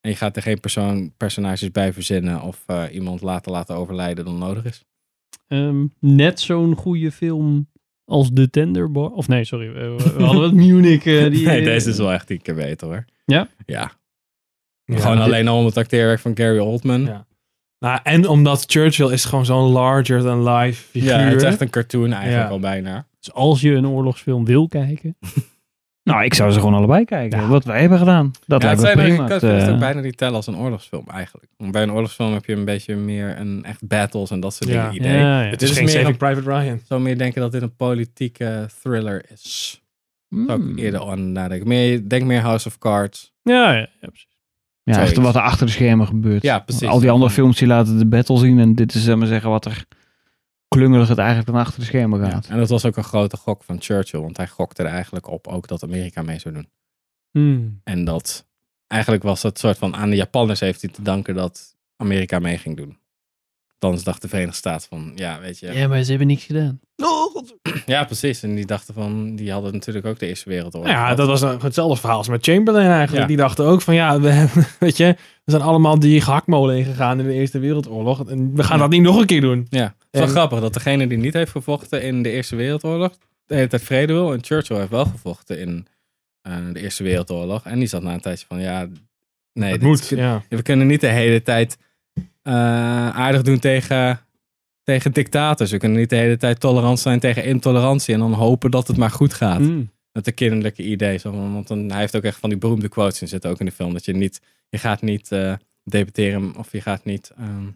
Speaker 3: En je gaat er geen persoon, personages bij verzinnen of eh, iemand later laten overlijden dan nodig is.
Speaker 5: Ehm, net zo'n goede film als The Tenderboy. Of nee, sorry, eh, we,
Speaker 3: <laughs>
Speaker 5: we hadden het Munich. eh, die,
Speaker 3: nee, deze is wel echt tien keer beter hoor.
Speaker 5: Ja?
Speaker 3: Ja.
Speaker 1: Ja.
Speaker 3: Gewoon alleen al om het acteerwerk van Gary Oldman. Ja,
Speaker 1: Ja. Nou, en omdat Churchill is gewoon zo'n larger than life figuur.
Speaker 3: het is echt een cartoon eigenlijk
Speaker 1: Ja.
Speaker 3: al bijna.
Speaker 5: Dus als je een oorlogsfilm wil kijken,
Speaker 2: Nou, ik zou ze gewoon allebei kijken. Wat wij hebben gedaan. Dat
Speaker 3: Ja, het
Speaker 2: lijkt me
Speaker 3: zijn
Speaker 2: prima.
Speaker 3: ik kan
Speaker 2: Het,
Speaker 3: het
Speaker 2: eh,
Speaker 3: ook bijna niet tellen als een oorlogsfilm eigenlijk. Want bij een oorlogsfilm heb je een beetje meer een echt battles en dat soort
Speaker 1: Ja.
Speaker 3: dingen idee.
Speaker 5: Ja, ja.
Speaker 1: Het
Speaker 3: Het
Speaker 1: is,
Speaker 3: is,
Speaker 1: geen
Speaker 3: meer een
Speaker 1: Saving Private Ryan.
Speaker 3: zou meer denken dat dit een politieke thriller is. Zou
Speaker 2: mm. Hmm.
Speaker 3: ik eerder aan nadenken. Meer, denk meer House of Cards.
Speaker 5: Ja, ja, ja, precies.
Speaker 2: ja, echt
Speaker 3: zoiets.
Speaker 2: wat er achter de schermen gebeurt.
Speaker 3: Ja, precies.
Speaker 2: Al die andere films die laten de battle zien. En dit is, zeg maar zeggen, wat er klungelig het eigenlijk dan achter de schermen
Speaker 3: Ja,
Speaker 2: gaat.
Speaker 3: En dat was ook een grote gok van Churchill. Want hij gokte er eigenlijk op ook dat Amerika mee zou doen.
Speaker 5: Hmm.
Speaker 3: En dat eigenlijk was dat soort van aan de Japanners heeft hij te danken dat Amerika mee ging doen. Dan dacht de Verenigde Staten van, ja, weet je.
Speaker 5: Ja, maar ze hebben niks gedaan.
Speaker 3: Ja, precies. En die dachten van, die hadden natuurlijk ook de Eerste Wereldoorlog.
Speaker 1: Nou Ja,
Speaker 3: gehad.
Speaker 1: dat was een- hetzelfde verhaal als met Chamberlain eigenlijk.
Speaker 3: Ja.
Speaker 1: Die dachten ook van ja, we, <laughs> hebben- weet je, we zijn allemaal die gehaktmolen ingegaan in de Eerste Wereldoorlog. En we gaan
Speaker 3: Ja.
Speaker 1: dat niet nog een keer doen.
Speaker 3: Ja, het is wel
Speaker 1: En-
Speaker 3: grappig dat degene die niet heeft gevochten in de Eerste Wereldoorlog, de hele tijd vrede wil. En Churchill heeft wel gevochten in eh, de Eerste Wereldoorlog. En die zat na een tijdje van, ja, nee,
Speaker 1: Het
Speaker 3: dit-
Speaker 1: moet. Ja.
Speaker 3: we kunnen niet de hele tijd eh, aardig doen tegen, tegen dictators. We kunnen niet de hele tijd tolerant zijn tegen intolerantie en dan hopen dat het maar goed gaat.
Speaker 5: Hmm.
Speaker 3: Met de kinderlijke idee. Zo, van- want dan, hij heeft ook echt van die beroemde quotes in zitten, ook in de film. Dat je niet, je gaat niet eh, debatteren of je gaat niet ehm,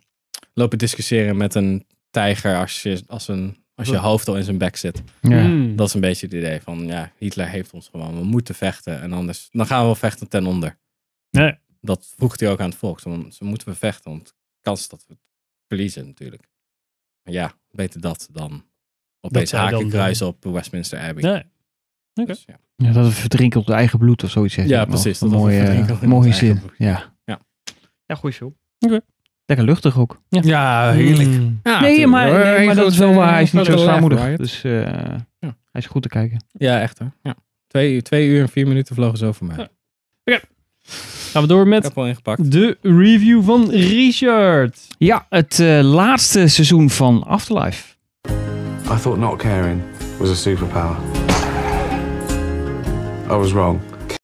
Speaker 3: lopen discussiëren met een tijger als je, als een, als je hoofd al in zijn bek zit.
Speaker 2: Ja.
Speaker 5: Hmm.
Speaker 3: Dat is een beetje het idee van, ja, Hitler heeft ons gewoon. We moeten vechten en anders, dan gaan we wel vechten ten onder.
Speaker 5: Nee.
Speaker 3: dat vroeg hij ook aan het volk. Zo, zo moeten we vechten, want kans dat we het verliezen natuurlijk. Maar ja, beter dat dan op deze
Speaker 5: zij dan
Speaker 3: haken
Speaker 5: de-
Speaker 3: kruis op Westminster Abbey.
Speaker 5: Nee. Oké.
Speaker 3: Dus, ja.
Speaker 2: Ja, dat het verdrinken op het eigen bloed of zoiets. heeft
Speaker 3: Ja,
Speaker 2: hij nog.
Speaker 3: precies,
Speaker 2: Een
Speaker 3: dat het
Speaker 2: mooie,
Speaker 3: verdrinken op het
Speaker 2: mooie
Speaker 3: eigen
Speaker 2: zin.
Speaker 3: bloed.
Speaker 2: Ja.
Speaker 3: Ja.
Speaker 2: ja, goeie film.
Speaker 5: Oké.
Speaker 2: Lekker luchtig ook.
Speaker 1: Ja, heerlijk.
Speaker 11: Hmm.
Speaker 5: Mm.
Speaker 2: nee,
Speaker 3: Ah,
Speaker 2: maar,
Speaker 3: tuurlijk.
Speaker 2: nee,
Speaker 3: Heel
Speaker 2: maar dat
Speaker 3: goed,
Speaker 2: is wel
Speaker 3: eh,
Speaker 2: waar. Hij is niet
Speaker 3: grote
Speaker 2: zo
Speaker 3: laugh,
Speaker 2: zwaarmoedig.
Speaker 3: right?
Speaker 2: Dus eh, hij is goed te kijken.
Speaker 3: Ja, echt hoor. Ja. Twee, twee uur en vier minuten vlogen zo voor mij.
Speaker 5: Ja. Gaan we door
Speaker 3: Ik
Speaker 5: met
Speaker 3: heb al ingepakt.
Speaker 5: de review van Richard.
Speaker 2: Ja, het eh, laatste seizoen van Afterlife.
Speaker 11: I thought not caring was a superpower. I was wrong.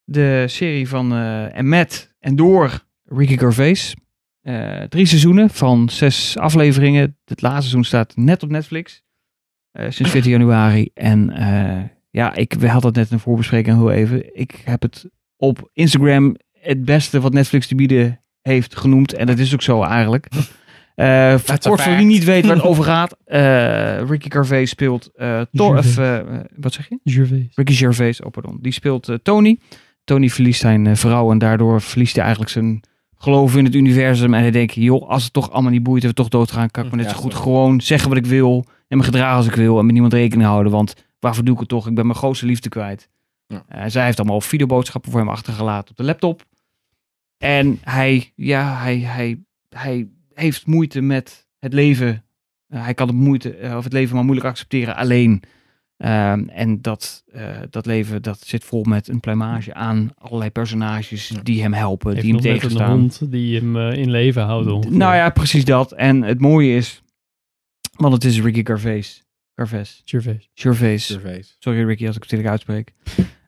Speaker 2: De serie van eh, en met en door Ricky Gervais. Eh, drie seizoenen van zes afleveringen. Het laatste seizoen staat net op Netflix. eh, sinds 14 januari. En eh, ja, ik, we hadden het net in de voorbespreking heel even. Ik heb het op Instagram het beste wat Netflix te bieden heeft genoemd. En dat is ook zo eigenlijk.
Speaker 3: <laughs>
Speaker 2: Eh voor
Speaker 3: That's a
Speaker 2: kort voor
Speaker 3: fact.
Speaker 2: wie niet weet waar
Speaker 3: <laughs>
Speaker 2: het over gaat. eh, Ricky Gervais speelt eh Thor... of, eh, wat zeg je?
Speaker 5: Gervais.
Speaker 2: Ricky Gervais, oh pardon. Die speelt eh, Tony. Tony verliest zijn eh, vrouw en daardoor verliest hij eigenlijk zijn geloof in het universum. En hij denkt, joh, als het toch allemaal niet boeit en we toch doodgaan, kan ik me net
Speaker 3: Ja,
Speaker 2: zo goed
Speaker 3: zo.
Speaker 2: gewoon zeggen wat ik wil en me gedragen als ik wil en met niemand rekening houden. Want waarvoor doe ik het toch? Ik ben mijn grootste liefde kwijt.
Speaker 3: Ja.
Speaker 2: Eh, zij heeft allemaal videoboodschappen voor hem achtergelaten op de laptop. En hij, ja, hij, hij, hij heeft moeite met het leven. Eh, hij kan het, moeite, eh, of het leven maar moeilijk accepteren alleen. Ehm, en dat, eh, dat leven dat zit vol met een pluimage aan allerlei personages die hem helpen,
Speaker 5: Heeft
Speaker 2: die hem
Speaker 5: nog net een
Speaker 2: tegenstaan.
Speaker 5: hond die hem eh, in leven houdt. ongeveer.
Speaker 2: Nou ja, precies dat. En het mooie is, want het is Ricky Gervais. Gervais. <laughs>
Speaker 5: Gervais.
Speaker 2: Gervais.
Speaker 3: Surveys.
Speaker 2: Sorry Ricky als ik het lelijk uitspreek.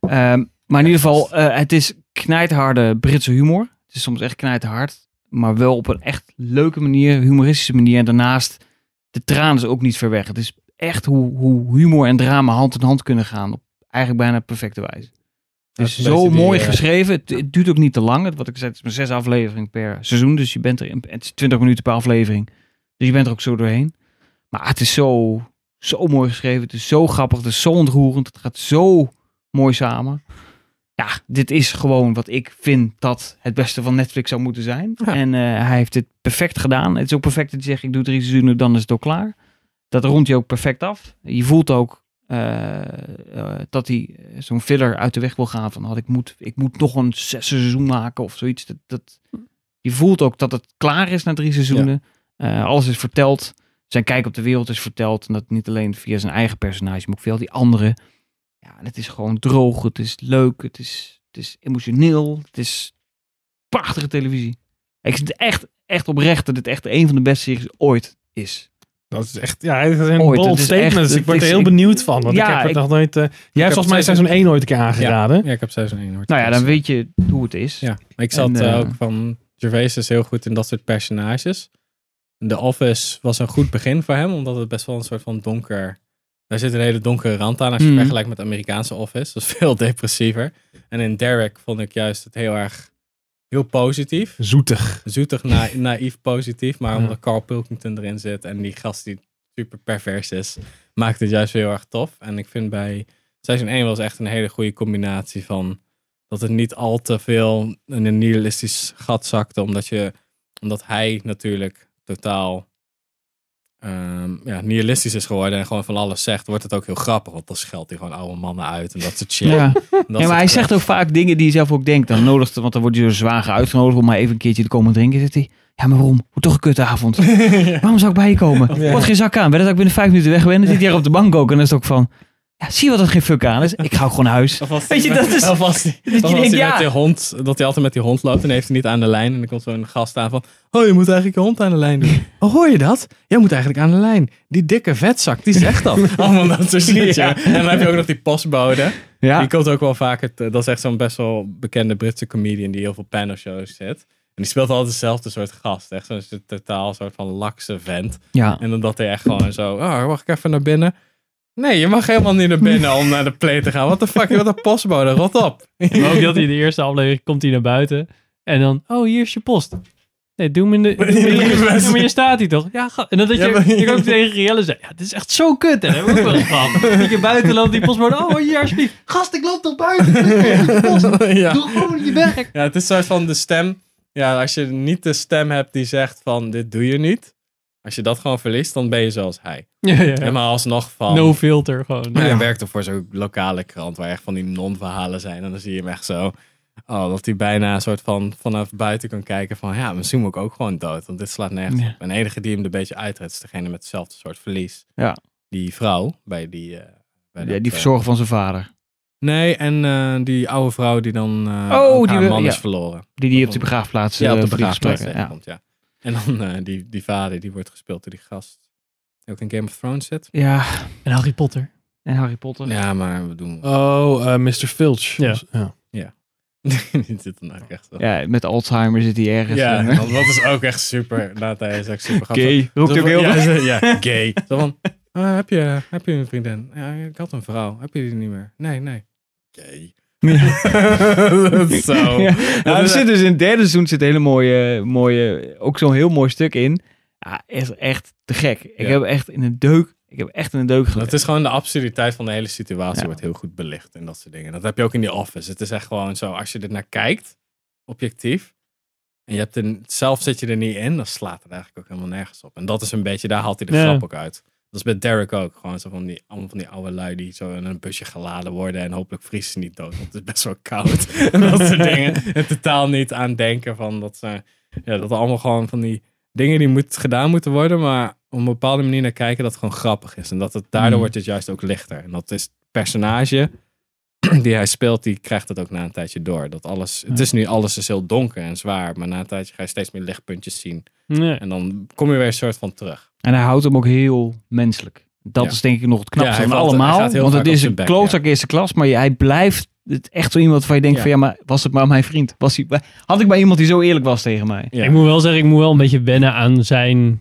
Speaker 2: Ehm, maar in ieder geval, eh, het is knijtharde Britse humor. Het is soms echt knijthard, maar wel op een echt leuke manier, humoristische manier. En daarnaast, de tranen is ook niet ver weg. Het is echt hoe, hoe humor en drama hand in hand kunnen gaan. Op eigenlijk bijna perfecte wijze. Het is
Speaker 3: Dat is een
Speaker 2: zo
Speaker 3: beetje die,
Speaker 2: mooi
Speaker 3: eh,
Speaker 2: geschreven. Het, het duurt ook niet te lang. Het, wat ik zei, het is maar zes afleveringen per seizoen. Dus je bent er in, het is 20 minuten per aflevering. Dus je bent er ook zo doorheen. Maar het is zo, zo mooi geschreven. Het is zo grappig. Het is zo ontroerend. Het gaat zo mooi samen. Ja, dit is gewoon wat ik vind dat het beste van Netflix zou moeten zijn.
Speaker 3: Ja.
Speaker 2: En eh, hij heeft dit perfect gedaan. Het is ook perfect dat hij zegt, ik doe drie seizoenen, dan is het ook klaar. Dat rondt je ook perfect af. Je voelt ook eh, eh, dat hij zo'n filler uit de weg wil gaan. Van, had ik, moet, ik moet nog een zes seizoen maken of zoiets. Dat, dat, je voelt ook dat het klaar is na drie seizoenen. Eh, alles is verteld. Zijn kijk op de wereld is verteld. En dat niet alleen via zijn eigen personage, maar ook via al die anderen. Ja, en het is gewoon droog. Het is leuk. Het is, het is emotioneel. Het is prachtige televisie. Ik vind het echt, echt oprecht dat dit echt een van de beste series ooit is.
Speaker 1: Dat is echt, ja, dat is een
Speaker 2: Ooit,
Speaker 1: bold
Speaker 2: het is
Speaker 1: statement.
Speaker 2: echt-
Speaker 1: dus ik
Speaker 2: het
Speaker 1: word er
Speaker 2: is-
Speaker 1: heel
Speaker 2: ik-
Speaker 1: benieuwd van. Want
Speaker 2: Ja,
Speaker 1: ik heb het
Speaker 2: ik-
Speaker 1: nog nooit... eh, jij hebt
Speaker 3: heb
Speaker 1: volgens mij
Speaker 3: het
Speaker 1: seizoen 1 nooit een keer aangeraden.
Speaker 3: Ja, ik heb seizoen 1 nooit.
Speaker 2: Nou ja, dan
Speaker 3: gezien.
Speaker 2: weet je hoe het is.
Speaker 3: Ja, maar ik zat
Speaker 2: En,
Speaker 3: eh,
Speaker 2: eh,
Speaker 3: ook van... Gervais is heel goed in dat soort personages. The Office was een goed begin voor hem, omdat het best wel een soort van donker... Daar zit een hele donkere rand aan als je
Speaker 2: Mhm.
Speaker 3: vergelijkt met de Amerikaanse Office. Dat is veel <laughs> depressiever. En in Derek vond ik juist het heel erg... Heel positief.
Speaker 1: Zoetig.
Speaker 3: Zoetig, na,
Speaker 2: <laughs>
Speaker 3: naïef, positief. Maar
Speaker 1: Ja.
Speaker 3: omdat Carl Pilkington erin zit en die gast die super pervers is, maakt het juist weer heel erg tof. En ik vind bij seizoen 1 was echt een hele goede combinatie van dat het niet al te veel in een nihilistisch gat zakte, omdat, je, omdat hij natuurlijk totaal ehm, ja, nihilistisch is geworden en gewoon van alles zegt, wordt het ook heel grappig, want dan scheldt hij gewoon oude mannen uit en dat soort shit.
Speaker 2: Ja.
Speaker 3: En dat
Speaker 2: Ja,
Speaker 3: soort
Speaker 2: maar hij
Speaker 3: crap.
Speaker 2: zegt ook vaak dingen die je zelf ook denkt. Dan nodigt, want dan wordt je zwager uitgenodigd om maar even een keertje te komen drinken. Zegt hij, ja maar waarom? Hoe toch een
Speaker 3: <laughs>
Speaker 2: kutte avond. Waarom zou ik bij je komen? Wat geen zak aan. Weet dat ik binnen vijf minuten weg ben. Dan zit hij hier op de bank ook. En dan is het ook van, ja, zie je wat dat geen fuck aan is? Ik ga ook gewoon naar huis.
Speaker 3: Of was
Speaker 2: Weet je,
Speaker 3: hij met-
Speaker 2: dat is-
Speaker 3: Of was hij,
Speaker 2: dat je
Speaker 3: of was hij
Speaker 2: denkt, ja.
Speaker 3: met die hond, dat hij altijd met die hond loopt en heeft hij niet aan de lijn. En dan komt zo'n gast aan van, oh, je moet eigenlijk je hond aan de lijn doen. <laughs> Oh, hoor je dat? Jij moet eigenlijk aan de lijn. Die dikke vetzak, die zegt dat. <laughs> Allemaal dat soort shit, <laughs> ja. En dan heb je ook nog die postbode.
Speaker 2: Ja.
Speaker 3: Die komt ook wel vaker, te- dat is echt zo'n best wel bekende Britse comedian die heel veel panelshows zit. En die speelt altijd dezelfde soort gast. Echt zo'n soort- totaal soort van lakse vent.
Speaker 2: Ja.
Speaker 3: En dan dat hij echt gewoon zo, oh, mag ik even naar binnen? Nee, je mag helemaal niet naar binnen om naar de play te gaan. Wat de fuck, je wordt een postbode, rot op. <laughs>
Speaker 5: Maar ook dat hij in de eerste aflevering komt hij naar buiten. En dan, oh, hier is je post. Nee, doe me in de... doe me in de- doe me hier staat hij toch? Ja, ga- en dan dat je,
Speaker 3: Ja, maar-
Speaker 5: ik ook tegen Rielle zei, ja, dit is echt zo kut. En hebben we ook wel eens gehad. Dat je buiten loopt, die postbode, oh, hier alsjeblieft. Gast, ik loop toch buiten?
Speaker 3: ja.
Speaker 5: Doe gewoon je werk.
Speaker 3: ja, het is een soort van de stem Ja, als je niet de stem hebt die zegt van dit doe je niet. Als je dat gewoon verliest, dan ben je zoals hij.
Speaker 5: Ja, ja, ja.
Speaker 3: En Maar alsnog van...
Speaker 5: No filter gewoon.
Speaker 3: Maar
Speaker 5: Ja.
Speaker 3: Hij werkte voor zo'n lokale krant waar echt van die non-verhalen zijn. En dan zie je hem echt zo... Oh, dat hij bijna een soort van vanaf buiten kan kijken van... Ja, misschien moet ik ook gewoon dood, want dit slaat nergens
Speaker 2: Ja.
Speaker 3: op. En de enige die hem een beetje uitredt is degene met hetzelfde soort verlies.
Speaker 2: Ja.
Speaker 3: Die vrouw bij die... eh, bij
Speaker 2: Ja,
Speaker 3: dat,
Speaker 2: die
Speaker 3: eh,
Speaker 2: verzorger van zijn vader.
Speaker 3: Nee, en eh, die oude vrouw die dan eh
Speaker 2: Oh,
Speaker 3: oh,
Speaker 2: die
Speaker 3: haar
Speaker 2: we-
Speaker 3: man
Speaker 2: ja.
Speaker 3: is verloren.
Speaker 2: Die die op de begraafplaats
Speaker 3: Ja, op
Speaker 2: eh,
Speaker 3: de
Speaker 2: voor die
Speaker 3: begraafplaats
Speaker 2: gesprekken,
Speaker 3: tegenkomt, ja. En dan eh, die, die vader, die wordt gespeeld door die gast. Die ook in Game of Thrones zit.
Speaker 2: Ja.
Speaker 5: En Harry Potter.
Speaker 2: En Harry Potter.
Speaker 3: Ja, maar we doen... <laughs>
Speaker 1: Oh, eh, Mr. Filch.
Speaker 5: Ja.
Speaker 1: ja.
Speaker 3: Ja. die zit dan ook echt zo.
Speaker 2: Ja, met Alzheimer zit hij ergens.
Speaker 3: Ja,
Speaker 2: En, eh,
Speaker 3: want dat is ook echt super. Nou, hij is echt super grappig.
Speaker 2: Gay. Roept
Speaker 3: Zo
Speaker 2: ook
Speaker 3: van-
Speaker 2: heel
Speaker 3: ja,
Speaker 2: veel.
Speaker 3: zo-
Speaker 2: <laughs>
Speaker 3: ja, gay. Zo van, ah, heb, je, heb je een vriendin? Ja, ik had een vrouw. Heb je die niet meer? Nee, nee. Gay. <laughs> dat is zo.
Speaker 2: Ja.
Speaker 3: Dat
Speaker 2: Nou, er
Speaker 3: is
Speaker 2: zit dus in het derde seizoen zit een hele mooie, mooie ook zo'n heel mooi stuk in. Ja, is echt te gek. Ik
Speaker 3: Ja.
Speaker 2: heb echt in een deuk, ik heb echt in een deuk
Speaker 3: Dat
Speaker 2: gelegd.
Speaker 3: is gewoon de absurditeit van de hele situatie
Speaker 2: Ja.
Speaker 3: wordt heel goed belicht en dat soort dingen. Dat heb je ook in die office. Het is echt gewoon zo, als je er naar kijkt, objectief, en je hebt er, zelf zit je er niet in, dan slaat het eigenlijk ook helemaal nergens op. En dat is een beetje, daar haalt hij de
Speaker 5: Ja.
Speaker 3: grap ook uit. Dat is bij Derek ook. Gewoon zo van die, allemaal van die oude lui die zo in een busje geladen worden en hopelijk vriezen ze niet dood, want het is best wel koud. en <laughs> dat soort dingen. En totaal niet aan denken van dat ze, ja, dat allemaal gewoon van die dingen die moet, gedaan moeten worden, maar op een bepaalde manier naar kijken dat het gewoon grappig is. En dat het, daardoor
Speaker 2: Mm.
Speaker 5: Mhm.
Speaker 3: wordt het juist ook lichter. En dat is het personage <clears throat> die hij speelt, die krijgt dat ook na een tijdje door. Dat alles, het
Speaker 5: Ja.
Speaker 3: is nu alles is heel donker en zwaar, maar na een tijdje ga je steeds meer lichtpuntjes zien.
Speaker 5: Nee.
Speaker 3: En dan kom je weer een soort van terug.
Speaker 2: En hij houdt hem ook heel menselijk. Dat
Speaker 3: Ja.
Speaker 2: is denk ik nog het
Speaker 3: Ja,
Speaker 2: knapste
Speaker 3: hij
Speaker 2: van
Speaker 3: valt- hij
Speaker 2: allemaal.
Speaker 3: gaat heel
Speaker 2: Want het
Speaker 3: vaak
Speaker 2: is
Speaker 3: op
Speaker 2: een
Speaker 3: zijn bek,
Speaker 2: klootzak eerste klas, maar hij blijft het echt zo iemand van je denkt
Speaker 3: Ja.
Speaker 2: van ja, maar was het maar mijn vriend? Was hij, had ik maar iemand die zo eerlijk was tegen mij?
Speaker 3: Ja.
Speaker 5: Ik moet wel zeggen, ik moet wel een beetje wennen aan zijn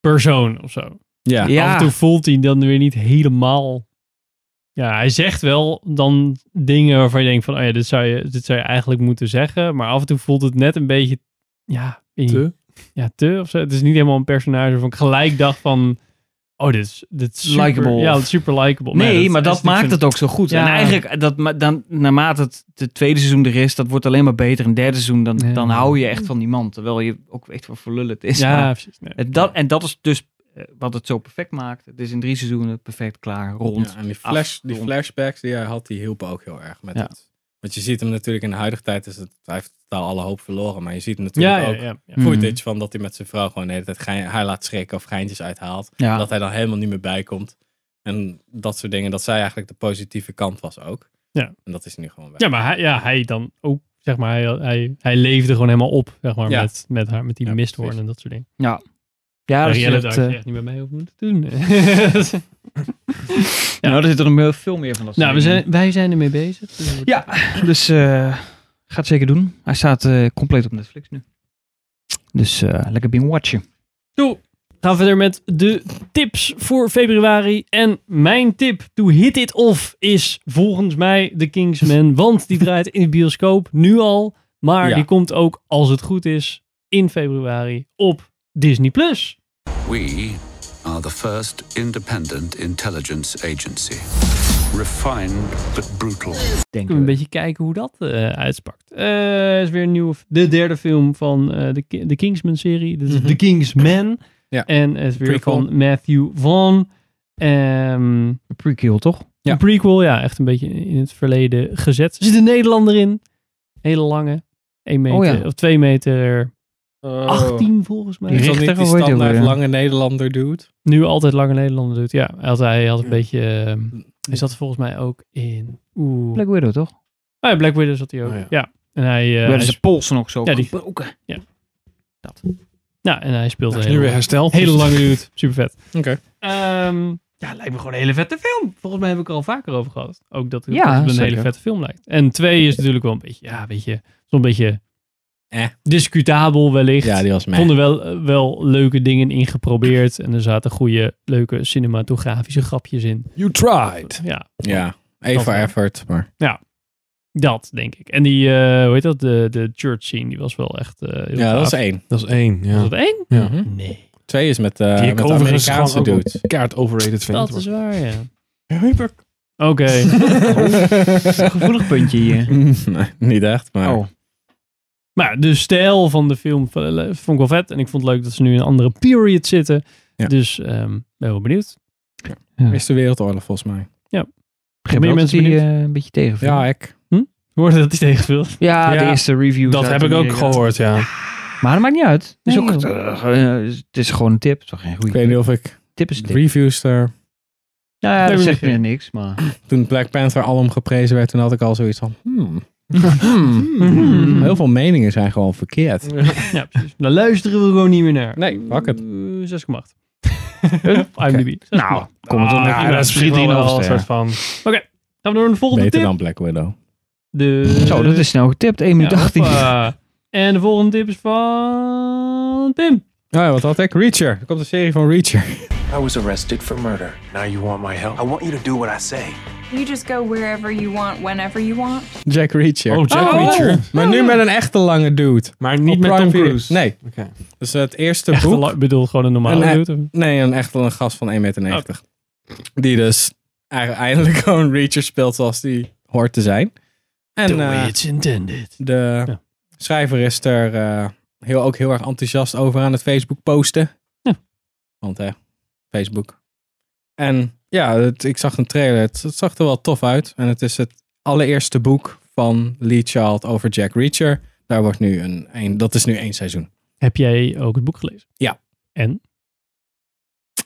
Speaker 5: persoon of zo.
Speaker 3: Ja,
Speaker 5: Af en toe voelt hij dan weer niet helemaal... Ja, hij zegt wel dan dingen waarvan je denkt van... Oh ja, dit zou je, dit zou je eigenlijk moeten zeggen. Maar af en toe voelt het net een beetje... Ja, weet niet.
Speaker 1: Te?
Speaker 5: Ja, te of zo. Het is niet helemaal een personage waarvan ik gelijk dacht van... Oh, dit is, dit is super-
Speaker 2: Likeable.
Speaker 5: Ja, het is super likable.
Speaker 2: Nee, maar
Speaker 5: is
Speaker 2: dat
Speaker 5: natuurlijk
Speaker 2: maakt
Speaker 5: zo'n-
Speaker 2: het ook zo goed.
Speaker 5: Ja.
Speaker 2: En eigenlijk, dat, ma- dan, naarmate het, het tweede seizoen er is, dat wordt alleen maar beter. En derde seizoen, dan,
Speaker 5: Ja.
Speaker 2: dan hou je echt van die man. Terwijl je ook weet wat voor lul het is.
Speaker 5: Ja,
Speaker 2: Maar
Speaker 5: precies. Nee.
Speaker 2: het- dat, en dat is dus eh, wat het zo perfect maakt. Het is in drie seizoenen perfect klaar, rond.
Speaker 3: Ja, en die, flash, die
Speaker 2: rond.
Speaker 3: flashbacks die hij had, die hielpen ook heel erg met
Speaker 2: Ja.
Speaker 3: het. Want je ziet hem natuurlijk in de huidige tijd, is het, hij heeft totaal alle hoop verloren. Maar je ziet natuurlijk
Speaker 5: Ja, ja,
Speaker 3: ook
Speaker 5: ja, ja.
Speaker 3: footage van dat hij met zijn vrouw gewoon de hele tijd gein- haar laat schrikken of geintjes uithaalt.
Speaker 2: Ja.
Speaker 3: Dat hij dan helemaal niet meer bijkomt. En dat soort dingen, dat zij eigenlijk de positieve kant was ook.
Speaker 5: Ja.
Speaker 3: En dat is nu gewoon weg.
Speaker 5: Ja, maar hij, ja, hij dan ook, zeg maar, hij, hij, hij leefde gewoon helemaal op, zeg maar,
Speaker 3: Ja.
Speaker 5: met, met, haar, met die
Speaker 3: Ja,
Speaker 5: misthoorn
Speaker 3: precies.
Speaker 5: en dat soort dingen.
Speaker 2: Ja,
Speaker 5: Ja,
Speaker 2: dat is
Speaker 5: Rielle,
Speaker 2: echt,
Speaker 5: daar
Speaker 2: eh,
Speaker 5: had je echt niet bij mij over moeten doen. <laughs>
Speaker 2: Nou, er zit er nog heel veel meer van dat soort
Speaker 5: nou, we
Speaker 2: dingen in.
Speaker 5: zijn, wij zijn ermee bezig. Dus het wordt-
Speaker 2: Ja, dus eh ga het zeker doen. Hij staat eh, compleet op Netflix nu. Dus eh, lekker binge watchen.
Speaker 5: Gaan we verder met de tips voor februari. En mijn tip to hit it off is volgens mij The Kingsman. Want die draait in de bioscoop nu al. Maar
Speaker 3: Ja.
Speaker 5: die komt ook, als het goed is, in februari op Disney+. Plus.
Speaker 12: We are the first independent intelligence agency. Refined but brutal.
Speaker 2: Denk
Speaker 5: Kunnen we een beetje kijken hoe dat eh, uitspakt. Eh is weer een nieuwe, de derde film van eh, de, Ki- de Kingsman-serie. Dit is
Speaker 3: Mhm.
Speaker 5: The Kingsman.
Speaker 3: Ja.
Speaker 5: En het is weer
Speaker 3: Prequel.
Speaker 5: van Matthew Vaughn. Ehm,
Speaker 2: Een prequel, toch?
Speaker 3: Ja.
Speaker 5: Een prequel, ja, echt een beetje in het verleden gezet. Er zit een Nederlander in. Hele lange. 1 meter
Speaker 2: Oh ja.
Speaker 5: of 2 meter
Speaker 1: Oh,
Speaker 5: 18 volgens mij.
Speaker 2: Die
Speaker 3: Is dat
Speaker 2: richter,
Speaker 3: niet die
Speaker 2: hoe heet die ook
Speaker 3: standaard
Speaker 2: weer?
Speaker 3: lange Nederlander dude?
Speaker 5: Nu altijd lange Nederlander doet. Ja, hij had, hij had een beetje... ehm, hij
Speaker 3: Ja.
Speaker 5: zat volgens mij ook in... Oeh.
Speaker 2: Black Widow, toch?
Speaker 5: Oh ja, Black Widow zat hij ook.
Speaker 1: Oh
Speaker 5: ja.
Speaker 1: ja.
Speaker 5: En hij, eh, hij
Speaker 2: werden zijn polsen ook zo
Speaker 5: Ja, die-
Speaker 2: gebroken.
Speaker 5: Ja, en hij speelt
Speaker 1: Hij
Speaker 5: een
Speaker 1: is
Speaker 5: hele,
Speaker 1: nu weer Dus- hersteld.
Speaker 5: hele lange dude. <laughs> Super vet.
Speaker 3: Oké.
Speaker 5: Ehm, ja, lijkt me gewoon een hele vette film. Volgens mij heb ik er al vaker over gehad. Ook dat het
Speaker 2: Ja,
Speaker 5: dat het een
Speaker 2: zeker.
Speaker 5: hele vette film lijkt. En twee is natuurlijk wel een beetje, ja, weet je, zo'n beetje
Speaker 3: Eh.
Speaker 5: discutabel wellicht.
Speaker 3: Ja, die was
Speaker 5: Ik
Speaker 3: mij.
Speaker 5: vond er wel, eh, wel leuke dingen in geprobeerd. En er zaten goede, leuke cinematografische grapjes in.
Speaker 1: You tried.
Speaker 5: Ja,
Speaker 3: Ja, even
Speaker 5: Dat
Speaker 3: voor
Speaker 5: wel.
Speaker 3: effort, maar...
Speaker 5: dat denk ik. En die, eh, hoe heet dat? De, de church scene, die was wel echt. eh, heel
Speaker 3: Ja, dat is
Speaker 5: gaaf.
Speaker 3: één.
Speaker 1: Dat is één, ja.
Speaker 5: Was dat één?
Speaker 1: Ja.
Speaker 3: Mhm.
Speaker 5: Nee.
Speaker 3: Twee is met, eh
Speaker 1: Die
Speaker 3: met
Speaker 1: ik
Speaker 3: de
Speaker 1: overigens gewoon
Speaker 3: Amerikaanse
Speaker 1: ook
Speaker 3: dude.
Speaker 1: een kaart overrated vind.
Speaker 5: Dat is waar, ja. Oké.
Speaker 3: <laughs>
Speaker 2: Gevoelig puntje hier.
Speaker 1: <laughs>
Speaker 3: nee, niet echt, maar...
Speaker 2: Oh.
Speaker 5: Maar ja, de stijl van de film v- eh, vond ik wel vet. En ik vond het leuk dat ze nu in een andere period zitten.
Speaker 3: Ja.
Speaker 5: Dus ehm, ben wel benieuwd.
Speaker 3: Eerste Wereldoorlog volgens mij.
Speaker 5: Zijn meer mensen
Speaker 2: die
Speaker 5: benieuwd?
Speaker 2: eh, een beetje tegen.
Speaker 3: Ja, ik.
Speaker 5: Hoorde dat hij tegenviel?
Speaker 2: Ja,
Speaker 1: Ja,
Speaker 2: de eerste reviews.
Speaker 1: Dat
Speaker 2: uit
Speaker 1: heb ik ook
Speaker 2: Amerika.
Speaker 1: gehoord, ja.
Speaker 2: Maar dat maakt niet uit. Het is,
Speaker 5: Nee,
Speaker 2: ook, eh, eh, het is gewoon een tip. Het is toch geen
Speaker 3: Ik
Speaker 2: goede
Speaker 3: weet
Speaker 2: tip.
Speaker 3: niet of ik
Speaker 2: Tip is een tip.
Speaker 3: reviews er...
Speaker 2: Nou ja,
Speaker 5: Nee,
Speaker 2: dat
Speaker 5: we
Speaker 2: zegt
Speaker 5: liggen.
Speaker 2: meer niks, maar...
Speaker 3: Toen Black Panther alom geprezen werd, toen had ik al zoiets van... hmm. Hmm. Heel veel meningen zijn gewoon verkeerd.
Speaker 5: Ja, precies. Daar luisteren we gewoon niet meer naar.
Speaker 3: Nee, fuck het.
Speaker 5: Eh, 6,8. IMDb. 6,8.
Speaker 2: Nou, kom het
Speaker 1: Ah,
Speaker 2: dan nog.
Speaker 1: ja, dat is misschien
Speaker 3: wel
Speaker 1: wel
Speaker 3: een
Speaker 1: een soort
Speaker 3: soort Oh
Speaker 1: van...
Speaker 5: Gaan we door naar de volgende
Speaker 3: Beter
Speaker 5: tip.
Speaker 3: dan Black Widow.
Speaker 5: De...
Speaker 2: Zo, dat is snel getipt. 1 minuut
Speaker 5: Ja,
Speaker 2: 18.
Speaker 5: hoppa. En de volgende tip is van Tim.
Speaker 3: Nou ja, wat had ik? Reacher. Er komt een serie van Reacher.
Speaker 8: I was arrested for murder. Now you want my help? I want you to do what I say.
Speaker 13: You just go wherever you want, whenever you want.
Speaker 3: <laughs> Jack Reacher.
Speaker 1: Oh,
Speaker 5: Oh.
Speaker 1: Jack Reacher.
Speaker 3: Maar nu met een echte lange dude.
Speaker 1: Maar niet
Speaker 3: Op
Speaker 1: met
Speaker 3: Prime
Speaker 1: Tom
Speaker 3: Video.
Speaker 1: Cruise.
Speaker 3: Nee.
Speaker 1: Oké.
Speaker 3: Dus het eerste
Speaker 5: Echt
Speaker 3: boek.
Speaker 5: een la- bedoel, gewoon een normale
Speaker 3: Een-
Speaker 5: dude, of-
Speaker 3: Nee, een echt wel een gast van 1,90 meter.
Speaker 5: Oh.
Speaker 3: Die dus eigen- eindelijk <laughs> gewoon Reacher speelt zoals die hoort te zijn. En eh,
Speaker 5: intended.
Speaker 3: de
Speaker 5: Ja.
Speaker 3: schrijver is er eh, heel, ook heel erg enthousiast over aan het Facebook posten.
Speaker 5: Ja.
Speaker 3: Want hè, Facebook. En ja, het- ik zag een trailer. Het, het zag er wel tof uit. En het is het allereerste boek van Lee Child over Jack Reacher. Daar wordt nu een, een, dat is nu één seizoen.
Speaker 5: Heb jij ook het boek gelezen?
Speaker 3: Ja.
Speaker 5: En?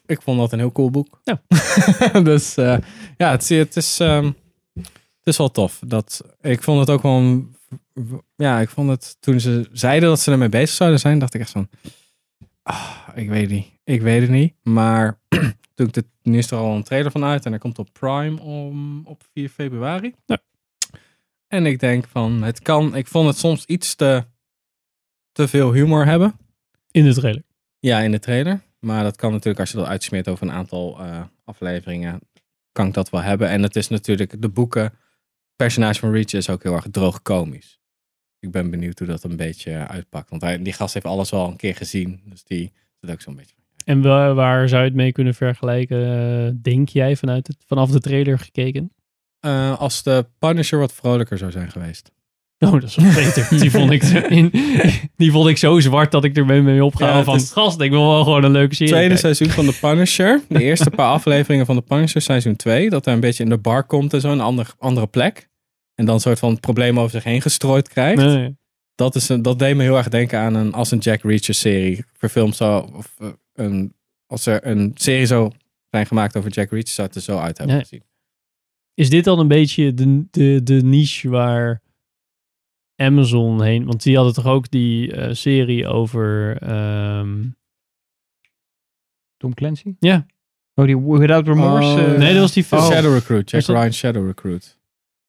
Speaker 3: Ik vond dat een heel cool boek.
Speaker 5: Ja.
Speaker 3: <laughs> dus eh, ja, het, het, is, ehm, het is wel tof. Dat, ik vond het ook wel... een- ja, ik vond het... Toen ze zeiden dat ze ermee bezig zouden zijn, dacht ik echt van... ah, ik weet het niet. Ik weet het niet. Maar <clears throat> toen ik dit, nu is er al een trailer van uit en hij komt op Prime om, op 4 februari.
Speaker 5: Ja.
Speaker 3: En ik denk van, het kan... Ik vond het soms iets te, te veel humor hebben.
Speaker 5: In de trailer.
Speaker 3: Ja, in de trailer. Maar dat kan natuurlijk als je dat uitsmeert over een aantal eh, afleveringen, kan ik dat wel hebben. En het is natuurlijk de boeken. Het personage van Reach is ook heel erg droog komisch. Ik ben benieuwd hoe dat een beetje uitpakt. Want hij, die gast heeft alles al een keer gezien. Dus die zit ook zo'n beetje.
Speaker 5: En waar, waar zou je het mee kunnen vergelijken, eh, denk jij, vanuit het, vanaf de trailer gekeken? <laughs>
Speaker 3: Eh, als de Punisher wat vrolijker zou zijn geweest.
Speaker 5: Oh, dat is wel beter. Die vond ik,
Speaker 3: <laughs>
Speaker 5: zo in, die vond ik zo zwart dat ik er mee- mee
Speaker 3: Ja,
Speaker 5: opga.
Speaker 3: het
Speaker 5: van,
Speaker 3: is-
Speaker 5: gast, ik wil wel gewoon een leuke serie
Speaker 3: tweede
Speaker 5: kijken.
Speaker 3: seizoen van de Punisher. De eerste paar afleveringen van de Punisher, seizoen 2. Dat hij een beetje in de bar komt en zo, een ander, andere plek. En dan een soort van problemen over zich heen gestrooid krijgt.
Speaker 5: Nee, nee.
Speaker 3: dat, is een, dat deed me heel erg denken aan een als een Jack Reacher serie verfilmd zou of eh, een, als er een serie zou zijn gemaakt over Jack Reacher zou het er zo uit hebben
Speaker 5: Ja.
Speaker 3: gezien.
Speaker 5: Is dit dan een beetje de, de, de niche waar Amazon heen... Want die hadden toch ook die eh, serie over... ehm,
Speaker 2: <laughs> Tom Clancy?
Speaker 5: Ja.
Speaker 2: Oh, die Without Remorse?
Speaker 3: Oh.
Speaker 2: eh,
Speaker 5: nee, dat was die film.
Speaker 3: Shadow Recruit, Jack
Speaker 5: Is dat-
Speaker 3: Ryan Shadow Recruit.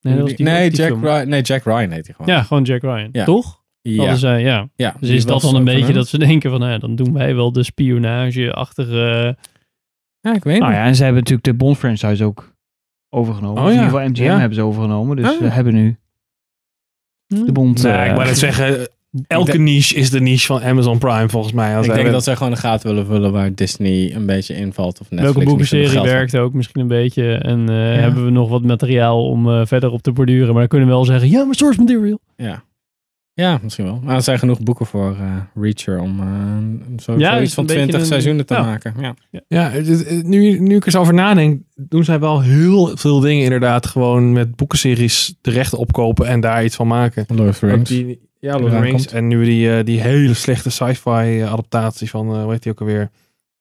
Speaker 5: Nee, dat was die-
Speaker 3: nee,
Speaker 5: die
Speaker 3: Jack
Speaker 5: film.
Speaker 3: Ryan, nee, Jack Ryan heet hij gewoon.
Speaker 5: Ja, gewoon Jack Ryan.
Speaker 3: Ja.
Speaker 5: Toch?
Speaker 3: ja.
Speaker 5: Hadden zij, ja.
Speaker 3: ja,
Speaker 5: Dus
Speaker 3: die
Speaker 5: is dat
Speaker 3: was
Speaker 5: dan een
Speaker 3: ook
Speaker 5: beetje
Speaker 3: van
Speaker 5: dat ze denken van, nou ja, dan doen wij wel de spionageachtige...
Speaker 3: hem. Ja, ik weet
Speaker 2: Nou
Speaker 3: niet.
Speaker 2: ja, en ze hebben natuurlijk de Bond franchise ook overgenomen.
Speaker 3: Oh
Speaker 2: Dus in
Speaker 3: ja.
Speaker 2: ieder geval MGM
Speaker 3: Ja.
Speaker 2: hebben ze overgenomen. Dus
Speaker 3: Ah.
Speaker 2: we hebben nu
Speaker 3: Hm.
Speaker 2: de Bond.
Speaker 1: Nou,
Speaker 2: eh,
Speaker 1: ik wou net zeggen, elke niche is de niche van Amazon Prime volgens mij. Als
Speaker 3: Ik
Speaker 1: wij
Speaker 3: denk
Speaker 1: met-
Speaker 3: dat zij gewoon de gaten willen vullen waar Disney een beetje invalt of Netflix.
Speaker 5: Welke
Speaker 3: niet genoeg
Speaker 5: boekenserie
Speaker 3: geld heeft.
Speaker 5: werkt ook misschien een beetje. En eh, hebben we nog wat materiaal om eh, verder op te borduren. Maar dan kunnen we wel zeggen, ja, maar source material.
Speaker 3: Ja. Ja, misschien wel. Maar er zijn genoeg boeken voor eh, Reacher om eh, zo,
Speaker 5: Ja,
Speaker 3: zoiets
Speaker 5: is
Speaker 3: van
Speaker 5: een beetje
Speaker 3: 20
Speaker 5: een-
Speaker 3: seizoenen te
Speaker 5: ja.
Speaker 3: maken. Ja.
Speaker 1: Ja, het- het- nu, nu ik er zo over nadenk, doen zij wel heel veel dingen inderdaad gewoon met boekenseries terecht opkopen en daar iets van maken.
Speaker 3: Lord of the Rings.
Speaker 1: Ook die- ja, Lord of the
Speaker 3: eraan
Speaker 1: Rings.
Speaker 3: komt.
Speaker 1: En nu die, eh, die hele slechte sci-fi eh, adaptatie van, eh, hoe heet die ook alweer?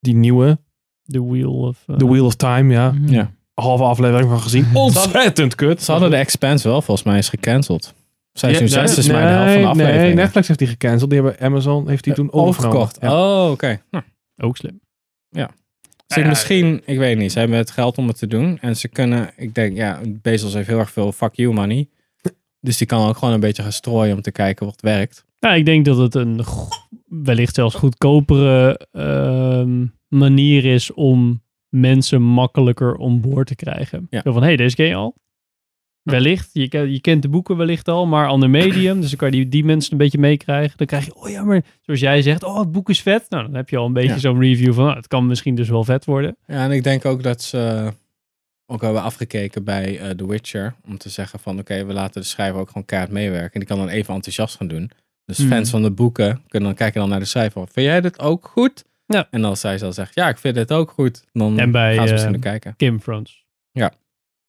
Speaker 1: Die nieuwe,
Speaker 5: The Wheel of... eh,
Speaker 1: The Wheel of Time, ja.
Speaker 2: mhm.
Speaker 3: Ja.
Speaker 1: Halve aflevering van gezien. Ontzettend kut.
Speaker 3: Ze hadden de Expanse wel volgens mij is gecanceld. Seizoen
Speaker 1: Ja,
Speaker 3: 6 is
Speaker 1: nee,
Speaker 3: maar dus de helft van de aflevering. Eh,
Speaker 1: Nee, Netflix heeft die gecanceld. Die hebben Amazon, heeft die toen overgenomen.
Speaker 3: overgekocht.
Speaker 1: Ja. Nou
Speaker 3: Oh, oké. Hm.
Speaker 5: Ook slim.
Speaker 3: Dus ik misschien,
Speaker 1: eh,
Speaker 3: ik weet niet, ze hebben het geld om het te doen. En ze kunnen, ik denk, ja, Bezos heeft heel erg veel fuck you money. Dus die kan ook gewoon een beetje gaan strooien om te kijken wat werkt.
Speaker 5: Nou, ik denk dat het een go- wellicht zelfs goedkopere ehm, manier is om mensen makkelijker om boord te krijgen.
Speaker 3: Ja.
Speaker 5: Zo van, hé, hey, deze ken je al. Wellicht. Je, ken- je kent de boeken wellicht al, maar ander medium. Dus dan kan je die, die mensen een beetje meekrijgen. Dan krijg je, oh ja, maar zoals jij zegt, oh, het boek is vet. Nou, dan heb je al een beetje
Speaker 3: Ja.
Speaker 5: zo'n review van, nou, het kan misschien dus wel vet worden.
Speaker 3: Ja, en ik denk ook dat ze eh, ook hebben afgekeken bij eh, The Witcher. Om te zeggen van, oké, we laten de schrijver ook gewoon kaart meewerken. En die kan dan even enthousiast gaan doen. Dus fans van de boeken kunnen kijken dan naar de cijfer. van, Vind jij dit ook goed? En als zij zal zeggen, ja, ik vind dit ook goed. Dan
Speaker 5: En bij
Speaker 3: gaan ze
Speaker 5: eh
Speaker 3: misschien kijken.
Speaker 5: Kim Frans.
Speaker 3: Ja.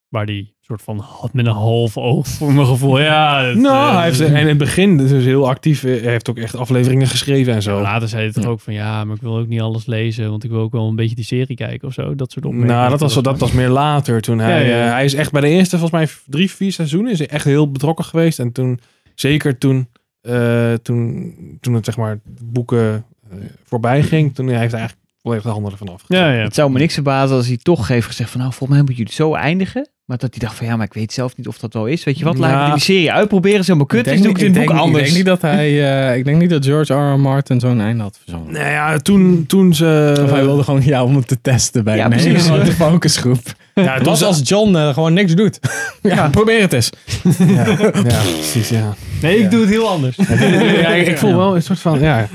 Speaker 5: Waar die soort van had met een half oog voor mijn gevoel. Ja, dat,
Speaker 1: nou,
Speaker 5: eh,
Speaker 1: hij heeft, en in het begin dus heel actief. eh, Hij heeft ook echt afleveringen geschreven en zo.
Speaker 5: Later zei hij toch ook van ja, maar ik wil ook niet alles lezen, want ik wil ook wel een beetje die serie kijken of zo. Dat soort opmerkingen.
Speaker 1: Nou, dat was, dat was meer later. Toen hij,
Speaker 5: Ja, ja, ja.
Speaker 1: eh, hij is echt bij de eerste, volgens mij drie, vier seizoenen, is hij echt heel betrokken geweest. En toen, zeker toen, eh, toen, toen het zeg maar boeken eh, voorbij ging, toen heeft hij eigenlijk volledig de handen ervan af.
Speaker 5: Ja, ja.
Speaker 2: Het zou me niks verbazen als hij toch heeft gezegd van nou, volgens mij moeten jullie het zo eindigen. Maar dat hij dacht van ja, maar ik weet zelf niet of dat wel is. Weet je wat, laten
Speaker 3: Ja.
Speaker 2: we die serie uitproberen. Zo maar kut
Speaker 3: Ik
Speaker 2: is, doe
Speaker 3: denk
Speaker 2: ik
Speaker 3: niet-
Speaker 2: dit
Speaker 3: ik
Speaker 2: boek
Speaker 3: denk-
Speaker 2: anders.
Speaker 3: Ik denk niet dat hij, eh, ik denk niet dat George R. R. Martin zo'n einde had verzonnen.
Speaker 1: Nou ja, toen, toen ze...
Speaker 3: Of hij wilde gewoon ja om hem te testen bij
Speaker 1: Eh, Ja,
Speaker 3: een hele
Speaker 1: precies.
Speaker 3: grote <laughs> focusgroep.
Speaker 1: Ja,
Speaker 3: Wat
Speaker 1: toen-
Speaker 3: als John eh, gewoon niks doet? <laughs> ja, probeer het eens.
Speaker 1: Ja, <laughs> ja, precies, ja.
Speaker 5: Nee, ik doe het heel anders.
Speaker 1: ja, ik, ik voel wel een soort van ja,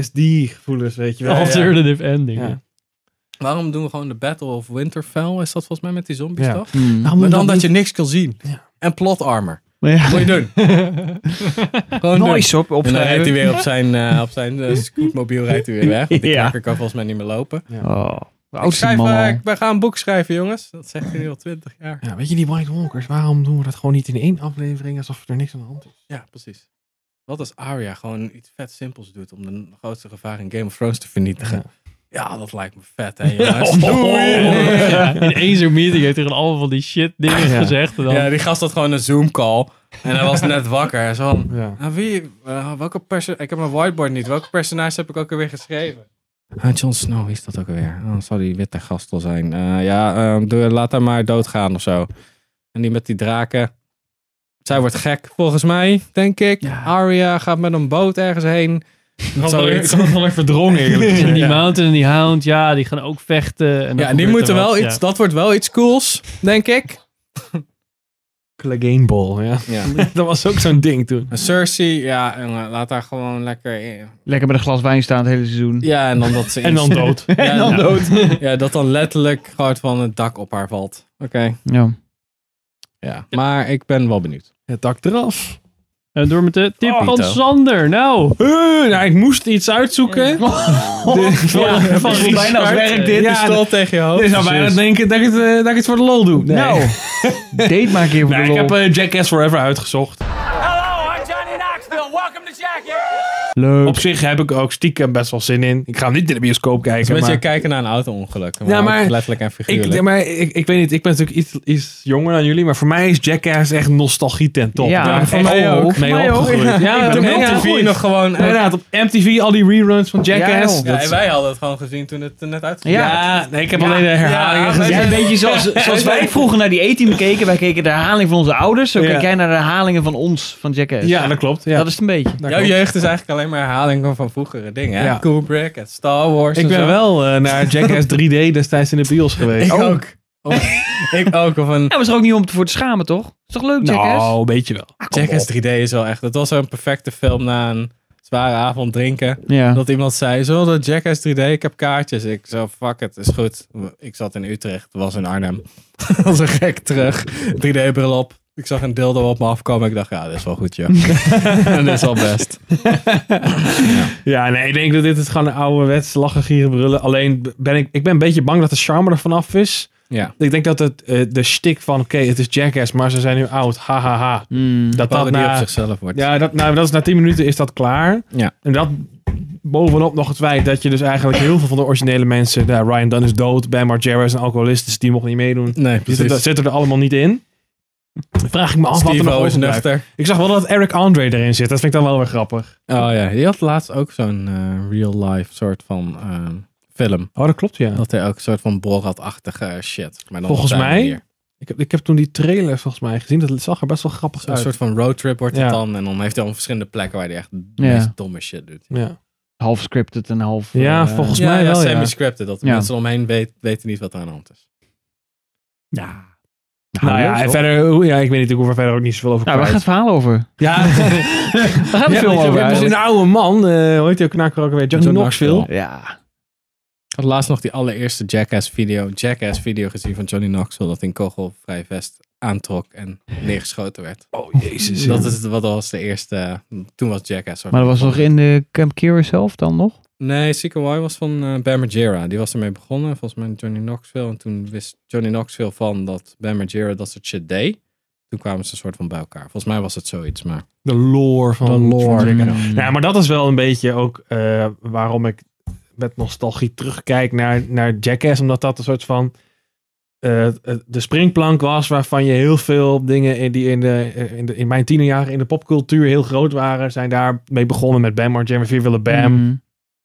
Speaker 1: PTSD-gevoelens, weet je wel.
Speaker 5: Alternative ending.
Speaker 1: Ja.
Speaker 3: Waarom doen we gewoon de Battle of Winterfell? Is dat volgens mij met die zombies
Speaker 1: Ja.
Speaker 3: toch?
Speaker 1: Hmm. Nou,
Speaker 3: maar
Speaker 1: maar
Speaker 3: dan
Speaker 1: dat
Speaker 3: dat
Speaker 1: moet-
Speaker 3: je niks kan zien. En plot armor.
Speaker 5: Maar ja.
Speaker 3: Moet je doen. Gewoon doen.
Speaker 2: Nice, op-
Speaker 3: En dan
Speaker 2: opschrijven.
Speaker 3: rijdt hij weer op zijn, eh, op zijn eh, scootmobiel rijdt hij weer weg. Want die
Speaker 2: Ja.
Speaker 3: knakker kan volgens mij niet meer lopen.
Speaker 2: Oh, hoe
Speaker 3: ik
Speaker 2: oud is die
Speaker 3: schrijf,
Speaker 2: man
Speaker 3: eh,
Speaker 2: al?
Speaker 3: ik- wij gaan een boek schrijven jongens. Dat zegt hij nu al twintig jaar.
Speaker 1: Ja, weet je, die White Walkers, waarom doen we dat gewoon niet in één aflevering alsof er niks aan de hand is?
Speaker 3: Ja, precies. Wat als Arya gewoon iets vet simpels doet om de grootste gevaar in Game of Thrones te vernietigen? Ja, dat lijkt me vet, hè, jongens. Doei!
Speaker 5: <laughs> Ja, in één zo'n meeting heeft hij gewoon allemaal van die shit dingen
Speaker 3: Ja.
Speaker 5: gezegd. En dan, <laughs>
Speaker 3: Ja, die gast had gewoon een Zoom-call. En hij <laughs> was net wakker. Hij zo van,
Speaker 1: Ja.
Speaker 3: "Ah, wie, eh, welke perso- ik heb mijn whiteboard niet. Welke personage heb ik ook alweer geschreven? Ah, Jon Snow, wie is dat ook alweer? Oh, zou die witte gast wel zijn? Eh, ja, eh, doe- laat haar maar doodgaan of zo. En die met die draken. Zij wordt gek, volgens mij, denk ik. Arya gaat met een boot ergens heen.
Speaker 5: had wel-
Speaker 3: Zoiets.
Speaker 5: ik had het wel echt verdrongen
Speaker 1: <laughs>
Speaker 5: eerlijk gezegd. En die
Speaker 3: Ja.
Speaker 5: Mountain en die Hound, ja, die gaan ook vechten. En dan
Speaker 3: Ja, die
Speaker 5: gebeurt
Speaker 3: moeten
Speaker 5: er wat,
Speaker 3: wel
Speaker 5: ja.
Speaker 3: iets, dat wordt wel iets cools, denk ik.
Speaker 1: Clegane Ball, ja. <laughs> dat was ook zo'n ding toen.
Speaker 3: En Cersei, ja, jongen, laat haar gewoon lekker in.
Speaker 2: Lekker met een glas wijn staan het hele seizoen.
Speaker 3: Ja, <laughs> en dan dat ze...
Speaker 2: En dan dood.
Speaker 1: <laughs>
Speaker 3: Ja,
Speaker 2: En dan
Speaker 3: ja.
Speaker 2: dood.
Speaker 3: Ja, dat dan letterlijk gewoon van het dak op haar valt. Oké.
Speaker 2: Ja.
Speaker 3: Ja, maar ik ben wel benieuwd.
Speaker 1: Het dak eraf.
Speaker 5: En door met de tip
Speaker 3: Oh,
Speaker 5: van
Speaker 3: Pieter.
Speaker 5: Sander. Nou.
Speaker 1: nou, ik moest iets <laughs> uitzoeken.
Speaker 5: <laughs> Ja, van
Speaker 1: precies.
Speaker 5: bijna als werk dit.
Speaker 1: Ja,
Speaker 5: dus
Speaker 1: dat-
Speaker 5: toch.
Speaker 3: tegen je hoofd.
Speaker 1: Je zou bijna denken dat ik, het, eh, dat ik het <laughs> voor de lol doe. Nee.
Speaker 2: Nou, date maar een keer voor
Speaker 1: Nee,
Speaker 2: de
Speaker 1: ik
Speaker 2: lol.
Speaker 1: heb eh, Jackass Forever uitgezocht.
Speaker 14: Hello, I'm Johnny Knoxville. Welcome to Jackass.
Speaker 2: Leuk.
Speaker 1: Op zich heb ik ook stiekem best wel zin in. Ik ga hem niet in de bioscoop
Speaker 3: Het is
Speaker 1: kijken.
Speaker 3: een beetje
Speaker 1: maar...
Speaker 3: kijken naar een auto-ongeluk. Maar
Speaker 1: Ja, maar
Speaker 3: ook letterlijk en figuurlijk.
Speaker 1: Ik, ja, maar ik, ik weet niet, ik ben natuurlijk iets, iets jonger dan jullie, maar voor mij is Jackass echt nostalgie ten top.
Speaker 3: Ja,
Speaker 1: Daar ben ik
Speaker 3: voor
Speaker 1: echt
Speaker 3: mij
Speaker 1: mee
Speaker 3: ook. Voor mij ook.
Speaker 1: opgegroeid.
Speaker 3: Ja, ik ben
Speaker 1: toen
Speaker 3: ook opgegroeid. Ja,
Speaker 1: Inderdaad, op MTV al die reruns van Jackass.
Speaker 3: Ja, en wij hadden het gewoon gezien toen het eh, net uitkwam.
Speaker 1: Ja. nee, ik heb alleen de herhalingen gezien.
Speaker 2: Ja, een beetje
Speaker 1: <laughs>
Speaker 2: zoals, zoals wij vroeger naar die A-team keken. Wij keken de herhaling van onze ouders. Zo
Speaker 1: Ja.
Speaker 2: kijk jij naar de herhalingen van ons, van Jackass.
Speaker 1: Ja, dat klopt. Ja.
Speaker 2: Dat is het een beetje.
Speaker 3: Jouw jeugd is eigenlijk alleen maar herhalingen van vroegere dingen. hè?
Speaker 1: Ja.
Speaker 3: Kubrick en Star Wars
Speaker 1: Ik
Speaker 3: en
Speaker 1: ben
Speaker 3: zo.
Speaker 1: wel eh, naar Jackass 3D destijds in de bios geweest. Oh,
Speaker 3: Ik ook. Of- <laughs> ik ook. Of een...
Speaker 2: Ja, was er ook niet om te voor te schamen, toch? Is toch leuk, Jackass?
Speaker 1: Nou, een beetje wel.
Speaker 3: Jackass 3D is wel echt... Dat was zo'n perfecte film na een zware avond drinken.
Speaker 2: Ja.
Speaker 3: Dat iemand zei, zo dat Jackass 3D, ik heb kaartjes. Ik zo, fuck het, is goed. Ik zat in Utrecht, was in Arnhem. <laughs> was een gek terug. 3D-bril op. Ik zag een dildo op me afkomen. Ik dacht, ja, dit is wel goed,
Speaker 1: <laughs>
Speaker 3: joh. dat is wel best.
Speaker 1: Ja, nee, ik denk dat dit het gewoon een ouderwets lachen, gieren, brullen. Alleen ben ik, ik ben een beetje bang dat de charme er vanaf is.
Speaker 3: Ja.
Speaker 1: Ik denk dat het, eh, de stick van, oké, het is Jackass, maar ze zijn nu oud, hahaha. Ha, ha.
Speaker 2: Hmm.
Speaker 1: dat dat
Speaker 3: Parodie
Speaker 1: na,
Speaker 3: op zichzelf wordt.
Speaker 1: Ja, dat, nou, dat is, na 10 minuten is dat klaar.
Speaker 3: Ja.
Speaker 1: En dat bovenop nog het feit dat je dus eigenlijk heel veel van de originele mensen, nou, Ryan Dunn is dood, Ben Margera is een alcoholist, dus die mocht niet meedoen.
Speaker 3: Nee,
Speaker 1: Zitten, er-
Speaker 3: precies.
Speaker 1: zitten er allemaal niet in. Dan vraag ik me af wat er
Speaker 3: Steve-O
Speaker 1: nog
Speaker 3: is
Speaker 1: overblijft.
Speaker 3: nuchter.
Speaker 1: Ik zag wel dat Eric Andre erin zit. Dat vind ik dan wel weer grappig.
Speaker 3: Oh ja, die had laatst ook zo'n eh, real-life soort van ehm, film.
Speaker 1: Oh, dat klopt, ja.
Speaker 3: Dat hij ook een soort van Borat-achtige shit. Maar dan
Speaker 1: Volgens
Speaker 3: op zijn
Speaker 1: mij,
Speaker 3: manier.
Speaker 1: ik heb, ik heb toen die trailer volgens mij gezien. Dat zag er best wel grappig
Speaker 3: Een
Speaker 1: uit.
Speaker 3: soort van roadtrip wordt
Speaker 1: Ja.
Speaker 3: het dan. En dan heeft hij al verschillende plekken waar hij echt de
Speaker 2: Ja.
Speaker 3: meest domme shit doet.
Speaker 1: Ja.
Speaker 2: Half scripted en half...
Speaker 1: Ja,
Speaker 2: eh,
Speaker 1: volgens mij wel, ja.
Speaker 3: semi-scripted. Dat de
Speaker 2: Ja.
Speaker 3: mensen omheen weet, weten niet wat er aan de hand is.
Speaker 2: Ja.
Speaker 1: Nou ja, en verder, hoe- ja, ik weet niet, ik hoef er verder ook niet zoveel over
Speaker 2: Nou, waar gaat
Speaker 1: kwijt.
Speaker 2: het verhaal over? <laughs>
Speaker 1: Ja, <laughs>
Speaker 2: Waar gaat het film over
Speaker 1: Er is dus een
Speaker 2: eigenlijk?
Speaker 1: oude man, eh hoe heet die ook knakker ook weer? Johnny
Speaker 3: John
Speaker 1: Knoxville.
Speaker 3: Knoxville.
Speaker 2: Ja.
Speaker 3: Ik had laatst nog die allereerste Jackass video, Jackass video gezien van Johnny Knoxville. Dat in kogelvrij vest aantrok en neergeschoten werd.
Speaker 1: Oh jezus.
Speaker 3: Dat
Speaker 1: ja.
Speaker 3: is wat was de eerste. Toen was Jackass. soort
Speaker 2: Maar dat was
Speaker 3: van-
Speaker 2: nog in de Camp Keeler zelf dan nog?
Speaker 3: Nee, CKY was van eh Bam Margera. Die was ermee begonnen. Volgens mij Johnny Knoxville. En toen wist Johnny Knoxville van dat Bam Margera dat soort shit deed. Toen kwamen ze een soort van bij elkaar. Volgens mij was het zoiets, maar...
Speaker 1: De lore van
Speaker 3: De lore,
Speaker 1: van Jackass.
Speaker 3: ja.
Speaker 1: Ja, maar dat is wel een beetje ook eh, waarom ik met nostalgie terugkijk naar, naar Jackass. Omdat dat een soort van eh, de springplank was waarvan je heel veel dingen in die in, de, in, de, in mijn tienerjaren in de popcultuur heel groot waren. Zijn daar mee begonnen met Bam Margera, Vier Bam.
Speaker 3: Mm.
Speaker 2: Mhm.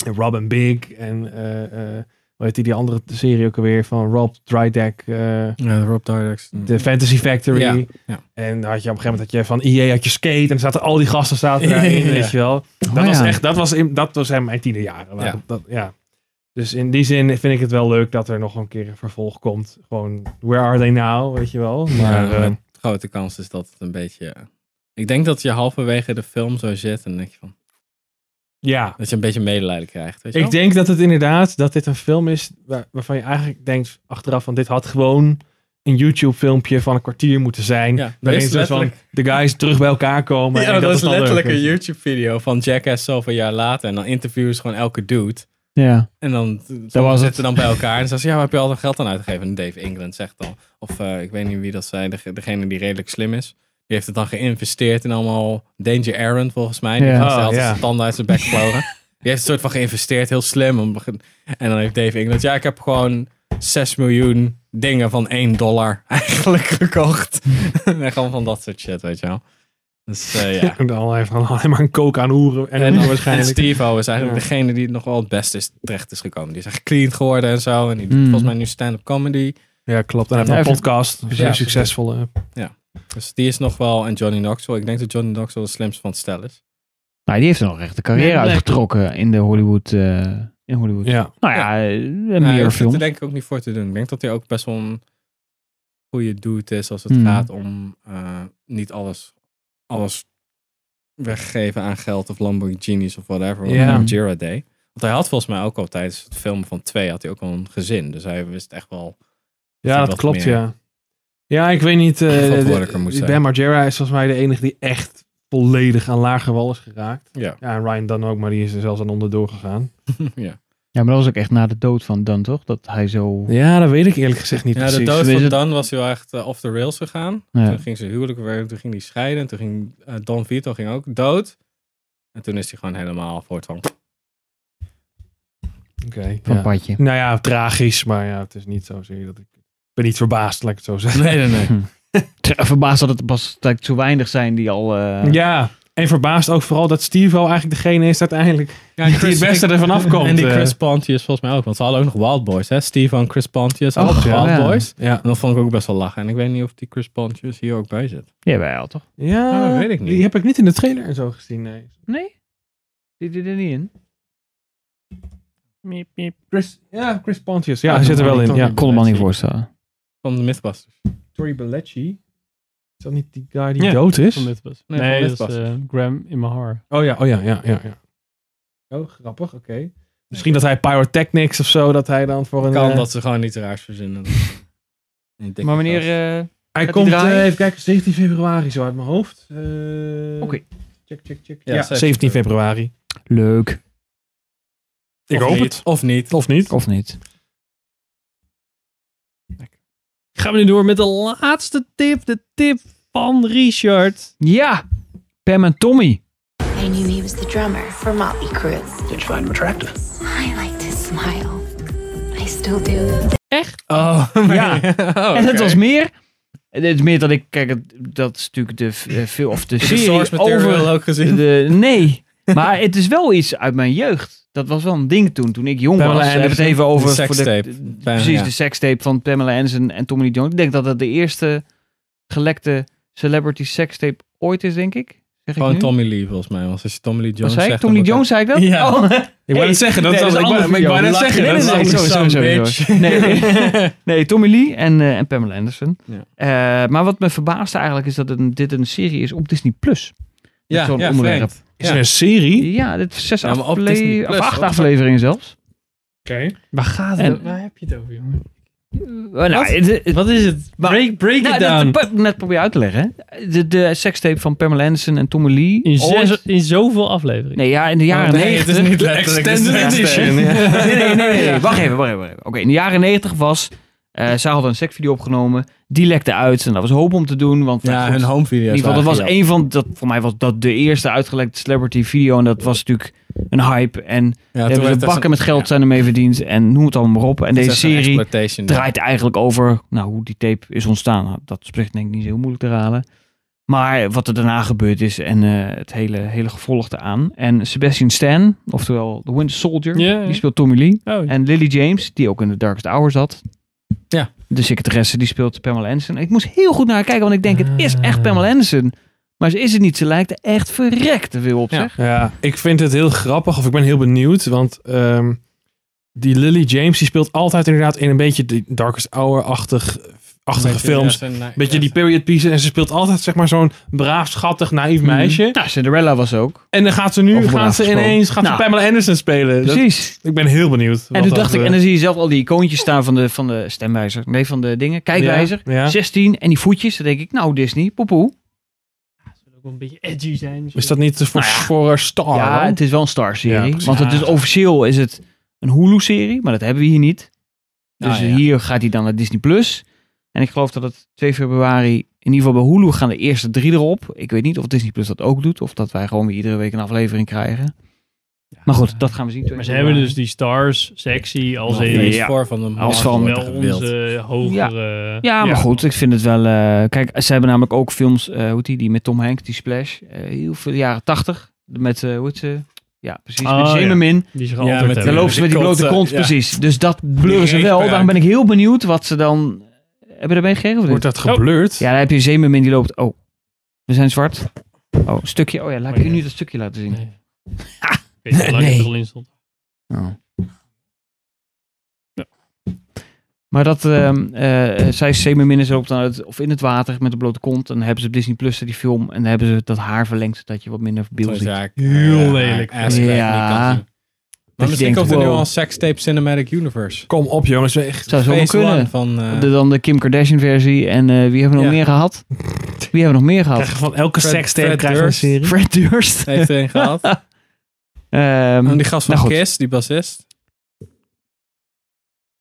Speaker 1: En Robin Big en eh eh, hoe heet die, die andere serie ook alweer van Rob Drydeck. eh,
Speaker 3: Ja, Rob Dyrdek's.
Speaker 1: de Fantasy Factory.
Speaker 3: Mm. Ja, ja.
Speaker 1: En dan had je op een gegeven moment dat je van EA had je skate en er zaten al die gasten zaten
Speaker 3: <laughs>
Speaker 1: daarin,
Speaker 3: Ja.
Speaker 1: weet je wel. Dat
Speaker 3: Oh,
Speaker 1: was
Speaker 3: ja.
Speaker 1: echt, dat was, in, dat was in mijn tiende jaren.
Speaker 3: Ja.
Speaker 1: Ja. Dat, ja. Dus in die zin vind ik het wel leuk dat er nog een keer een vervolg komt. Gewoon, where are they now, weet je wel. Maar,
Speaker 3: Maar
Speaker 1: eh,
Speaker 3: de grote kans is dat het een beetje... Ik denk dat je halverwege de film zo zit en dan denk je van...
Speaker 1: Ja.
Speaker 3: Dat je een beetje medelijden krijgt, weet je
Speaker 1: ik
Speaker 3: wel?
Speaker 1: denk dat het inderdaad, dat dit een film is waar- waarvan je eigenlijk denkt achteraf van dit had gewoon een YouTube filmpje van een kwartier moeten zijn.
Speaker 3: Ja,
Speaker 1: waarin
Speaker 3: dit is dus
Speaker 1: soort van de guys terug bij elkaar komen.
Speaker 3: ja,
Speaker 1: en
Speaker 3: dat, is
Speaker 1: dan
Speaker 3: letterlijk
Speaker 1: leuk,
Speaker 3: een
Speaker 1: weet je.
Speaker 3: YouTube-video van Jackass zoveel jaar later. En dan interviewen ze gewoon elke dude.
Speaker 2: Ja.
Speaker 3: En dan
Speaker 2: was
Speaker 3: was
Speaker 2: het.
Speaker 3: zitten dan bij elkaar. En ze zeggen, ja, waar heb je al dat geld aan uitgegeven? En Dave England zegt dan. Of eh, ik weet niet wie dat zei. deg- Degene die redelijk slim is. Die heeft het dan geïnvesteerd in allemaal Danger Aaron, volgens mij. Die
Speaker 2: Ja.
Speaker 3: heeft
Speaker 2: Oh,
Speaker 3: altijd
Speaker 2: ja.
Speaker 3: zijn tanden uit zijn bek vlogen. Die heeft een soort van geïnvesteerd, heel slim. om- En dan heeft Dave England, ja, ik heb gewoon 6 miljoen dingen van 1 dollar <laughs> eigenlijk gekocht. <laughs> en gewoon van dat soort shit, weet je wel. Dus eh, ja.
Speaker 1: En dan heeft hij <laughs> alleen maar een kook aan hoeren. En, dan waarschijnlijk.
Speaker 3: En Steve-O is eigenlijk
Speaker 1: Ja.
Speaker 3: degene die nog wel het beste is, terecht is gekomen. Die is echt clean geworden en zo. En die doet
Speaker 1: Mm.
Speaker 3: volgens mij nu stand-up comedy.
Speaker 1: Ja, klopt. En hij
Speaker 3: Ja,
Speaker 1: heeft een
Speaker 3: even-
Speaker 1: podcast. Dus
Speaker 3: Ja.
Speaker 1: een succesvolle.
Speaker 3: Ja. Dus die is nog wel. En Johnny Knoxville. Ik denk dat Johnny Knoxville de slimste van het stel is.
Speaker 2: Nou, die heeft er nog echt de carrière
Speaker 3: Nee, nee.
Speaker 2: uitgetrokken in de Hollywood. eh, in Hollywood.
Speaker 1: Ja.
Speaker 2: Nou ja, eh,
Speaker 3: Nou, hij
Speaker 2: meer
Speaker 3: hoeft het
Speaker 2: films.
Speaker 3: er denk ik ook niet voor te doen. Ik denk dat hij ook best wel een goede dude is als het
Speaker 1: Hmm.
Speaker 2: Mm.
Speaker 3: gaat om eh, niet alles, alles weggeven aan geld of Lamborghinis of whatever. Wat
Speaker 1: Ja.
Speaker 3: yeah. Jira deed. Want hij had volgens mij ook al tijdens het filmen van twee had hij ook al een gezin. Dus hij wist echt wel.
Speaker 1: Ja, dat
Speaker 3: wat
Speaker 1: klopt,
Speaker 3: meer-
Speaker 1: ja. Ja, ik weet niet. eh,
Speaker 3: Verantwoordelijker moet
Speaker 1: de-
Speaker 3: zijn.
Speaker 1: ben Margera is volgens mij de enige die echt volledig aan lager wal is geraakt.
Speaker 3: Ja.
Speaker 1: en Ryan dan ook, maar die is er zelfs aan onderdoor gegaan.
Speaker 3: <laughs> ja.
Speaker 2: Ja, maar dat was ook echt na de dood van Dan, toch? Dat hij zo...
Speaker 1: Ja, dat weet ik eerlijk gezegd niet
Speaker 3: ja,
Speaker 1: precies.
Speaker 3: de dood
Speaker 2: Weet
Speaker 3: van
Speaker 2: je-
Speaker 3: Dan was hij wel echt eh, off the rails gegaan.
Speaker 2: Ja.
Speaker 3: Toen ging zijn huwelijk weer, toen ging hij scheiden. Toen ging eh, Don Vito ging ook dood. En toen is hij gewoon helemaal voor het van...
Speaker 1: Oké.
Speaker 2: Van
Speaker 1: ja.
Speaker 2: padje.
Speaker 1: Nou ja, tragisch, maar ja, het is niet zozeer dat ik... Ik ben niet verbaasd, laat ik het zo zeggen.
Speaker 3: Nee, nee, nee.
Speaker 2: Hm. <laughs> Verbaasd dat het pas dat het zo weinig zijn die al... eh,
Speaker 1: Ja, en verbaasd ook vooral dat Steve eigenlijk degene is dat uiteindelijk
Speaker 3: Ja,
Speaker 1: die het beste ervan afkomt.
Speaker 3: <laughs> En die
Speaker 1: eh.
Speaker 3: Chris Pontius volgens mij ook. Want ze hadden ook nog Wild Boys, hè? Steve en Chris Pontius.
Speaker 1: Oh,
Speaker 3: Ook nog
Speaker 1: ja.
Speaker 3: Wild Boys.
Speaker 1: Ja.
Speaker 3: En dat vond ik ook best wel lachen. En ik weet niet of die Chris Pontius hier ook bij zit.
Speaker 2: Jawel, toch?
Speaker 1: Ja,
Speaker 3: Ah, dat weet ik niet.
Speaker 1: die heb ik niet in de trailer en zo gezien, nee.
Speaker 2: Nee? Zit die er niet in?
Speaker 5: Miep, miep.
Speaker 1: Chris, ja, Chris Pontius. Ja, hij zit er wel in. Ja.
Speaker 2: Ik kon hem al niet voorstellen.
Speaker 3: Van de Mythbusters.
Speaker 1: Tori Belleci. Is dat niet die guy die
Speaker 5: Ja,
Speaker 1: dood
Speaker 5: van
Speaker 1: is?
Speaker 5: Mythbusters.
Speaker 3: Nee,
Speaker 5: Nee,
Speaker 3: van
Speaker 5: dat is
Speaker 3: Mythbusters.
Speaker 5: eh, Graham in mijn haar.
Speaker 1: Oh ja, oh ja, ja, ja. ja. Oh, grappig, oké. Misschien dat hij pyrotechnics of zo, dat hij dan voor een...
Speaker 3: Kan
Speaker 1: eh,
Speaker 3: dat ze gewoon niet raars verzinnen. Een dikke
Speaker 2: Maar wanneer...
Speaker 3: gast.
Speaker 2: eh,
Speaker 1: Hij
Speaker 2: gaat
Speaker 1: komt,
Speaker 2: hij draaien?
Speaker 1: eh, even kijken, 17 februari zo uit mijn hoofd. Eh,
Speaker 2: Oké.
Speaker 1: Check, check, check.
Speaker 3: Ja,
Speaker 1: Ja,
Speaker 3: 17
Speaker 1: 17 februari.
Speaker 2: Leuk.
Speaker 1: Ik
Speaker 3: Of
Speaker 1: hoop
Speaker 3: niet.
Speaker 1: het.
Speaker 3: Of niet.
Speaker 1: Of niet?
Speaker 2: Of niet?
Speaker 5: Gaan we nu door met de laatste tip. De tip van Richard.
Speaker 2: Ja! Pam en Tommy.
Speaker 15: I knew he was the drummer for Motley Crue.
Speaker 6: Did you find him attractive?
Speaker 15: I liked his smile. I still do.
Speaker 5: Echt?
Speaker 3: Oh, <laughs>
Speaker 2: Ja.
Speaker 3: oké.
Speaker 2: En het was meer... Het is meer dat ik... Kijk, het- dat is natuurlijk de f- eh, film... Of de
Speaker 3: de source
Speaker 2: serie
Speaker 3: material
Speaker 2: over...
Speaker 3: ook gezien. <laughs>
Speaker 2: De, nee. Maar het is wel iets uit mijn jeugd. Dat was wel een ding toen, toen ik jong
Speaker 3: Pamela
Speaker 2: was. We hebben het
Speaker 3: Anderson,
Speaker 2: even over
Speaker 3: de
Speaker 2: voor
Speaker 3: sekstape. Pamela,
Speaker 2: precies
Speaker 3: ja.
Speaker 2: de sekstape van Pamela Anderson en Tommy Lee Jones. Ik denk dat dat de eerste gelekte celebrity sekstape ooit is, denk ik. Zeg ik
Speaker 3: Gewoon
Speaker 2: nu?
Speaker 3: Tommy Lee volgens mij. Want als je Tommy Lee
Speaker 2: Wat
Speaker 3: Jones
Speaker 2: zei ik?
Speaker 3: zegt...
Speaker 2: Tommy Lee
Speaker 3: dan
Speaker 2: Jones
Speaker 3: wordt
Speaker 2: zei ik dat?
Speaker 3: Ja.
Speaker 2: Oh.
Speaker 1: Ik wou net zeggen, dat
Speaker 2: Nee,
Speaker 1: was-
Speaker 2: dat
Speaker 1: ik
Speaker 2: is
Speaker 1: wou-
Speaker 2: een
Speaker 1: maar ik wou net
Speaker 2: andere video.
Speaker 1: zeggen, dat is
Speaker 2: Nee,
Speaker 1: een
Speaker 2: nee,
Speaker 1: andere
Speaker 2: nee, sowieso,
Speaker 1: bitch.
Speaker 2: sowieso. Nee, <laughs> nee, Tommy Lee en, eh, en Pamela Anderson.
Speaker 3: Ja.
Speaker 2: Eh, maar wat me verbaasde eigenlijk is dat het een- dit een serie is op Disney+. Plus. Met
Speaker 3: Ja,
Speaker 2: zo'n
Speaker 3: ja,
Speaker 2: onderwerp.
Speaker 3: vreemd.
Speaker 1: Is
Speaker 3: Ja.
Speaker 1: er een serie?
Speaker 2: Ja, dit is zes
Speaker 3: Ja, maar op Disney
Speaker 2: afle-
Speaker 3: Plus,
Speaker 2: of acht
Speaker 3: wat-
Speaker 2: afleveringen zelfs.
Speaker 1: Oké.
Speaker 5: Waar gaat
Speaker 2: En- Oh, nou,
Speaker 5: Waar heb je het over, jongen?
Speaker 2: Wat? nou,
Speaker 1: Wat is het? Break, break it down.
Speaker 2: Dat, dat net probeer uit te leggen. hè. De, de sekstape van Pamela Anderson en Tommy Lee.
Speaker 5: In, zes-
Speaker 2: ooit-
Speaker 5: in zoveel afleveringen.
Speaker 2: Oh, Nee, ja, in de jaren
Speaker 5: Oh, nee,
Speaker 2: 90.
Speaker 5: het is niet letterlijk, het is
Speaker 2: Extended
Speaker 5: de
Speaker 2: edition.
Speaker 5: extended, ja.
Speaker 2: nee, nee, nee, nee. Wacht even, wacht even. wacht even. Oké, in de jaren 90 was... eh zij hadden een sekvideo opgenomen. Die lekte uit. En dat was hoop om te doen. Want,
Speaker 3: Ja,
Speaker 2: nou goed,
Speaker 3: hun home video's
Speaker 2: In ieder geval, dat was
Speaker 3: waren
Speaker 2: één van... Dat, voor mij was dat de eerste uitgelekte celebrity video. En dat was natuurlijk een hype. En
Speaker 3: toen
Speaker 2: hebben ze
Speaker 3: werd er
Speaker 2: bakken
Speaker 3: zo'n-
Speaker 2: met geld zijn ermee verdiend. En noem het allemaal maar op. En
Speaker 3: Dat is
Speaker 2: deze
Speaker 3: echt een
Speaker 2: serie
Speaker 3: exploitation, ja.
Speaker 2: draait eigenlijk over nou, hoe die tape is ontstaan. Nou, Dat is denk ik niet zo heel moeilijk te raden. Maar wat er daarna gebeurd is en eh, het hele, hele gevolg eraan. En Sebastian Stan, oftewel The Winter Soldier,
Speaker 5: Ja, ja.
Speaker 2: die speelt Tommy Lee.
Speaker 5: Oh.
Speaker 2: En Lily James, die ook in The Darkest Hour zat. Ja. De secretaresse, die speelt Pamela Anderson. Ik moest heel goed naar haar kijken, want ik denk, het is echt Pamela Anderson. Maar ze is het niet. Ze lijkt er echt verrekt te veel op, zeg.
Speaker 1: Ja, ik vind het heel grappig, of ik ben heel benieuwd, want ehm, die Lily James die speelt altijd inderdaad in een beetje die Darkest Hour-achtig achtige
Speaker 3: Beetje,
Speaker 1: films.
Speaker 3: ja, zo'n na-
Speaker 1: beetje die period pieces. En ze speelt altijd zeg maar zo'n braaf, schattig, naïef meisje.
Speaker 2: Nou, Cinderella was ook.
Speaker 1: En dan gaat ze nu
Speaker 2: Over
Speaker 1: gaat ze
Speaker 2: braaf
Speaker 1: ineens gaat
Speaker 2: gesproken.
Speaker 1: ze Pamela Anderson spelen. Dat-
Speaker 2: Precies.
Speaker 1: ik ben heel benieuwd. eh,
Speaker 2: En toen dacht ik, en dan zie je zelf al die icoontjes staan van de, van de stemwijzer. Nee, van de dingen. Kijkwijzer.
Speaker 1: Ja, ja.
Speaker 2: 16. En die voetjes. Dan denk ik, nou Disney, poepoe.
Speaker 5: Ook wel een beetje edgy zijn.
Speaker 1: Is dat niet voor, voor een Star?
Speaker 2: Nou ja,
Speaker 1: dan?
Speaker 2: het is wel een Star-serie.
Speaker 1: Oh, Ja, precies.
Speaker 2: want het is, officieel is het een Hulu-serie. Maar dat hebben we hier niet.
Speaker 1: Nou
Speaker 2: Dus
Speaker 3: Ah, ja.
Speaker 2: hier gaat hij dan naar Disney+. Plus. En ik geloof dat het 2 februari... In ieder geval bij Hulu gaan de eerste drie erop. Ik weet niet of Disney Plus dat ook doet. Of dat wij gewoon weer iedere week een aflevering krijgen. maar goed, dat gaan we zien.
Speaker 5: Maar ze hebben dus die stars, sexy, als
Speaker 2: Ja,
Speaker 5: in...
Speaker 2: ja. Voor van de
Speaker 5: als
Speaker 2: Marvel
Speaker 5: van wel
Speaker 2: wordt gewild.
Speaker 5: onze hogere...
Speaker 2: Ja, maar goed, ik vind het wel. eh, kijk, ze hebben namelijk ook films, eh, hoe heet die, die met Tom Hanks, die Splash, eh, heel veel jaren tachtig. Met, eh, hoe heet ze? Ja, precies.
Speaker 5: Oh,
Speaker 2: met
Speaker 5: ja.
Speaker 2: Zemermin.
Speaker 5: Die ze gealterd Ja, met-
Speaker 2: Daar
Speaker 5: hebben.
Speaker 2: lopen ze met die
Speaker 5: Die
Speaker 2: blote
Speaker 5: kont,
Speaker 2: kont,
Speaker 5: eh, ja.
Speaker 2: precies. Dus dat blurren ze
Speaker 5: Die
Speaker 2: wel.
Speaker 5: reet
Speaker 2: Daarom ben ik heel benieuwd wat ze dan. Hebben we mee gekregen of Wordt
Speaker 1: dat geblurred?
Speaker 2: Ja, daar heb je Zemermin die loopt. Oh, we zijn zwart. Oh, stukje. Oh ja, laat ik u nu dat stukje laten zien.
Speaker 5: Ik weet niet hoe lang
Speaker 2: Nee.
Speaker 5: het er al in stond.
Speaker 2: Maar dat ehm eh zij zeemerminnen zo op dan uit, of in het water met een blote kont. En dan hebben ze op Disney Plus die film. En dan hebben ze dat haar verlengd zodat je wat minder beeld
Speaker 3: Zo'n
Speaker 2: ziet.
Speaker 3: zaak, Heel eh, lelijk. ass crack, die kan
Speaker 2: Ja.
Speaker 3: zien. Maar misschien komt er nu al een
Speaker 2: als
Speaker 3: sextape Cinematic Universe.
Speaker 1: Kom op jongens, echt.
Speaker 2: Zou zo wel
Speaker 3: Phase one
Speaker 2: kunnen.
Speaker 3: Van, eh,
Speaker 2: de, dan de Kim Kardashian versie. En eh, wie hebben we nog meer gehad? Wie hebben we nog meer gehad?
Speaker 1: Krijgen van elke
Speaker 3: Fred-
Speaker 1: sekstape
Speaker 3: Fred
Speaker 1: krijgen we een
Speaker 3: Durst.
Speaker 1: serie.
Speaker 2: Fred Durst.
Speaker 3: Heeft er een gehad.
Speaker 2: Ehm,
Speaker 3: En Oh, die gast van
Speaker 2: nou goed.
Speaker 3: Kiss, die bassist.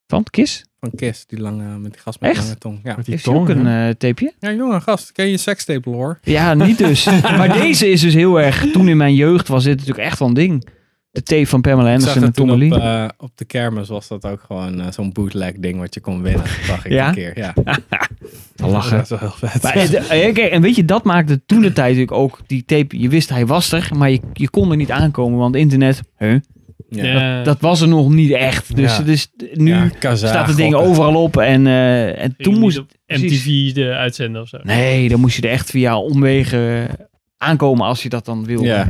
Speaker 2: Van Kiss?
Speaker 3: Van Kiss, die lange, met die gast met
Speaker 2: Echt?
Speaker 3: lange tong. Ja.
Speaker 2: Heeft die Heeft hij ook tong, een, hè? eh, tapeje?
Speaker 3: Ja, jongen, gast. Ken je sekstape lore?
Speaker 2: Ja, niet
Speaker 3: <laughs>
Speaker 2: dus. maar deze is dus heel erg... Toen in mijn jeugd was dit natuurlijk echt wel een ding. De tape van Pamela
Speaker 3: Ik zag
Speaker 2: Anderson en
Speaker 3: dat toen
Speaker 2: Tommy
Speaker 3: op,
Speaker 2: Lee.
Speaker 3: eh, op de kermis was dat ook gewoon eh, zo'n bootleg ding wat je kon winnen. Dat dacht ik
Speaker 2: Ja?
Speaker 3: een keer. Ja.
Speaker 2: <laughs> Dan lachen.
Speaker 3: Dat is wel heel vet.
Speaker 2: Maar, eh, de- eh, kijk, en weet je, dat maakte toen
Speaker 5: <clears throat>
Speaker 2: de tijd natuurlijk ook die tape. Je wist hij was er, maar je, je kon er niet aankomen, want internet, huh?
Speaker 5: Ja.
Speaker 2: Dat, dat was er nog niet echt. Dus,
Speaker 5: Ja.
Speaker 2: dus nu
Speaker 5: Ja, Kazaa,
Speaker 2: staat het ding
Speaker 5: gokken.
Speaker 2: overal op. En, eh, en
Speaker 5: Ging
Speaker 2: toen moest.
Speaker 5: niet op MTV de uitzenden of zo.
Speaker 2: Nee, dan moest je er echt via omwegen aankomen als je dat dan wilde.
Speaker 5: Ja.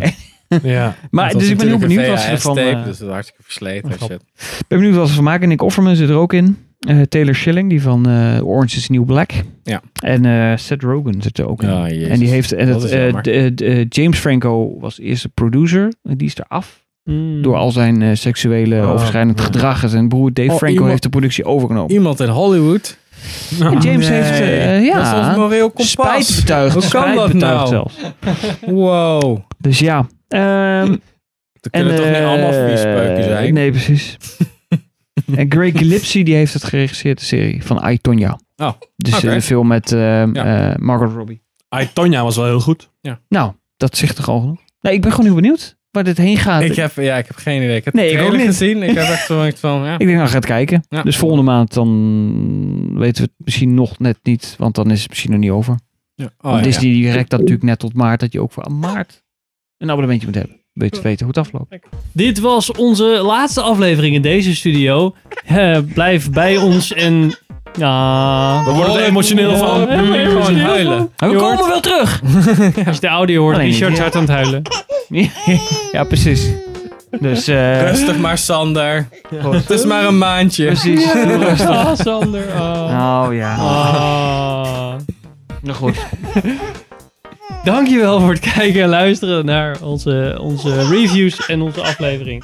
Speaker 2: <laughs>
Speaker 1: Ja.
Speaker 2: Maar dus ik ben heel benieuwd wat ze ervan.
Speaker 3: Tape,
Speaker 2: eh, Oh,
Speaker 3: dus dat is hartstikke versleten. als je het-
Speaker 2: ik ben benieuwd wat ze van maken. Nick Offerman zit er ook in. Eh, Taylor Schilling, die van eh, Orange is the New Black.
Speaker 3: Ja.
Speaker 2: En eh, Seth Rogen zit er ook in.
Speaker 3: Ah, jezus.
Speaker 2: en die heeft. En
Speaker 3: Dat
Speaker 2: het,
Speaker 3: is
Speaker 2: eh,
Speaker 3: jammer.
Speaker 2: de- de- James Franco was eerste producer. En Die is er af.
Speaker 5: Mm.
Speaker 2: Door al zijn eh, seksuele
Speaker 3: Hmm. Oh,
Speaker 2: overschrijdend
Speaker 3: ja.
Speaker 2: gedrag. En zijn broer Dave
Speaker 3: Oh,
Speaker 2: Franco
Speaker 3: iemand-
Speaker 2: heeft de productie overgenomen.
Speaker 3: Iemand in Hollywood.
Speaker 2: En James heeft. eh, ja,
Speaker 3: Dat is ons moreel kompas.
Speaker 2: Spijt betuigd.
Speaker 3: Hoe kan
Speaker 2: spijt
Speaker 3: dat
Speaker 2: betuigd
Speaker 3: nou?
Speaker 2: zelfs.
Speaker 3: Wow.
Speaker 2: Dus ja. ehm
Speaker 3: Dan kunnen toch niet allemaal viespeuken zijn?
Speaker 2: eh, Nee,
Speaker 3: <laughs>
Speaker 2: precies. en Greg Gillespie die heeft het geregisseerd, de serie van I, Tonya.
Speaker 3: Oh,
Speaker 2: Dus eh,
Speaker 1: oké.
Speaker 2: de film met ehm, eh, Margot Robbie.
Speaker 1: I, Tonya was wel heel goed.
Speaker 3: Ja.
Speaker 2: Nou, dat zegt toch al genoeg? Nee, ik ben gewoon heel benieuwd waar dit heen gaat.
Speaker 3: Ik heb, ja, ik heb geen idee. Ik heb
Speaker 2: Nee,
Speaker 3: de
Speaker 2: ik ook
Speaker 3: trailer
Speaker 2: niet.
Speaker 3: gezien. Ik heb echt zoiets van, ja.
Speaker 2: Ik denk, nou, ga het kijken.
Speaker 3: Ja.
Speaker 2: Dus volgende maand dan weten we het misschien nog net niet, want dan is het misschien nog niet over.
Speaker 3: Ja. Oh,
Speaker 2: want
Speaker 3: ja.
Speaker 2: Disney die rekt dat natuurlijk net tot maart, dat je ook voor aan maart een abonnementje moet hebben. Weet
Speaker 3: Oh.
Speaker 2: te weten hoe het afloopt.
Speaker 5: Dit was onze laatste aflevering in deze studio. Eh, blijf bij ons en... Ah,
Speaker 1: We worden er emotioneel van.
Speaker 5: We worden er
Speaker 1: Gewoon
Speaker 5: emotioneel
Speaker 1: huilen.
Speaker 5: van.
Speaker 1: We
Speaker 5: Je
Speaker 1: komen
Speaker 5: hoort-
Speaker 2: wel terug.
Speaker 5: <laughs> Als je de audio hoort,
Speaker 2: Alleen niet,
Speaker 5: Richard
Speaker 2: ja.
Speaker 5: hard aan het huilen.
Speaker 2: <laughs> ja, precies.
Speaker 3: <laughs>
Speaker 2: Dus, eh,
Speaker 3: Rustig maar, Sander.
Speaker 2: Goed.
Speaker 3: Het is maar een maandje.
Speaker 2: Precies, doe
Speaker 3: <laughs>
Speaker 2: rustig.
Speaker 5: <laughs> Ah, Sander. ah.
Speaker 2: Oh ja.
Speaker 5: Ah.
Speaker 2: Nou goed.
Speaker 5: Dankjewel voor het <laughs> kijken en luisteren naar onze, onze reviews en onze aflevering.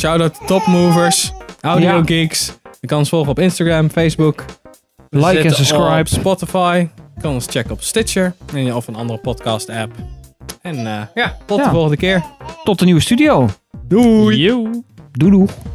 Speaker 3: Shout-out to Topmovers, Audio Geeks, Je kan ons volgen op Instagram, Facebook. We
Speaker 2: Like en
Speaker 3: zitten
Speaker 2: subscribe.
Speaker 3: Op Spotify. Je kan ons checken op Stitcher. En, of een andere podcast app. En eh, ja, tot de volgende keer.
Speaker 2: Tot de nieuwe studio.
Speaker 3: Doei.
Speaker 2: Doei doei.